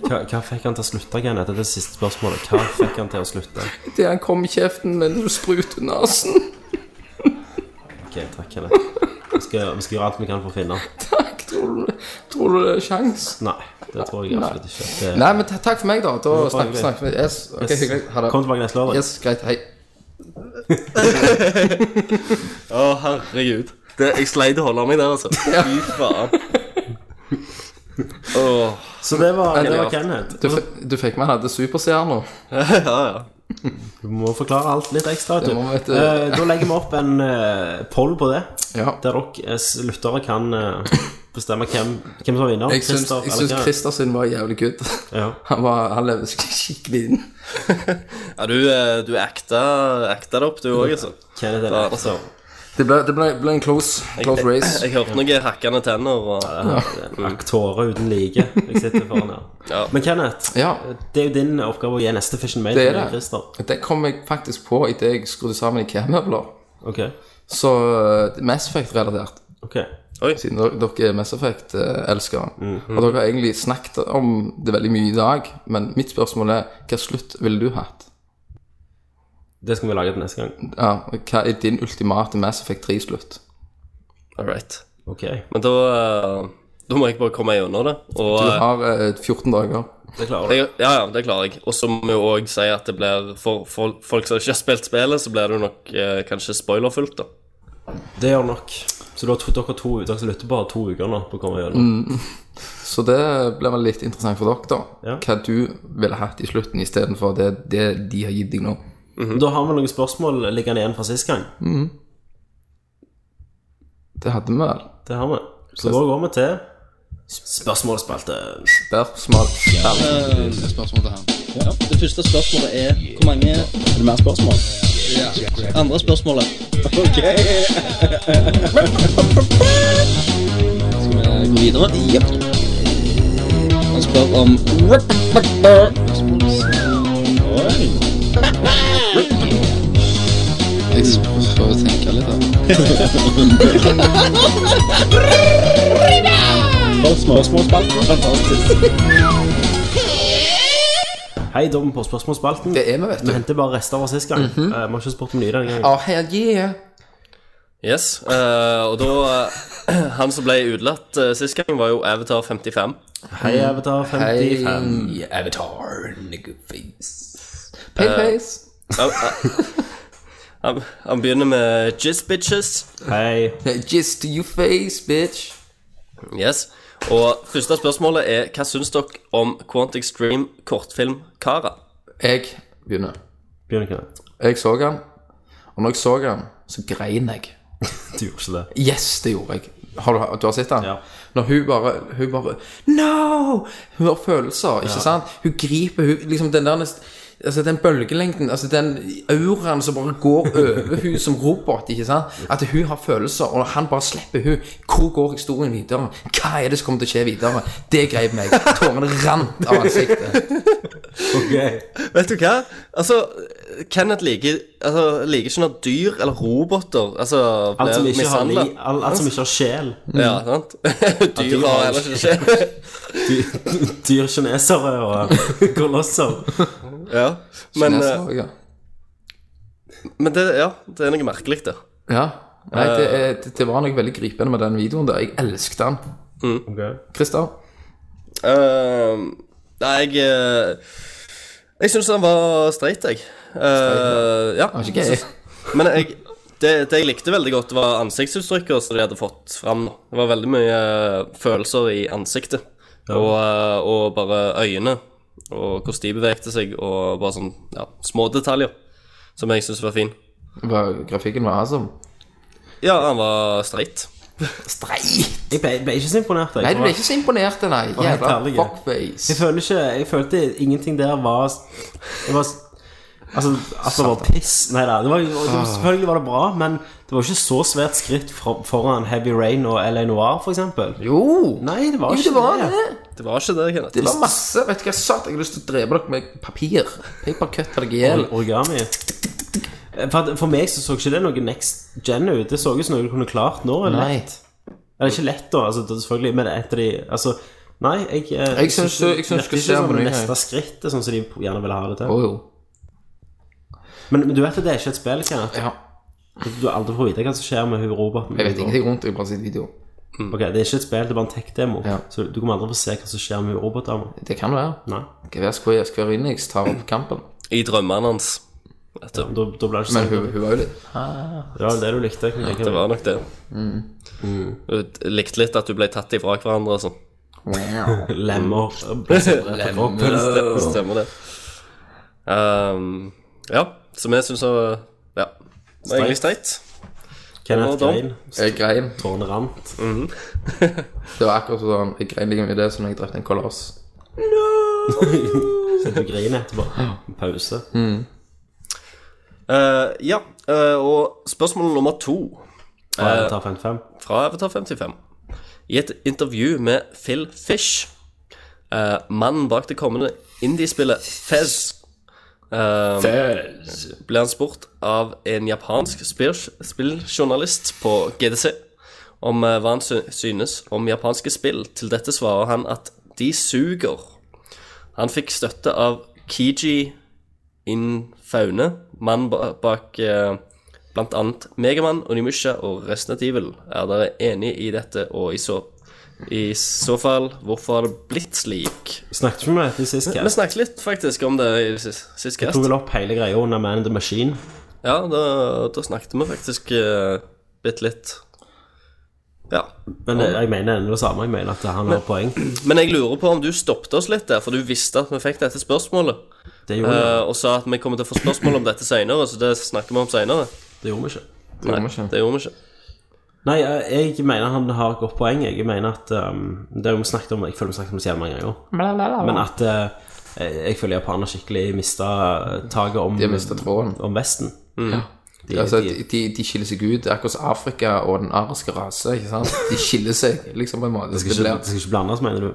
[SPEAKER 1] Hva, hva fikk han til å slutte, Kenneth? Det er det siste spørsmålet. Hva fikk han til å slutte?
[SPEAKER 2] Det han kom i kjeften mens du spruter nesen.
[SPEAKER 1] Ok, takk, Kenneth. Vi skal, vi skal gjøre alt vi kan for å finne han.
[SPEAKER 2] Takk, tror du, tror du det er sjans?
[SPEAKER 1] Nei, det tror jeg absolutt ikke. Det,
[SPEAKER 2] Nei, men ta- takk for meg, da. Da
[SPEAKER 1] var bare
[SPEAKER 2] snakkes
[SPEAKER 1] hyggelig.
[SPEAKER 2] snakkes vi. Yes, ok,
[SPEAKER 1] Yes.
[SPEAKER 2] hyggelig. Ha det.
[SPEAKER 1] Kom tilbake neste lørdag.
[SPEAKER 2] Yes, greit. Hei.
[SPEAKER 3] Å, herregud. Det, jeg sleit å holde meg der, altså. Fy faen. Åh,
[SPEAKER 1] Så det var, det var
[SPEAKER 3] Genialt.
[SPEAKER 1] Kenneth.
[SPEAKER 2] Du, f- du fikk med han hadde superstjerner.
[SPEAKER 3] ja, ja.
[SPEAKER 1] Du må forklare alt litt ekstra. vet
[SPEAKER 2] Det
[SPEAKER 1] Du.
[SPEAKER 2] må vi, vet du.
[SPEAKER 1] Eh, da legger vi opp en eh, poll på det,
[SPEAKER 2] Ja.
[SPEAKER 1] der dere eh, lyttere kan eh, bestemme hvem, hvem som vinner.
[SPEAKER 2] Jeg syns, jeg syns
[SPEAKER 1] eller
[SPEAKER 2] Christer sin var jævlig good.
[SPEAKER 1] Ja.
[SPEAKER 2] Han, var, han levde sk- skikkelig inn.
[SPEAKER 3] ja du, eh, du acta, acta det opp, du òg, altså.
[SPEAKER 1] Kenneth er
[SPEAKER 3] Ja,
[SPEAKER 1] det.
[SPEAKER 3] altså.
[SPEAKER 2] Det ble, det ble, ble en close, close race.
[SPEAKER 3] Jeg hørte noen hakkende tenner og eh,
[SPEAKER 1] En Aktorer uten like. Jeg sitter foran her.
[SPEAKER 3] Ja.
[SPEAKER 1] Men Kenneth,
[SPEAKER 2] Ja.
[SPEAKER 1] det er jo din oppgave å gi neste Fish and Mail
[SPEAKER 2] Det
[SPEAKER 1] til
[SPEAKER 2] er
[SPEAKER 1] meg,
[SPEAKER 2] det.
[SPEAKER 1] Christer.
[SPEAKER 2] Det kom jeg faktisk på idet jeg skrudde sammen IKEA-møbler.
[SPEAKER 1] Ok,
[SPEAKER 2] Så eh, Mass Effect-relatert,
[SPEAKER 1] ok
[SPEAKER 2] siden dere, dere er Mass Effect-elskere.
[SPEAKER 3] Mhm.
[SPEAKER 2] Og dere har egentlig snakket om det veldig mye i dag, men mitt spørsmål er hva slutt ville du hatt?
[SPEAKER 1] Det skal vi lage til neste gang.
[SPEAKER 2] Ja, hva er din ultimate Mass Effect 3-slutt?
[SPEAKER 3] All right.
[SPEAKER 1] Ok.
[SPEAKER 3] Men da, eh, da må jeg bare komme gjennom det. Og,
[SPEAKER 2] Du
[SPEAKER 3] eh,
[SPEAKER 2] har eh, 14 dager.
[SPEAKER 1] Det klarer du.
[SPEAKER 3] jeg, ja, ja, det klarer jeg. Og så må jeg òg si at det blir for, for folk som ikke har spilt spillet, så blir det jo nok eh, kanskje spoilerfullt, da.
[SPEAKER 1] Det gjør nok. Så du har to, dere to dere som lytter på, har to uker nå på å komme gjennom.
[SPEAKER 2] Så det blir vel litt interessant for dere, da.
[SPEAKER 1] Ja.
[SPEAKER 2] Hva du ville hatt i slutten istedenfor det, det de har gitt deg nå. Mhm.
[SPEAKER 1] Da har vi noen spørsmål liggende igjen fra sist gang.
[SPEAKER 2] Det hadde vi vel.
[SPEAKER 1] Det har vi. Så da går vi til spørsmålsspalten.
[SPEAKER 2] Spørsmål
[SPEAKER 10] Det første spørsmålet er hvor mange Er det mer spørsmål? Andre spørsmålet. Ok. Skal vi gå videre? Jepp. Han spør om Oi. Jeg prøver å tenke litt her. Spørsmålsspalten. Fantastisk.
[SPEAKER 1] Hei, da er vi på spørsmålsspalten.
[SPEAKER 2] Det er vi, vet
[SPEAKER 1] Vi
[SPEAKER 2] du. Mhm.
[SPEAKER 1] henter bare rester fra sist gang. Eh, Vi har ikke spurt om nye denne gangen.
[SPEAKER 2] Oh, hell yeah.
[SPEAKER 3] Yes. eh, og da eh, Han som ble utelatt uh, sist gang, var jo Avatar 55.
[SPEAKER 1] Hei,
[SPEAKER 2] mm.
[SPEAKER 1] Avatar 55.
[SPEAKER 2] Hei, Avatar, nigga face. Pale face.
[SPEAKER 3] Han, han, han begynner med Jizz Bitches.
[SPEAKER 1] Hei.
[SPEAKER 2] Just to your face, bitch.
[SPEAKER 3] Yes. Og første spørsmålet er hva syns dere om Quantic Stream kortfilm Kara?
[SPEAKER 2] Jeg begynner.
[SPEAKER 1] Begynn ikke det.
[SPEAKER 2] Jeg så han, og når jeg så han, så grein jeg.
[SPEAKER 1] Du gjorde ikke det.
[SPEAKER 2] Yes, det gjorde jeg. Har du, du har sett den?
[SPEAKER 1] Ja.
[SPEAKER 2] Når hun bare, hun bare No! Hun har følelser, ikke sant? Hun griper hun, liksom den der nest- Altså den bølgelengden, altså den auraen som bare går over hun som robot, ikke sant? At hun har følelser, og han bare slipper hun. Hvor går historien videre? Hva er det som kommer til å skje videre? Det grep meg. Tårene rant av ansiktet.
[SPEAKER 1] Ok.
[SPEAKER 3] Vet du hva? Altså, Kenneth liker, altså, liker ikke når dyr eller roboter altså,
[SPEAKER 1] Alt som ikke har,
[SPEAKER 3] mishandlet.
[SPEAKER 1] li, alt, alt som ikke har sjel.
[SPEAKER 3] Ja, sant? dyr har
[SPEAKER 1] har
[SPEAKER 3] heller ikke skjedd.
[SPEAKER 1] Dyr, dyr kinesere og kolosser.
[SPEAKER 3] ja. Men,
[SPEAKER 2] Neste
[SPEAKER 3] eh,
[SPEAKER 2] år, ja.
[SPEAKER 3] men det, ja, det er noe merkelig der.
[SPEAKER 2] ja. Nei, det, er- det, det var noe veldig gripende med den videoen der. Jeg elsket den.
[SPEAKER 1] Ok.
[SPEAKER 2] Christer?
[SPEAKER 3] Eh, nei, jeg eh, Jeg syns han var streit, jeg. Eh, ja.
[SPEAKER 2] Han var ikke gay.
[SPEAKER 3] Men jeg, det, det jeg likte veldig godt, var ansiktsuttrykket som de hadde fått fram. Det var veldig mye eh, følelser i ansiktet. Og, eh, og bare øyne, og hvordan de bevegte seg, og bare sånn ja, små detaljer. Som jeg syns var fin.
[SPEAKER 2] Var- Grafikken var awesome.
[SPEAKER 3] Ja, han var streit.
[SPEAKER 2] Streit!
[SPEAKER 1] Jeg ble, ble ikke så imponert. Jeg.
[SPEAKER 2] Nei, du ble ikke så imponert, nei.
[SPEAKER 1] helt
[SPEAKER 2] Jævla
[SPEAKER 1] ærlig. Jeg
[SPEAKER 2] fuckface.
[SPEAKER 1] føler ikke Jeg følte ingenting der var Det var Altså, at det var piss Nei da, det var, det var, selvfølgelig var det bra Men det var ikke så svært skritt fra- foran Heavy Rain og L.A. Noir for eksempel
[SPEAKER 2] Jo!
[SPEAKER 1] Nei, det var
[SPEAKER 2] Jo,
[SPEAKER 1] ikke
[SPEAKER 2] det var
[SPEAKER 1] det.
[SPEAKER 2] det.
[SPEAKER 3] Det var ikke det, Kenneth.
[SPEAKER 2] Det var masse. Vet du hva jeg sa? Jeg har lyst til å drepe dere med papir. Papercut av deg i hjel.
[SPEAKER 1] Or- Origami for, at- for meg så så ikke det noe next gen ut Det så ut som noe du kunne klart nå eller?
[SPEAKER 2] Nei.
[SPEAKER 1] Eller ikke lett da, altså, det er selvfølgelig Men etter de, altså Nei, jeg, eh,
[SPEAKER 2] Jeg synes- jeg synes
[SPEAKER 1] virker
[SPEAKER 2] ikke det
[SPEAKER 1] som
[SPEAKER 2] var
[SPEAKER 1] det
[SPEAKER 2] noe
[SPEAKER 1] neste skritt er Sånn som de gjerne vil ha det
[SPEAKER 2] Å
[SPEAKER 1] til
[SPEAKER 2] jo.
[SPEAKER 1] Men, men du vet at det er ikke et spill, Kenneth
[SPEAKER 2] Ja.
[SPEAKER 1] Du aldri får vite hva som skjer med hun roboten.
[SPEAKER 2] Jeg vet ingenting rundt det, jeg har bare sett video.
[SPEAKER 1] Ok, Det er ikke et spill, det er bare en tech-demo.
[SPEAKER 2] Ja.
[SPEAKER 1] Så du kommer aldri få se hva som skjer med hun robotdama.
[SPEAKER 2] Det kan være.
[SPEAKER 1] Nei.
[SPEAKER 2] Gevær Square Square Enix tar opp kampen.
[SPEAKER 3] I drømmene hans. Vet du.
[SPEAKER 1] Da, da blir det ikke
[SPEAKER 2] Men
[SPEAKER 1] sant.
[SPEAKER 2] hun, hun var jo litt
[SPEAKER 1] Det var vel det du likte. kan jeg tenke
[SPEAKER 3] Det
[SPEAKER 1] meg.
[SPEAKER 3] var nok det.
[SPEAKER 2] Mm.
[SPEAKER 3] Mm. Du likte litt at du ble tatt ifra hverandre og sånn.
[SPEAKER 1] Lemmer. Ble så drept av kroppen.
[SPEAKER 3] Det stemmer, det. Ehm, ja, så vi syns så Ja. Det var egentlig streit.
[SPEAKER 1] Kenneth
[SPEAKER 3] Dom.
[SPEAKER 1] Grein.
[SPEAKER 2] Jeg grein.
[SPEAKER 1] Tårnet rant.
[SPEAKER 2] Det var akkurat sånn Jeg grein like mye det som når jeg drepte en koloss.
[SPEAKER 1] Så du griner etterpå. Pause.
[SPEAKER 3] Eh, ja, eh, og spørsmål nummer to
[SPEAKER 1] Fra Avatar 55.
[SPEAKER 3] fra Avatar 55. I et intervju med Phil Fish, eh, mannen bak det kommende indiespillet Fez, eh, ble han spurt av en japansk spill- spilljournalist på GDC om eh, hva han sy- synes om japanske spill. Til dette svarer han at de suger. Han fikk støtte av Kiji Inn Faune, mann ba- bak eh, blant annet Megamann, Onimusha og resten av Evil. Er dere enig i dette, og i så, i så fall, hvorfor har det blitt slik?
[SPEAKER 1] Snakket vi om dette i sist
[SPEAKER 3] Vi
[SPEAKER 1] cast?
[SPEAKER 3] snakket litt faktisk om det i sist, sist
[SPEAKER 1] Jeg
[SPEAKER 3] cast.
[SPEAKER 1] tok vel opp hele greia under Man in the Machine.
[SPEAKER 3] Ja, da, da snakket vi faktisk eh, bitte litt. Ja.
[SPEAKER 1] Men det, jeg mener ennå det samme. Jeg mener at han har poeng.
[SPEAKER 3] Men jeg lurer på om du stoppet oss litt der, for du visste at vi fikk dette spørsmålet.
[SPEAKER 1] Det gjorde, jeg.
[SPEAKER 3] eh, og sa at vi kommer til å få spørsmål om dette senere, så det snakker vi om senere.
[SPEAKER 1] det gjorde vi ikke.
[SPEAKER 2] Det gjorde vi ikke.
[SPEAKER 3] Det gjorde vi ikke.
[SPEAKER 1] Nei, jeg- jeg mener han har et godt poeng. Jeg mener at um, Det har vi snakket om Jeg føler vi snakket om det så jævlig mange ganger. Men at eh, jeg jeg føler japanerne skikkelig mista taket om,
[SPEAKER 2] De har mistet tråden.
[SPEAKER 1] om Vesten. De,
[SPEAKER 2] altså,
[SPEAKER 1] de,
[SPEAKER 2] de, de, de skiller seg ut. Det er akkurat som Afrika og den ariske rase. ikke sant? De skiller seg liksom på en måte.
[SPEAKER 1] skal
[SPEAKER 2] Det,
[SPEAKER 1] ikke,
[SPEAKER 2] blir,
[SPEAKER 1] det skal ikke blandes, mener du?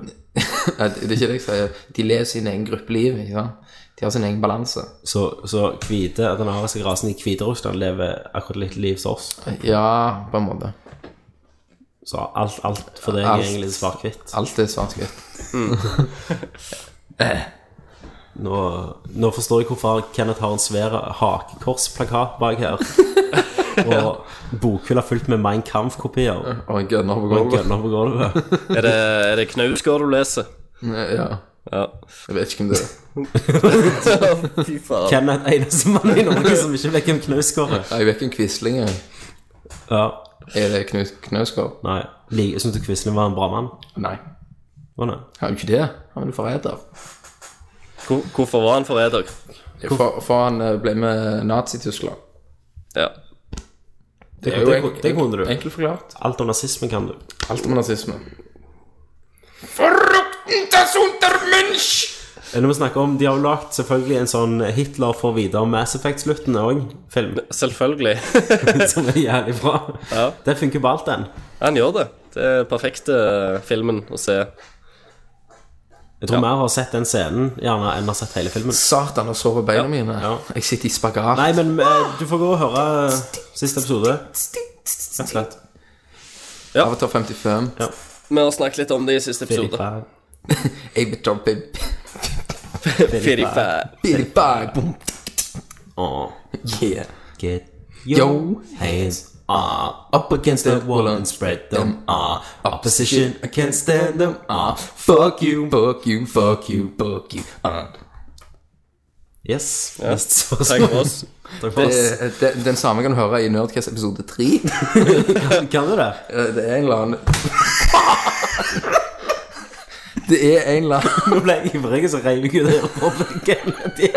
[SPEAKER 2] Nei, det er ikke det jeg sier. De lever sin egen gruppeliv. ikke sant? De har sin egen balanse.
[SPEAKER 1] Så, så hvite, den ariske rasen i Hviterussland lever akkurat litt liv som oss.
[SPEAKER 2] Ja, på en måte.
[SPEAKER 1] Så alt, alt for deg
[SPEAKER 2] Alt.
[SPEAKER 1] er egentlig svart-hvitt.
[SPEAKER 2] Alt er svart-hvitt.
[SPEAKER 1] Nå, nå forstår jeg hvorfor Kenneth har en svær hakekorsplakat bak her. Og bokhylla fullt med Mein Kampf-kopier.
[SPEAKER 2] Og en gunner på
[SPEAKER 1] Og en
[SPEAKER 2] gulvet.
[SPEAKER 1] gunner på gulvet.
[SPEAKER 3] Er det, er det Knausgård du leser?
[SPEAKER 2] Ja.
[SPEAKER 3] Ja.
[SPEAKER 2] Jeg vet ikke om det er
[SPEAKER 3] Fy faen.
[SPEAKER 1] Kenneth er eneste mann i Norge som ikke vet hvem Knausgård er.
[SPEAKER 2] Jeg vet ikke om Quisling er
[SPEAKER 1] Ja,
[SPEAKER 2] Er det Knut Knausgård?
[SPEAKER 1] nei. Like, Syns du Quisling var en bra mann?
[SPEAKER 2] Nei.
[SPEAKER 1] Å nei.
[SPEAKER 2] Han er jo ikke det. Han er jo forræder.
[SPEAKER 3] Hvor, hvorfor var han forræder?
[SPEAKER 2] For, for han eh, ble med Nazi-Tyskland.
[SPEAKER 3] Ja.
[SPEAKER 2] Det
[SPEAKER 1] det- det kunne du.
[SPEAKER 2] Enkelt forklart.
[SPEAKER 1] Alt om nazismen kan du.
[SPEAKER 2] Alt om nazisme. Forruktendes Untermensch!
[SPEAKER 1] Eller Eh, vi snakker om, De har jo lagd selvfølgelig en sånn Hitler får videre Mass Effect-slutten òg. Film
[SPEAKER 3] Selvfølgelig.
[SPEAKER 1] som er jævlig bra. Det funker på alt, den.
[SPEAKER 3] Han gjør det. Det er perfekte øh, filmen å se.
[SPEAKER 1] Jeg tror mer har sett den scenen gjerne enn har sett hele filmen.
[SPEAKER 2] Satan, jeg sover beina mine.
[SPEAKER 1] ja.
[SPEAKER 2] Jeg sitter i spagat.
[SPEAKER 1] Nei, men eh, du får gå og høre eh, siste episode. Rett og slett.
[SPEAKER 2] Avatar 55.
[SPEAKER 3] Vi har snakket litt om det i siste episode.
[SPEAKER 1] Filippa-
[SPEAKER 2] Jeg vet ikke om bib-
[SPEAKER 1] Filippa.
[SPEAKER 3] Firifa.
[SPEAKER 2] bib- bib- bom.
[SPEAKER 1] Åh.
[SPEAKER 2] Yeah.
[SPEAKER 1] Get
[SPEAKER 2] Yo.
[SPEAKER 1] your hands ah, up against the wall and spread them ah. Opposition, I can't stand them ah.
[SPEAKER 2] Fuck you, fuck you, fuck you, fuck you. Uh.
[SPEAKER 1] Yes. Neste
[SPEAKER 3] Takk
[SPEAKER 1] spørsmål.
[SPEAKER 3] for oss.
[SPEAKER 1] Takk for oss.
[SPEAKER 2] Eh, Den, den samme kan du høre i Nerdcast episode Eh, 3.
[SPEAKER 1] Kan du det?
[SPEAKER 2] Det er en eller annen Det er en eller annen
[SPEAKER 1] Nå ble jeg ivrig, så reiv jeg ut øreproppen. Det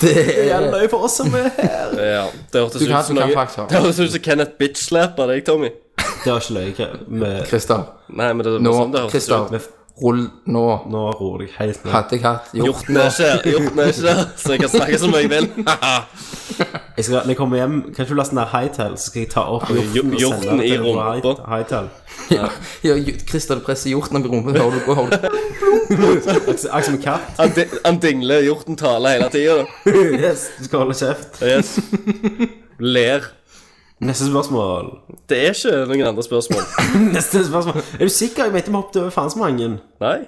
[SPEAKER 2] Det er
[SPEAKER 1] gjelder jo for oss som er her.
[SPEAKER 3] Ja, det hørtes
[SPEAKER 2] Du kan-
[SPEAKER 3] ut som
[SPEAKER 2] du kan
[SPEAKER 3] noe
[SPEAKER 2] faktisk ha.
[SPEAKER 3] Det hørtes ut som Kenneth bitch-slapper deg, Tommy.
[SPEAKER 1] Det var ikke løye.
[SPEAKER 2] Christer,
[SPEAKER 3] Nei, men det var
[SPEAKER 2] nå,
[SPEAKER 3] sånn det hørtes ut.
[SPEAKER 2] Christer, rull nå.
[SPEAKER 1] Nå roer jeg helt ned.
[SPEAKER 2] Hadde jeg hatt gjort
[SPEAKER 3] Hjorten er ikke her, hjorten er ikke her, så jeg kan snakke som jeg vil.
[SPEAKER 1] Jeg skal, når jeg kommer hjem, kan ikke du laste ned Hightail, så skal jeg ta opp hjorten, og
[SPEAKER 3] hjorten
[SPEAKER 1] sende den
[SPEAKER 3] i
[SPEAKER 1] til
[SPEAKER 3] rumpa.
[SPEAKER 1] Hi- Hightail.
[SPEAKER 2] ja, ja, Christer, du presser hjorten opp i rumpen. Hører du, hører du.
[SPEAKER 1] Akkurat akkurat som en katt.
[SPEAKER 3] Han, di- han dingler, hjorten taler hele tida.
[SPEAKER 1] Yes, du skal holde kjeft.
[SPEAKER 3] Yes. Ler.
[SPEAKER 1] Neste spørsmål.
[SPEAKER 3] Det er ikke noen andre spørsmål.
[SPEAKER 1] Neste spørsmål. Er du sikker? Jeg mente vi hoppet over faen så mange.
[SPEAKER 3] Nei.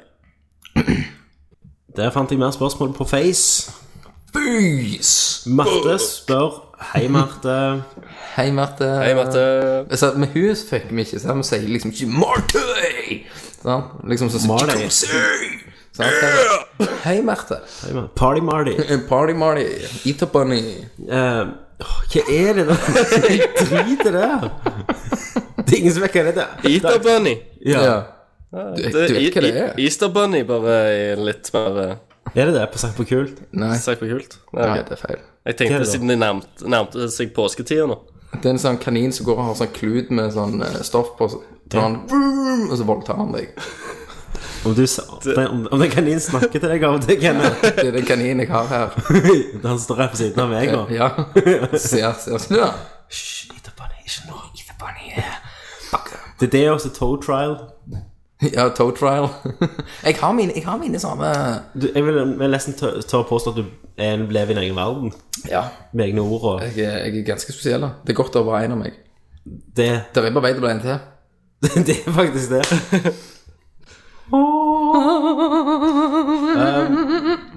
[SPEAKER 1] Der fant jeg mer spørsmål på Face.
[SPEAKER 2] Bys!
[SPEAKER 1] Marte spør Hei, Marte.
[SPEAKER 2] Hei, Marte.
[SPEAKER 3] Hei, Marte.
[SPEAKER 2] Altså, med hun så fikk vi ikke, så vi sier liksom ikke Marte! Sånn, liksom sånn
[SPEAKER 1] Marty.
[SPEAKER 2] Sånn, så- Hei, Marte.
[SPEAKER 1] Hei, Marte. Party Marty.
[SPEAKER 2] Party Marty. Eat a bunny.
[SPEAKER 1] Eh, åh, hva er det der? Jeg driter det her. Det er ingen som vet hva det er.
[SPEAKER 3] Easter bunny.
[SPEAKER 1] Ja.
[SPEAKER 2] Ja. Du, du
[SPEAKER 3] Det,
[SPEAKER 2] vet hva det
[SPEAKER 3] i-
[SPEAKER 2] er?
[SPEAKER 3] i- Easter bunny, bare i litt mer eh,
[SPEAKER 1] Er det det på Sagt på kult?
[SPEAKER 2] Nei.
[SPEAKER 3] Sagt på kult. Nei,
[SPEAKER 2] Nei,
[SPEAKER 3] ok.
[SPEAKER 2] det er feil.
[SPEAKER 3] Jeg
[SPEAKER 1] Hva er
[SPEAKER 3] tenkte
[SPEAKER 1] det da?
[SPEAKER 3] siden det nærmte, nærmte seg påsketida nå.
[SPEAKER 2] Det er en sånn kanin som går og har sånn klut med sånn eh, stoff på, så tar han vroom, og så voldtar han deg.
[SPEAKER 1] Om, du, sa- om, den- om den kaninen snakker til deg av og til, Kenneth
[SPEAKER 2] Det er den kaninen jeg har her.
[SPEAKER 1] Han står her på siden av meg nå.
[SPEAKER 2] Eh, Ja. Ser, ser, snu da.
[SPEAKER 1] Hysj, Ether Bunny, ikke nå. Ether Bunny er Det er det også Toe Trial.
[SPEAKER 2] Ja, toe trial. Jeg har mine, jeg har mine samme
[SPEAKER 1] Du, jeg vil, vil nesten tør- tør påstå at du er en lever i din egen verden.
[SPEAKER 2] Ja.
[SPEAKER 1] Med egne ord og
[SPEAKER 2] Jeg, er- jeg er ganske spesiell. da. Det er godt å være en av meg.
[SPEAKER 1] Det,
[SPEAKER 2] Der er på vei til å bli en til.
[SPEAKER 1] det er faktisk det. Um,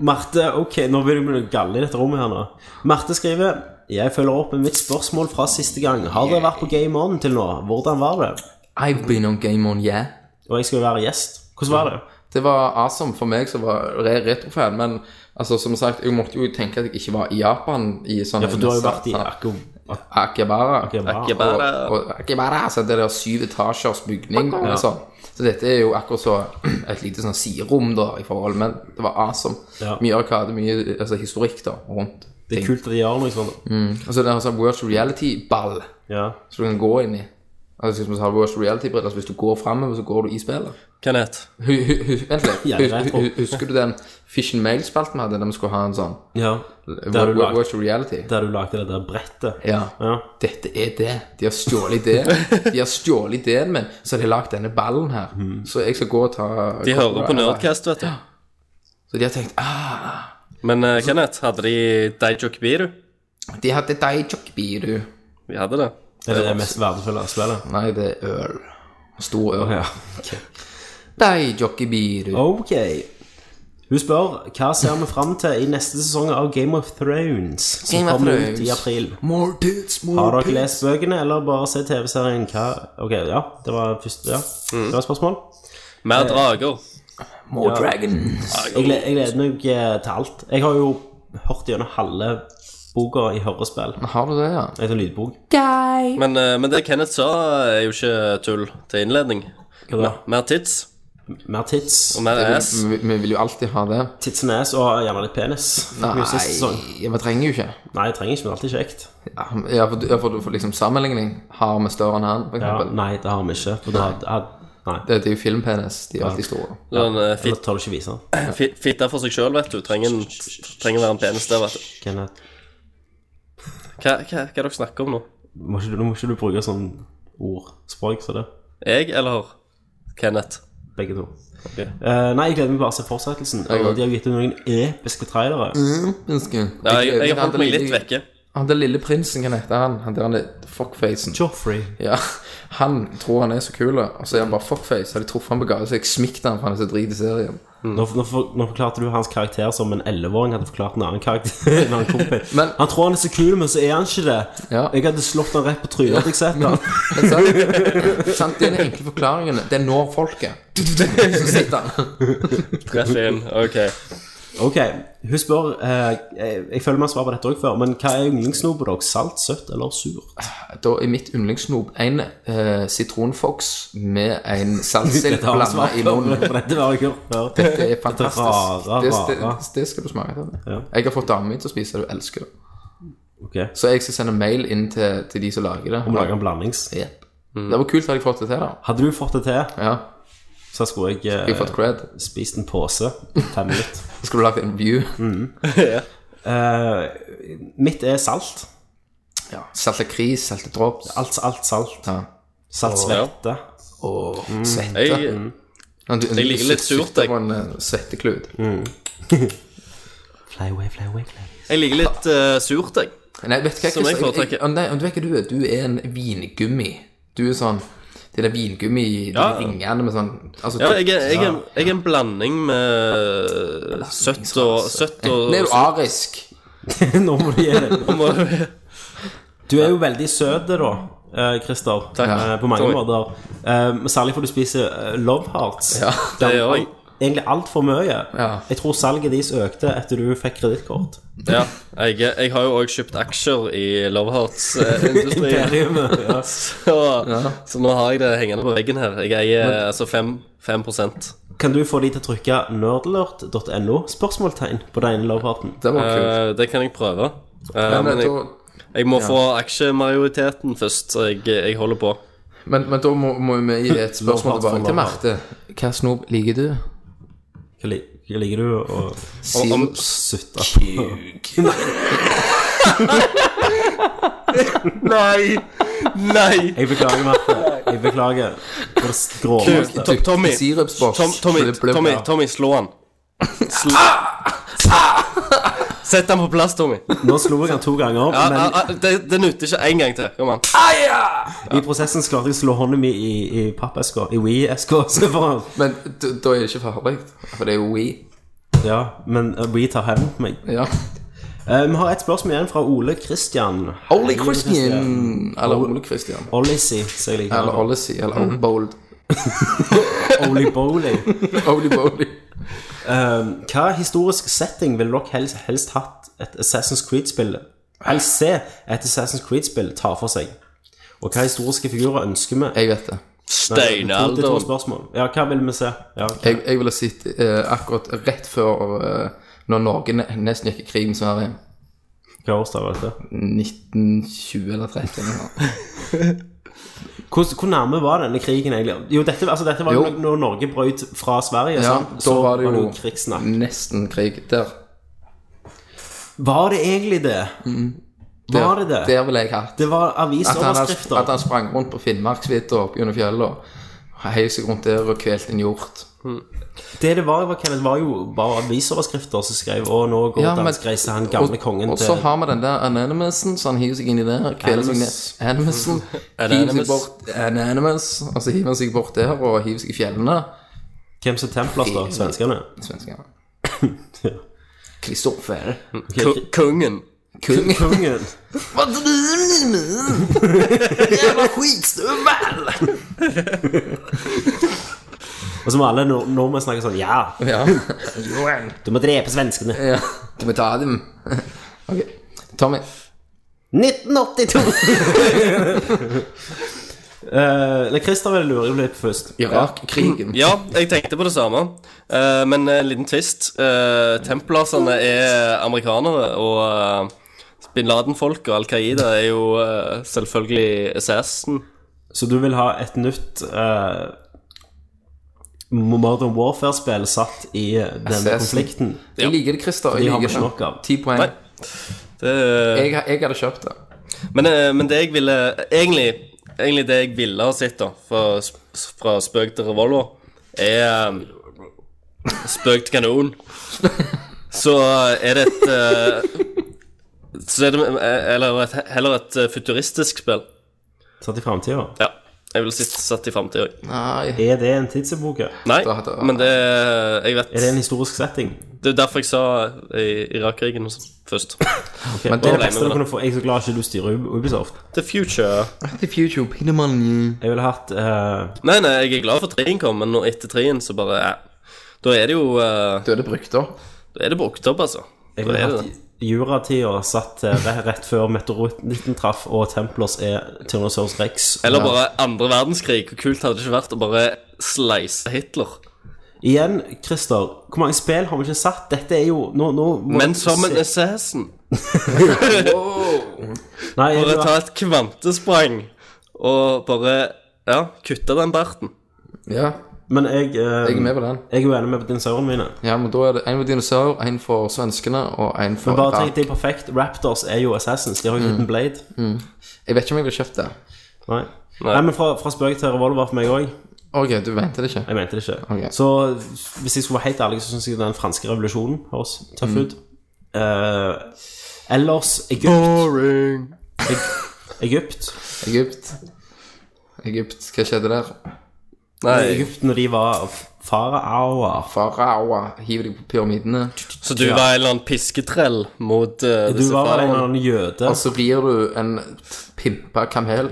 [SPEAKER 1] Marte, ok, nå blir det noe galle i dette rommet her nå. Marte skriver Jeg følger opp med mitt spørsmål fra siste gang. Har dere vært på Game On til nå? Hvordan var det?
[SPEAKER 2] I've been on Game On, yeah.
[SPEAKER 1] Og jeg skal jo være gjest. Hvordan var det?
[SPEAKER 2] Det var awesome for meg som var re retrofan, men altså, som sagt, jeg måtte jo tenke at jeg ikke var i Japan i sånn
[SPEAKER 1] Ja, for du har jo vært i
[SPEAKER 2] sånn-
[SPEAKER 1] Akko... Ak-
[SPEAKER 2] Akihabara.
[SPEAKER 1] Akihabara.
[SPEAKER 3] Akihabara.
[SPEAKER 2] Og, og Akihabara, altså det der syv etasjers bygning og sånn. Så dette er jo akkurat så et lite sånn siderom da, i forhold, men det var awesome.
[SPEAKER 1] Ja.
[SPEAKER 2] Mye arkade, mye altså, historikk da, rundt.
[SPEAKER 1] Det er kult at de gjør noe sånt.
[SPEAKER 2] Og så er det en sånn virtual reality-ball,
[SPEAKER 1] Ja.
[SPEAKER 2] så du kan gå inn i. Altså hvis man har virtual reality-briller, så hvis du går fremover, så går du i spillet.
[SPEAKER 3] Kenneth.
[SPEAKER 2] Hu- hu- hu- Vent litt.
[SPEAKER 1] Jævlig
[SPEAKER 2] Hu- hu- hu- Husker du den Fish and Mail-spalten vi hadde, der vi skulle ha en sånn
[SPEAKER 1] ja. Der, du lagde,
[SPEAKER 2] virtual reality?
[SPEAKER 1] der du lagde det der brettet.
[SPEAKER 2] Ja.
[SPEAKER 1] Ja.
[SPEAKER 2] Dette er det. De har stjålet ideen. De har stjålet ideen min, så har de lagd denne ballen her.
[SPEAKER 1] Mm.
[SPEAKER 2] Så jeg skal gå og ta altså.
[SPEAKER 3] De hører på Nerdcast, vet du.
[SPEAKER 2] Så de har tenkt ah,
[SPEAKER 3] Men eh, Kenneth, hadde de Daijo Kibiru?
[SPEAKER 2] De hadde daijokbi, du.
[SPEAKER 3] Vi hadde det.
[SPEAKER 1] Det er det mest verdifulle spillet.
[SPEAKER 2] Nei, det er øl. Stor øl.
[SPEAKER 1] Ja.
[SPEAKER 2] Daijokbi, du.
[SPEAKER 1] Ok. Hun spør hva ser vi fram til i neste sesong av Game of Thrones, som
[SPEAKER 2] Game of
[SPEAKER 1] kommer
[SPEAKER 2] Thrones.
[SPEAKER 1] ut i april.
[SPEAKER 2] More tits, more
[SPEAKER 1] Har dere
[SPEAKER 2] tits.
[SPEAKER 1] lest bøkene, eller bare sett TV-serien? Hva Ok, ja. Det var første ja.
[SPEAKER 2] Mm.
[SPEAKER 1] Det var et spørsmål.
[SPEAKER 3] Mer drager.
[SPEAKER 2] More dragons.
[SPEAKER 1] Jeg, gled- jeg gleder meg eh, til alt. Jeg har jo hørt gjennom halve boka i hørespill.
[SPEAKER 2] Har du det, ja?
[SPEAKER 1] Det heter lydbok.
[SPEAKER 3] Men, eh, men det Kenneth sa, er jo ikke tull til innledning.
[SPEAKER 1] Hva da?
[SPEAKER 3] Mer tits
[SPEAKER 1] Mer tits.
[SPEAKER 3] og mer ass.
[SPEAKER 2] Vi, vi vil jo alltid ha det.
[SPEAKER 1] Tits and ass, og gjerne litt penis. Fikk vi jo sist sesong.
[SPEAKER 2] Nei, vi trenger jo ikke.
[SPEAKER 1] Nei, jeg trenger ikke, men det er alltid kjekt.
[SPEAKER 2] Ja, ja, for, du- ja, for, du- for liksom sammenligning Har vi større enn han, for
[SPEAKER 1] Ja,
[SPEAKER 2] eksempel
[SPEAKER 1] nei, det har vi ikke. For da had- Nei.
[SPEAKER 2] det, det er jo filmpenis, de er alltid store
[SPEAKER 3] Sånn, eh,
[SPEAKER 1] Eller
[SPEAKER 3] fit-
[SPEAKER 1] tør du ikke vise den?
[SPEAKER 3] fi- Fitte for seg sjøl, vet du. Trenger, en, trenger være en penis der, vet du.
[SPEAKER 1] Kenneth,
[SPEAKER 3] Hva, hva, hva er det dere snakker om nå?
[SPEAKER 1] må ikke, du- nå må ikke du bruke sånn ordspråk som det.
[SPEAKER 3] Jeg eller Kenneth?
[SPEAKER 1] Begge to.
[SPEAKER 3] Ok.
[SPEAKER 1] Eh, nei, jeg gleder meg bare til å se fortsettelsen.
[SPEAKER 2] Jeg
[SPEAKER 1] Og
[SPEAKER 2] også.
[SPEAKER 1] de har gitt ut noen episke trailere.
[SPEAKER 2] Menneske.
[SPEAKER 3] Ja, jeg, jeg
[SPEAKER 2] Men han
[SPEAKER 3] har holdt
[SPEAKER 2] der
[SPEAKER 3] meg litt
[SPEAKER 2] lille-
[SPEAKER 3] vekke.
[SPEAKER 2] Han der lille prinsen, kan hette han Han der han er fuckfacen
[SPEAKER 1] Joffrey.
[SPEAKER 2] ja, Han tror han er så kul Og så er han bare fuckface Så de truffet han på gata Så jeg smikte han for han er så drit i serien
[SPEAKER 1] Nå, nå, for- nå forklarte du hans karakter som en 11-åring hadde forklart en annen karakter. En annen kompis.
[SPEAKER 2] Men-
[SPEAKER 1] han tror han er så kul, men så er han ikke det.
[SPEAKER 2] Ja.
[SPEAKER 1] Jeg hadde slått han rett på trynet. hadde Jeg sett han.
[SPEAKER 2] Men sant, sant det er den enkle forklaringen Det når folket Så sitter han
[SPEAKER 3] Rett inn. Ok.
[SPEAKER 1] Ok, Hun spør eh, jeg, jeg føler meg svar på dette også før, men hva er yndlingssnopet deres? Salt, søtt eller surt?
[SPEAKER 2] Da er mitt yndlingssnop En eh, sitronfox Med en salsild
[SPEAKER 1] Dette har vi
[SPEAKER 2] Blandet
[SPEAKER 1] svart
[SPEAKER 2] i
[SPEAKER 1] på,
[SPEAKER 2] munnen
[SPEAKER 1] for dette har jeg hørt før.
[SPEAKER 2] Det er fantastisk.
[SPEAKER 1] rare,
[SPEAKER 2] det,
[SPEAKER 1] rare.
[SPEAKER 2] det, det skal du smake til.
[SPEAKER 1] Ja.
[SPEAKER 2] Jeg har fått damen min til å spise det, hun elsker det.
[SPEAKER 1] Ok,
[SPEAKER 2] Så jeg skal sende mail inn til, til de som lager det.
[SPEAKER 1] Må lage en blandings.
[SPEAKER 2] Jep.
[SPEAKER 3] Mm.
[SPEAKER 2] Det var kult at jeg fått det til, da.
[SPEAKER 1] Hadde du fått det til,
[SPEAKER 2] Ja,
[SPEAKER 1] så skulle jeg,
[SPEAKER 2] jeg har fått
[SPEAKER 1] eh,
[SPEAKER 2] cred.
[SPEAKER 1] spist en pose. Fem minutter.
[SPEAKER 2] Så skulle du lagd en review.
[SPEAKER 1] Eh, mitt er salt.
[SPEAKER 2] Ja. Salte kris, salte drops,
[SPEAKER 1] Alt, alt salt.
[SPEAKER 2] Ja.
[SPEAKER 1] Salt svette.
[SPEAKER 2] og Mm. svette.
[SPEAKER 3] Jeg,
[SPEAKER 2] Ja, du-
[SPEAKER 3] jeg liker litt
[SPEAKER 2] du sitter
[SPEAKER 3] surt, jeg.
[SPEAKER 2] på en eh, svetteklut.
[SPEAKER 1] Fly away, fly away, fly away.
[SPEAKER 3] jeg liker litt eh, surt, jeg.
[SPEAKER 2] Nei, vet du hva
[SPEAKER 3] Som jeg foretrekker.
[SPEAKER 2] Å, Nei, du vet hva du er. Du er en vingummi. Du er sånn Det der vingummi i de
[SPEAKER 3] Ja.
[SPEAKER 2] ringene med sånn altså,
[SPEAKER 3] Ja, jeg, er- jeg, er- jeg er en blanding med eh, søtt og søtt og
[SPEAKER 2] Nei, er du arisk?
[SPEAKER 1] Nå må du gi deg.
[SPEAKER 3] Må-
[SPEAKER 1] Du er jo veldig søt, da, eh, Christer. eh, På mange
[SPEAKER 3] Takk.
[SPEAKER 1] måter. Eh, men Særlig fordi du spiser eh, Love Hearts.
[SPEAKER 2] Ja,
[SPEAKER 3] det gjør jeg.
[SPEAKER 1] Egentlig altfor mye.
[SPEAKER 2] Ja.
[SPEAKER 1] Jeg tror salget deres økte etter du fikk kredittkort.
[SPEAKER 3] Ja, jeg, jeg har jo òg kjøpt aksjer i Love Hearts-industrien.
[SPEAKER 1] Imperiumet. Ja.
[SPEAKER 3] Så, så nå har jeg det hengende på veggen her. Jeg eier altså 5, 5
[SPEAKER 1] Kan du få de til å trykke nerdalert.no? Spørsmålstegn på den ene Love Hearten.
[SPEAKER 2] Det var kult.
[SPEAKER 3] Eh, Det kan jeg prøve. Eh,
[SPEAKER 2] men,
[SPEAKER 3] men jeg,
[SPEAKER 2] da-
[SPEAKER 3] jeg må få aksjemajoriteten først. så Jeg, jeg holder på.
[SPEAKER 2] Men, men da må, må vi gi et spørsmål
[SPEAKER 1] Lovhatt for
[SPEAKER 2] tilbake til Marte. Hva snop liker du?
[SPEAKER 1] Hva li- hva liker du å
[SPEAKER 2] Sier
[SPEAKER 3] om-
[SPEAKER 2] du
[SPEAKER 1] sutte på?
[SPEAKER 3] Nei! Nei!
[SPEAKER 1] Jeg beklager, Marte. Jeg beklager. Det var det groveste.
[SPEAKER 3] Tom- Tommy.
[SPEAKER 2] Sirupsboks.
[SPEAKER 3] Tom, Tommy,
[SPEAKER 2] Blub, blub.
[SPEAKER 3] Tommy, Tommy, slå han. Sl Sett han på plass, Tommy.
[SPEAKER 1] Nå slo jeg han to ganger,
[SPEAKER 3] Ja,
[SPEAKER 1] men
[SPEAKER 3] ja, ja, det, det nytter ikke én gang til. Kom an.
[SPEAKER 1] i prosessen så klarte jeg å slå hånda mi i, i pappeska. I Wii-eska. så var han-
[SPEAKER 2] Men da da er det ikke farlig, for det er jo we.
[SPEAKER 1] Ja, men eh, we tar hevn på meg.
[SPEAKER 2] Ja.
[SPEAKER 1] Eh, vi har et spørsmål igjen fra Ole Christian.
[SPEAKER 2] Ole Christian. Eller Ole Christian.
[SPEAKER 1] Olissi, som jeg liker.
[SPEAKER 2] Eller Ollesy. Eller Old Bold.
[SPEAKER 1] Oli Bowley.
[SPEAKER 2] Oldie Boldy.
[SPEAKER 1] Um, hva historisk setting ville dere helst, helst hatt et Assassin's Creed-spill Helst se et Assassin's Creed-spill ta for seg? Og hva historiske figurer ønsker vi?
[SPEAKER 2] Jeg vet det.
[SPEAKER 1] Nei, det er to- det er to
[SPEAKER 3] Steinalderen.
[SPEAKER 1] spørsmål. Ja, hva vil vi se? Ja, ok.
[SPEAKER 2] Jeg, jeg ville sett eh, akkurat rett før eh, Når Norge ne- nesten gikk i krig med Sverige.
[SPEAKER 1] Hva årstid var dette?
[SPEAKER 2] 1920 eller 30 eller noe.
[SPEAKER 1] Hvor, hvor nærme var denne krigen egentlig? Jo, dette, altså, dette var jo
[SPEAKER 2] Jo.
[SPEAKER 1] når Norge brøt fra Sverige,
[SPEAKER 2] Ja,
[SPEAKER 1] sant?
[SPEAKER 2] da
[SPEAKER 1] så
[SPEAKER 2] var det jo,
[SPEAKER 1] krigssnakk.
[SPEAKER 2] nesten krig. Der.
[SPEAKER 1] Var det egentlig det?
[SPEAKER 2] der
[SPEAKER 1] Var det det?
[SPEAKER 2] Der ville jeg hatt.
[SPEAKER 1] Det var
[SPEAKER 2] At han,
[SPEAKER 1] avisoverskrifter.
[SPEAKER 2] at han sprang rundt på Finnmarksvidda under fjellet. Heiv seg rundt der og kvelte en hjort.
[SPEAKER 1] Det det var, var, Kenneth, var jo bare avisoverskrifter som skrev Å, nå går
[SPEAKER 2] Ja, men-
[SPEAKER 1] dansgreiset han gamle kongen
[SPEAKER 2] og, og
[SPEAKER 1] til
[SPEAKER 2] så har vi den der Anonymousen, så han hiver seg inn i der. Kveler seg ned.
[SPEAKER 1] Animus.
[SPEAKER 2] Anonymousen. Hiver seg
[SPEAKER 3] Anonymous.
[SPEAKER 2] bort Anonymous. Og så hiver han seg bort der og hiver seg i fjellene.
[SPEAKER 1] Hvem som templer da? Svenskene?
[SPEAKER 2] Svenskene. Kristoffer.
[SPEAKER 1] Ok,
[SPEAKER 3] Ko- Kongen.
[SPEAKER 1] Kung- Kongen.
[SPEAKER 2] Hva driver du med? Jævla skitstøvel!
[SPEAKER 1] Og så må alle nor- nordmenn snakke sånn Ja,
[SPEAKER 2] Ja.
[SPEAKER 1] du må drepe svenskene.
[SPEAKER 2] ja. Kan vi ta dem? Ok. Tommy.
[SPEAKER 1] 1982! Eh, Nei, Christer ville lure litt først.
[SPEAKER 2] Irak-krigen.
[SPEAKER 3] Ja, jeg tenkte på det samme. Eh, men en liten twist. Uh, Templarsene er amerikanere, og eh, bin Laden-folk og Al Qaida er jo eh, selvfølgelig SS-en.
[SPEAKER 1] Så du vil ha et nytt eh, Modern Warfare-spill satt i denne
[SPEAKER 2] Assassin.
[SPEAKER 1] konflikten?
[SPEAKER 2] Jeg liker det, Christer.
[SPEAKER 1] De
[SPEAKER 2] Jeg
[SPEAKER 1] har vi
[SPEAKER 2] liker
[SPEAKER 1] ikke nok
[SPEAKER 2] det.
[SPEAKER 1] av.
[SPEAKER 2] Ti poeng.
[SPEAKER 3] Nei. Det,
[SPEAKER 2] Jeg, jeg hadde kjøpt det.
[SPEAKER 3] men, eh, men det jeg ville Egentlig, egentlig det jeg ville ha sett, da, fra, sp- fra spøk til revolver, er eh, spøk til kanon. Så er det et eh, Så er det eh, eller et, heller et eh, futuristisk spill.
[SPEAKER 1] Satt i framtida?
[SPEAKER 3] Ja. Jeg ville sitte satt i framtida òg.
[SPEAKER 2] Nei.
[SPEAKER 1] Er det en tidsepoke?
[SPEAKER 3] Nei,
[SPEAKER 2] Da hadde-
[SPEAKER 3] men det eh, Jeg vet.
[SPEAKER 1] Er det en historisk setting?
[SPEAKER 3] Det er derfor jeg sa eh, i- Irak-krigen og sånn først.
[SPEAKER 1] Ok,
[SPEAKER 2] Men
[SPEAKER 1] det er
[SPEAKER 3] da-
[SPEAKER 1] det beste du kunne få. Jeg er så glad ikke du styrer Ub- Ubisoft.
[SPEAKER 3] The future.
[SPEAKER 2] The future Pinnemann.
[SPEAKER 1] Jeg ville hatt eh,
[SPEAKER 3] Nei, nei, jeg er glad for at treen kom, men nå etter treen så bare eh. Da er det jo eh,
[SPEAKER 2] Døde brukt opp.
[SPEAKER 3] Da er det brukt opp, altså.
[SPEAKER 1] Jeg
[SPEAKER 3] Da
[SPEAKER 1] ville
[SPEAKER 3] er det det.
[SPEAKER 1] hatt juratida satt eh, re- rett før meteoritten traff, og Templars er Tyrannosaurus rex.
[SPEAKER 3] Eller bare andre verdenskrig. Hvor kult hadde det ikke vært å bare slice Hitler?
[SPEAKER 1] Igjen, Christer, hvor mange spill har vi ikke satt? Dette er jo Nå, nå må
[SPEAKER 3] Men
[SPEAKER 1] jeg
[SPEAKER 3] som en
[SPEAKER 1] se-
[SPEAKER 3] assassin.
[SPEAKER 1] Nei, jeg,
[SPEAKER 3] Bare
[SPEAKER 1] ville
[SPEAKER 3] ta
[SPEAKER 1] hatt-
[SPEAKER 3] et kvantesprang og bare Ja, kutte den barten.
[SPEAKER 2] Ja,
[SPEAKER 1] men jeg eh,
[SPEAKER 2] jeg er med på den.
[SPEAKER 1] Jeg er uenig med dinosaurene mine.
[SPEAKER 2] Ja, men da er det en for dinosaur, en for svenskene og en for
[SPEAKER 1] Men bare tenk,
[SPEAKER 2] Irak.
[SPEAKER 1] det er perfekt. Raptors er jo Assassins. De har
[SPEAKER 2] Mm.
[SPEAKER 1] jo uten blade.
[SPEAKER 2] Jeg vet ikke om jeg ville kjøpt det.
[SPEAKER 1] Nei. Nei. men fra, fra spøk til revolver for meg òg.
[SPEAKER 2] Ok, du venter det ikke.
[SPEAKER 1] Jeg mente det ikke.
[SPEAKER 2] Ok.
[SPEAKER 1] Så hvis jeg skulle være helt ærlig, så syns jeg den franske revolusjonen høres
[SPEAKER 2] Mm.
[SPEAKER 1] tøff ut. Eh, ellers Egypt. Eg- Egypt.
[SPEAKER 2] Egypt. Egypt, hva skjedde der?
[SPEAKER 3] Nei,
[SPEAKER 1] Egypt når de var faraoer.
[SPEAKER 2] Faraoa hiver deg på pyramidene,
[SPEAKER 3] Så du var en eller annen pisketrell mot eh,
[SPEAKER 1] Du
[SPEAKER 3] disse
[SPEAKER 1] var vel en eller
[SPEAKER 3] faraoene? Altså,
[SPEAKER 1] annen jøde.
[SPEAKER 2] og så rir du en pimpa kamel.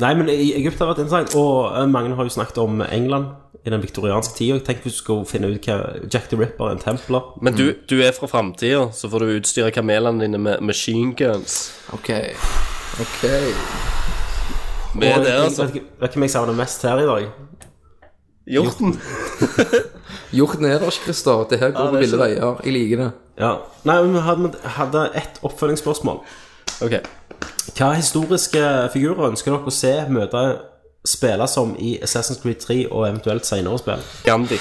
[SPEAKER 1] Nei, men i- Egypt har vært interessant. Og eh, mange har jo snakket om England i den viktorianske tida. Tenk hvis du skulle finne ut hva Jack the Ripper er en templer.
[SPEAKER 3] Men du, du er fra framtida, så får du utstyre kamelene dine med machine guns.
[SPEAKER 2] Ok, ok.
[SPEAKER 3] Vi er
[SPEAKER 1] Og
[SPEAKER 3] der,
[SPEAKER 1] jeg-
[SPEAKER 3] altså.
[SPEAKER 1] Vet ikke- vet ikke hvem jeg savner mest her i dag.
[SPEAKER 3] Hjorten.
[SPEAKER 2] Hjorten er der ikke, Christer. Det her går på ville veier. Jeg liker det.
[SPEAKER 1] Ja. Nei, men vi hadde, hadde ett oppfølgingsspørsmål.
[SPEAKER 3] Ok.
[SPEAKER 1] Hva historiske figurer ønsker dere å se, møte, spille som i Assassin's Creed 3 og eventuelt senere spill?
[SPEAKER 3] Gandhi.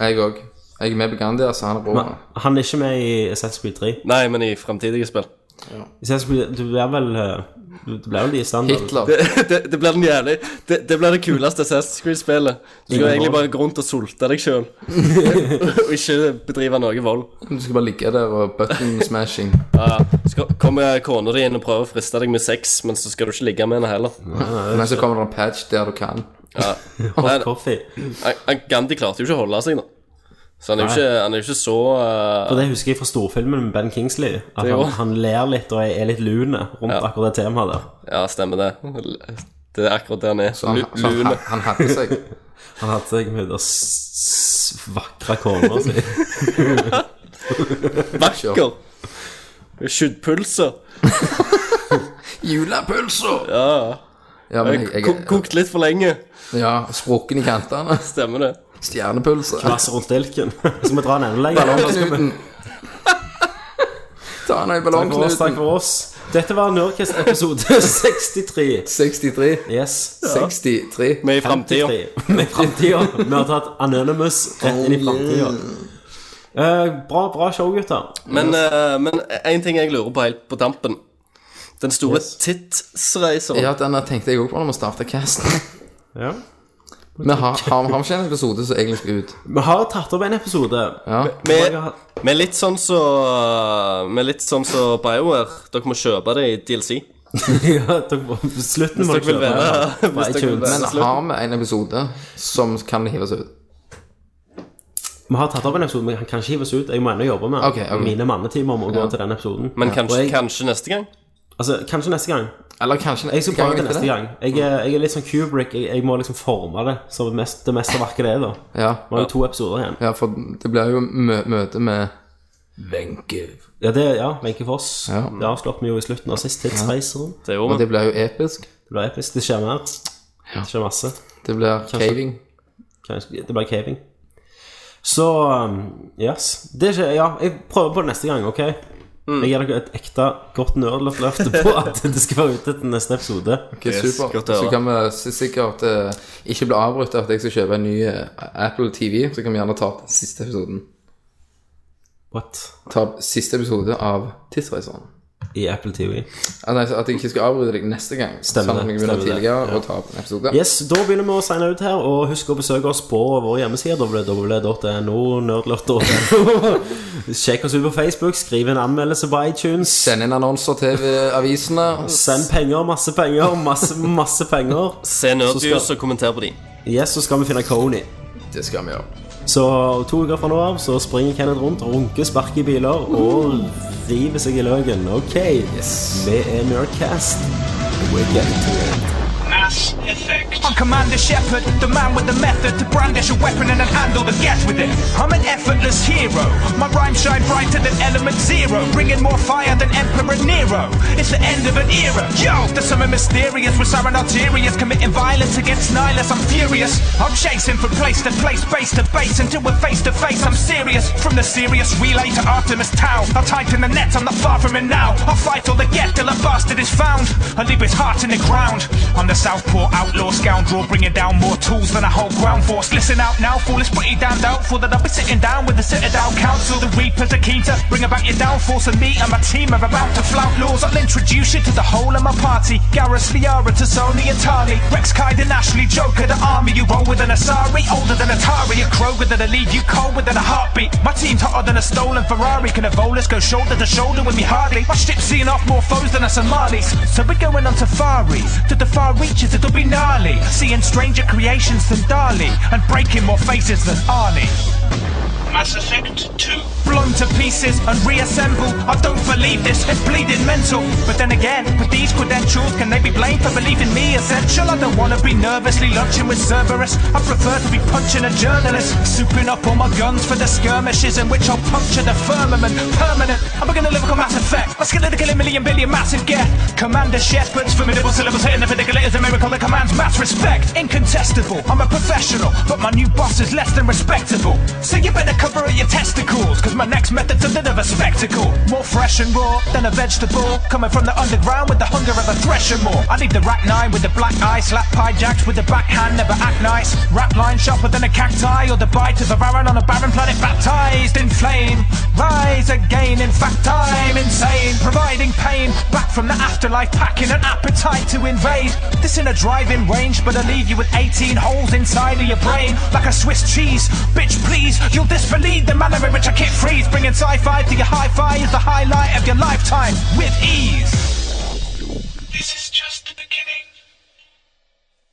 [SPEAKER 2] Jeg òg. Jeg er med på Gandhi, altså. Han er bror.
[SPEAKER 1] Han er ikke med i Assassin's Creed 3.
[SPEAKER 3] Nei, men i framtidige spill.
[SPEAKER 1] Assassin's Creed, du er vel eh, Du du ble vel i stand
[SPEAKER 2] Hitler.
[SPEAKER 3] Det, det, det blir den jævlig Det, det blir det kuleste Assassin's Creed-spillet. Du skal egentlig bare gå rundt og sulte deg sjøl. og ikke bedrive noe vold.
[SPEAKER 2] Du skal bare ligge der og button smashing.
[SPEAKER 3] Så kommer kona di inn og prøver å friste deg med sex, men så skal du ikke ligge med henne heller.
[SPEAKER 2] Men så kommer det en patch der du kan.
[SPEAKER 3] Ja.
[SPEAKER 1] Hot coffee.
[SPEAKER 3] Han- han- Gandhi klarte jo ikke å holde seg, da. Så han er jo
[SPEAKER 1] Nei.
[SPEAKER 3] ikke, han er jo ikke så eh,
[SPEAKER 1] For det husker jeg fra storfilmen med Ben Kingsley. At
[SPEAKER 3] Det jo.
[SPEAKER 1] han, han ler litt og er litt lune rundt akkurat det temaet der.
[SPEAKER 3] Ja, stemmer det. Det er akkurat det han er.
[SPEAKER 2] han,
[SPEAKER 3] Lu-
[SPEAKER 2] så han,
[SPEAKER 3] Lune.
[SPEAKER 2] han, han hadde seg.
[SPEAKER 1] Han hadde seg med den s- s- vakre kona si.
[SPEAKER 3] Vakker. Skyddpulser.
[SPEAKER 2] Julepølser!
[SPEAKER 3] Ja.
[SPEAKER 2] Ja, men jeg,
[SPEAKER 3] Ko-
[SPEAKER 2] jeg,
[SPEAKER 3] Kokt litt for lenge.
[SPEAKER 2] ja, sprukken i kantene.
[SPEAKER 3] Stemmer det.
[SPEAKER 2] Stjernepølser.
[SPEAKER 1] Glass rundt dilken. Skal vi dra den enda lenger? eller skal vi-
[SPEAKER 2] Ballongknuten. Ta han i
[SPEAKER 1] Takk for oss, takk
[SPEAKER 2] ballongknuten.
[SPEAKER 1] for oss. Dette var Nurkest episode 63.
[SPEAKER 2] 63.
[SPEAKER 1] Yes.
[SPEAKER 2] 63.
[SPEAKER 3] Vi er i framtida.
[SPEAKER 1] 53. Med framtida. Vi har tatt Anonymous rett inn i framtida. bra, bra show, gutter.
[SPEAKER 3] Men eh, men én ting jeg lurer på helt på tampen. Den store yes.
[SPEAKER 2] Ja, den der tenkte jeg òg på når vi starta casten.
[SPEAKER 1] Ja.
[SPEAKER 2] Vi har, har, har vi ikke en episode som egentlig skal ut?
[SPEAKER 1] Vi har tatt opp en episode.
[SPEAKER 2] Ja.
[SPEAKER 3] Med, med litt sånn så Med litt sånn så BioWare. Dere må kjøpe det i DLC.
[SPEAKER 1] ja, dere må- slutten må
[SPEAKER 3] Hvis dere
[SPEAKER 1] kjøpe.
[SPEAKER 3] vil være
[SPEAKER 1] På
[SPEAKER 3] hvis dere vil
[SPEAKER 1] iTunes.
[SPEAKER 3] være-
[SPEAKER 2] Men har vi en episode som kan hives ut?
[SPEAKER 1] Vi har tatt opp en episode, men han kan ikke hives ut. Jeg må ennå jobbe med
[SPEAKER 2] Ok, ok.
[SPEAKER 1] mine mannetimer om å gå til den episoden.
[SPEAKER 3] Men kanskje,
[SPEAKER 1] Og jeg,
[SPEAKER 3] kanskje neste gang?
[SPEAKER 1] altså, kanskje neste gang.
[SPEAKER 2] Eller kanskje
[SPEAKER 1] Jeg skal
[SPEAKER 2] kan
[SPEAKER 1] prøve det
[SPEAKER 2] ikke
[SPEAKER 1] neste gang. Jeg, er- jeg er litt sånn Kubrick. Jeg, jeg må liksom forme det som det mest, det mest vakre det er, da.
[SPEAKER 2] Ja.
[SPEAKER 1] Vi har jo to episoder igjen.
[SPEAKER 2] ja, for det blir jo mø møte med Wenche.
[SPEAKER 1] Ja, det, ja Wenche Foss.
[SPEAKER 2] Ja.
[SPEAKER 1] Det avslørte vi jo i slutten av sist. Tidsreiseren.
[SPEAKER 3] Det gjorde
[SPEAKER 2] Og
[SPEAKER 3] vi.
[SPEAKER 2] det blir jo episk.
[SPEAKER 1] Det blir episk. Det skjer mer. Det skjer masse.
[SPEAKER 2] Det blir caving.
[SPEAKER 1] Kanskje- Det blir caving. Så um, yes. Det skjer, ja. Jeg prøver på det neste gang, OK? Jeg gir dere et ekte godt nerdløfte på at det skal være ute til neste episode.
[SPEAKER 2] Ok, super.
[SPEAKER 3] godt å høre.
[SPEAKER 2] Så kan vi s- sikkert eh, ikke bli avbrutt av at jeg skal kjøpe en ny eh, Apple TV. Så kan vi gjerne ta opp den siste episoden.
[SPEAKER 1] What?
[SPEAKER 2] Ta opp siste episode av Tidsreiseren.
[SPEAKER 1] I Apple TV.
[SPEAKER 2] At, altså, at jeg ikke skal avbryte deg neste gang.
[SPEAKER 1] Stemmer
[SPEAKER 2] sånn at
[SPEAKER 1] det,
[SPEAKER 2] vi begynner
[SPEAKER 1] stemmer det,
[SPEAKER 2] tidligere og ta opp en episode.
[SPEAKER 1] Yes, Da begynner vi å signe ut her, og husk å besøke oss på vår hjemmeside www.no, nerdløfter.no. Sjekk oss ut på Facebook, skriv en anmeldelse på iTunes.
[SPEAKER 2] Send inn annonser til eh, avisene.
[SPEAKER 1] Send penger, masse penger, masse, masse penger.
[SPEAKER 3] Se Nerdjuice
[SPEAKER 1] skal-
[SPEAKER 3] og kommenter på de.
[SPEAKER 1] Yes, så skal vi finne Coney.
[SPEAKER 2] Det skal vi gjøre.
[SPEAKER 1] Så to uker fra nå av så springer Kenneth rundt, runker, sparker i biler og river seg i løken. OK, vi er Nerdcast. We're getting to it.
[SPEAKER 9] Mass Effect. I'm Commander Shepard, the man with the method to brandish a weapon and then handle the gas with it. I'm an effortless hero. My rhymes shine brighter than element zero, bringing more fire than Emperor Nero. It's the end of an era. Yo, there's something mysterious with Sarin Arterias committing violence against Nihilus. I'm furious. I'm chasing from place to place, base to base, until we're face to face. I'm serious. From the serious relay to Artemis Tau. I'll tighten the net, I'm not far from it now. I'll fight all the get till a bastard is found. I leave his heart in the ground. I'm the Southpaw outlaw scoundrel, bringing down more tools than a whole ground force. Listen out now, fool, it's pretty damn doubtful that I'll be sitting down with the Citadel Council. The Reapers are keen to bring about your downfall, so me and my team are about to flout laws. I'll introduce you to the whole of my party. Garrus Liara to Sony Atari. Rex Kaiden Ashley, Joker the army. You roll with an Asari, older than Atari. A Kroger that'll leave you cold within a heartbeat. My team's hotter than a stolen Ferrari. Can Evolas go shoulder to shoulder with me hardly? My ship's seen off more foes than a Somalis. So we're going on safari to the far reaches, it'll be gnarly. Seeing stranger creations than Dali and breaking more faces than Arnie. Mass Effect 2. Blown to pieces and reassembled. I don't believe this, it's bleeding mental. But then again, with these credentials, can they be blamed for believing me essential? I don't wanna be nervously lunching with Cerberus. I prefer to be punching a journalist. Souping up all my guns for the skirmishes in which I'll puncture the firmament. Permanent. I'm gonna live like a Mass Effect. My skill to kill a million billion massive get. Commander Shepard's formidable syllables hitting the vernacular is a miracle that commands mass respect. Incontestable, I'm a professional, but my new boss is less than respectable. So you better cover up your testicles, cause my next method's a bit of a spectacle. More fresh and raw than a vegetable, coming from the underground with the hunger of a threshing more. I leave the rack nine with the black eye, slap pie jacks with the backhand, never act nice. Rap line sharper than a cacti, or the bite of a baron on a barren planet baptized in flame. Rise again, in fact, I'm insane, providing pain. Back from the afterlife, packing an appetite to invade. This in a driving range, but I leave you with 18 holes inside of your brain, like a Swiss cheese. Bitch, please, you'll disbelieve the manner in which I kick freeze. Bringing sci fi to your hi fi is the highlight of your lifetime, with ease.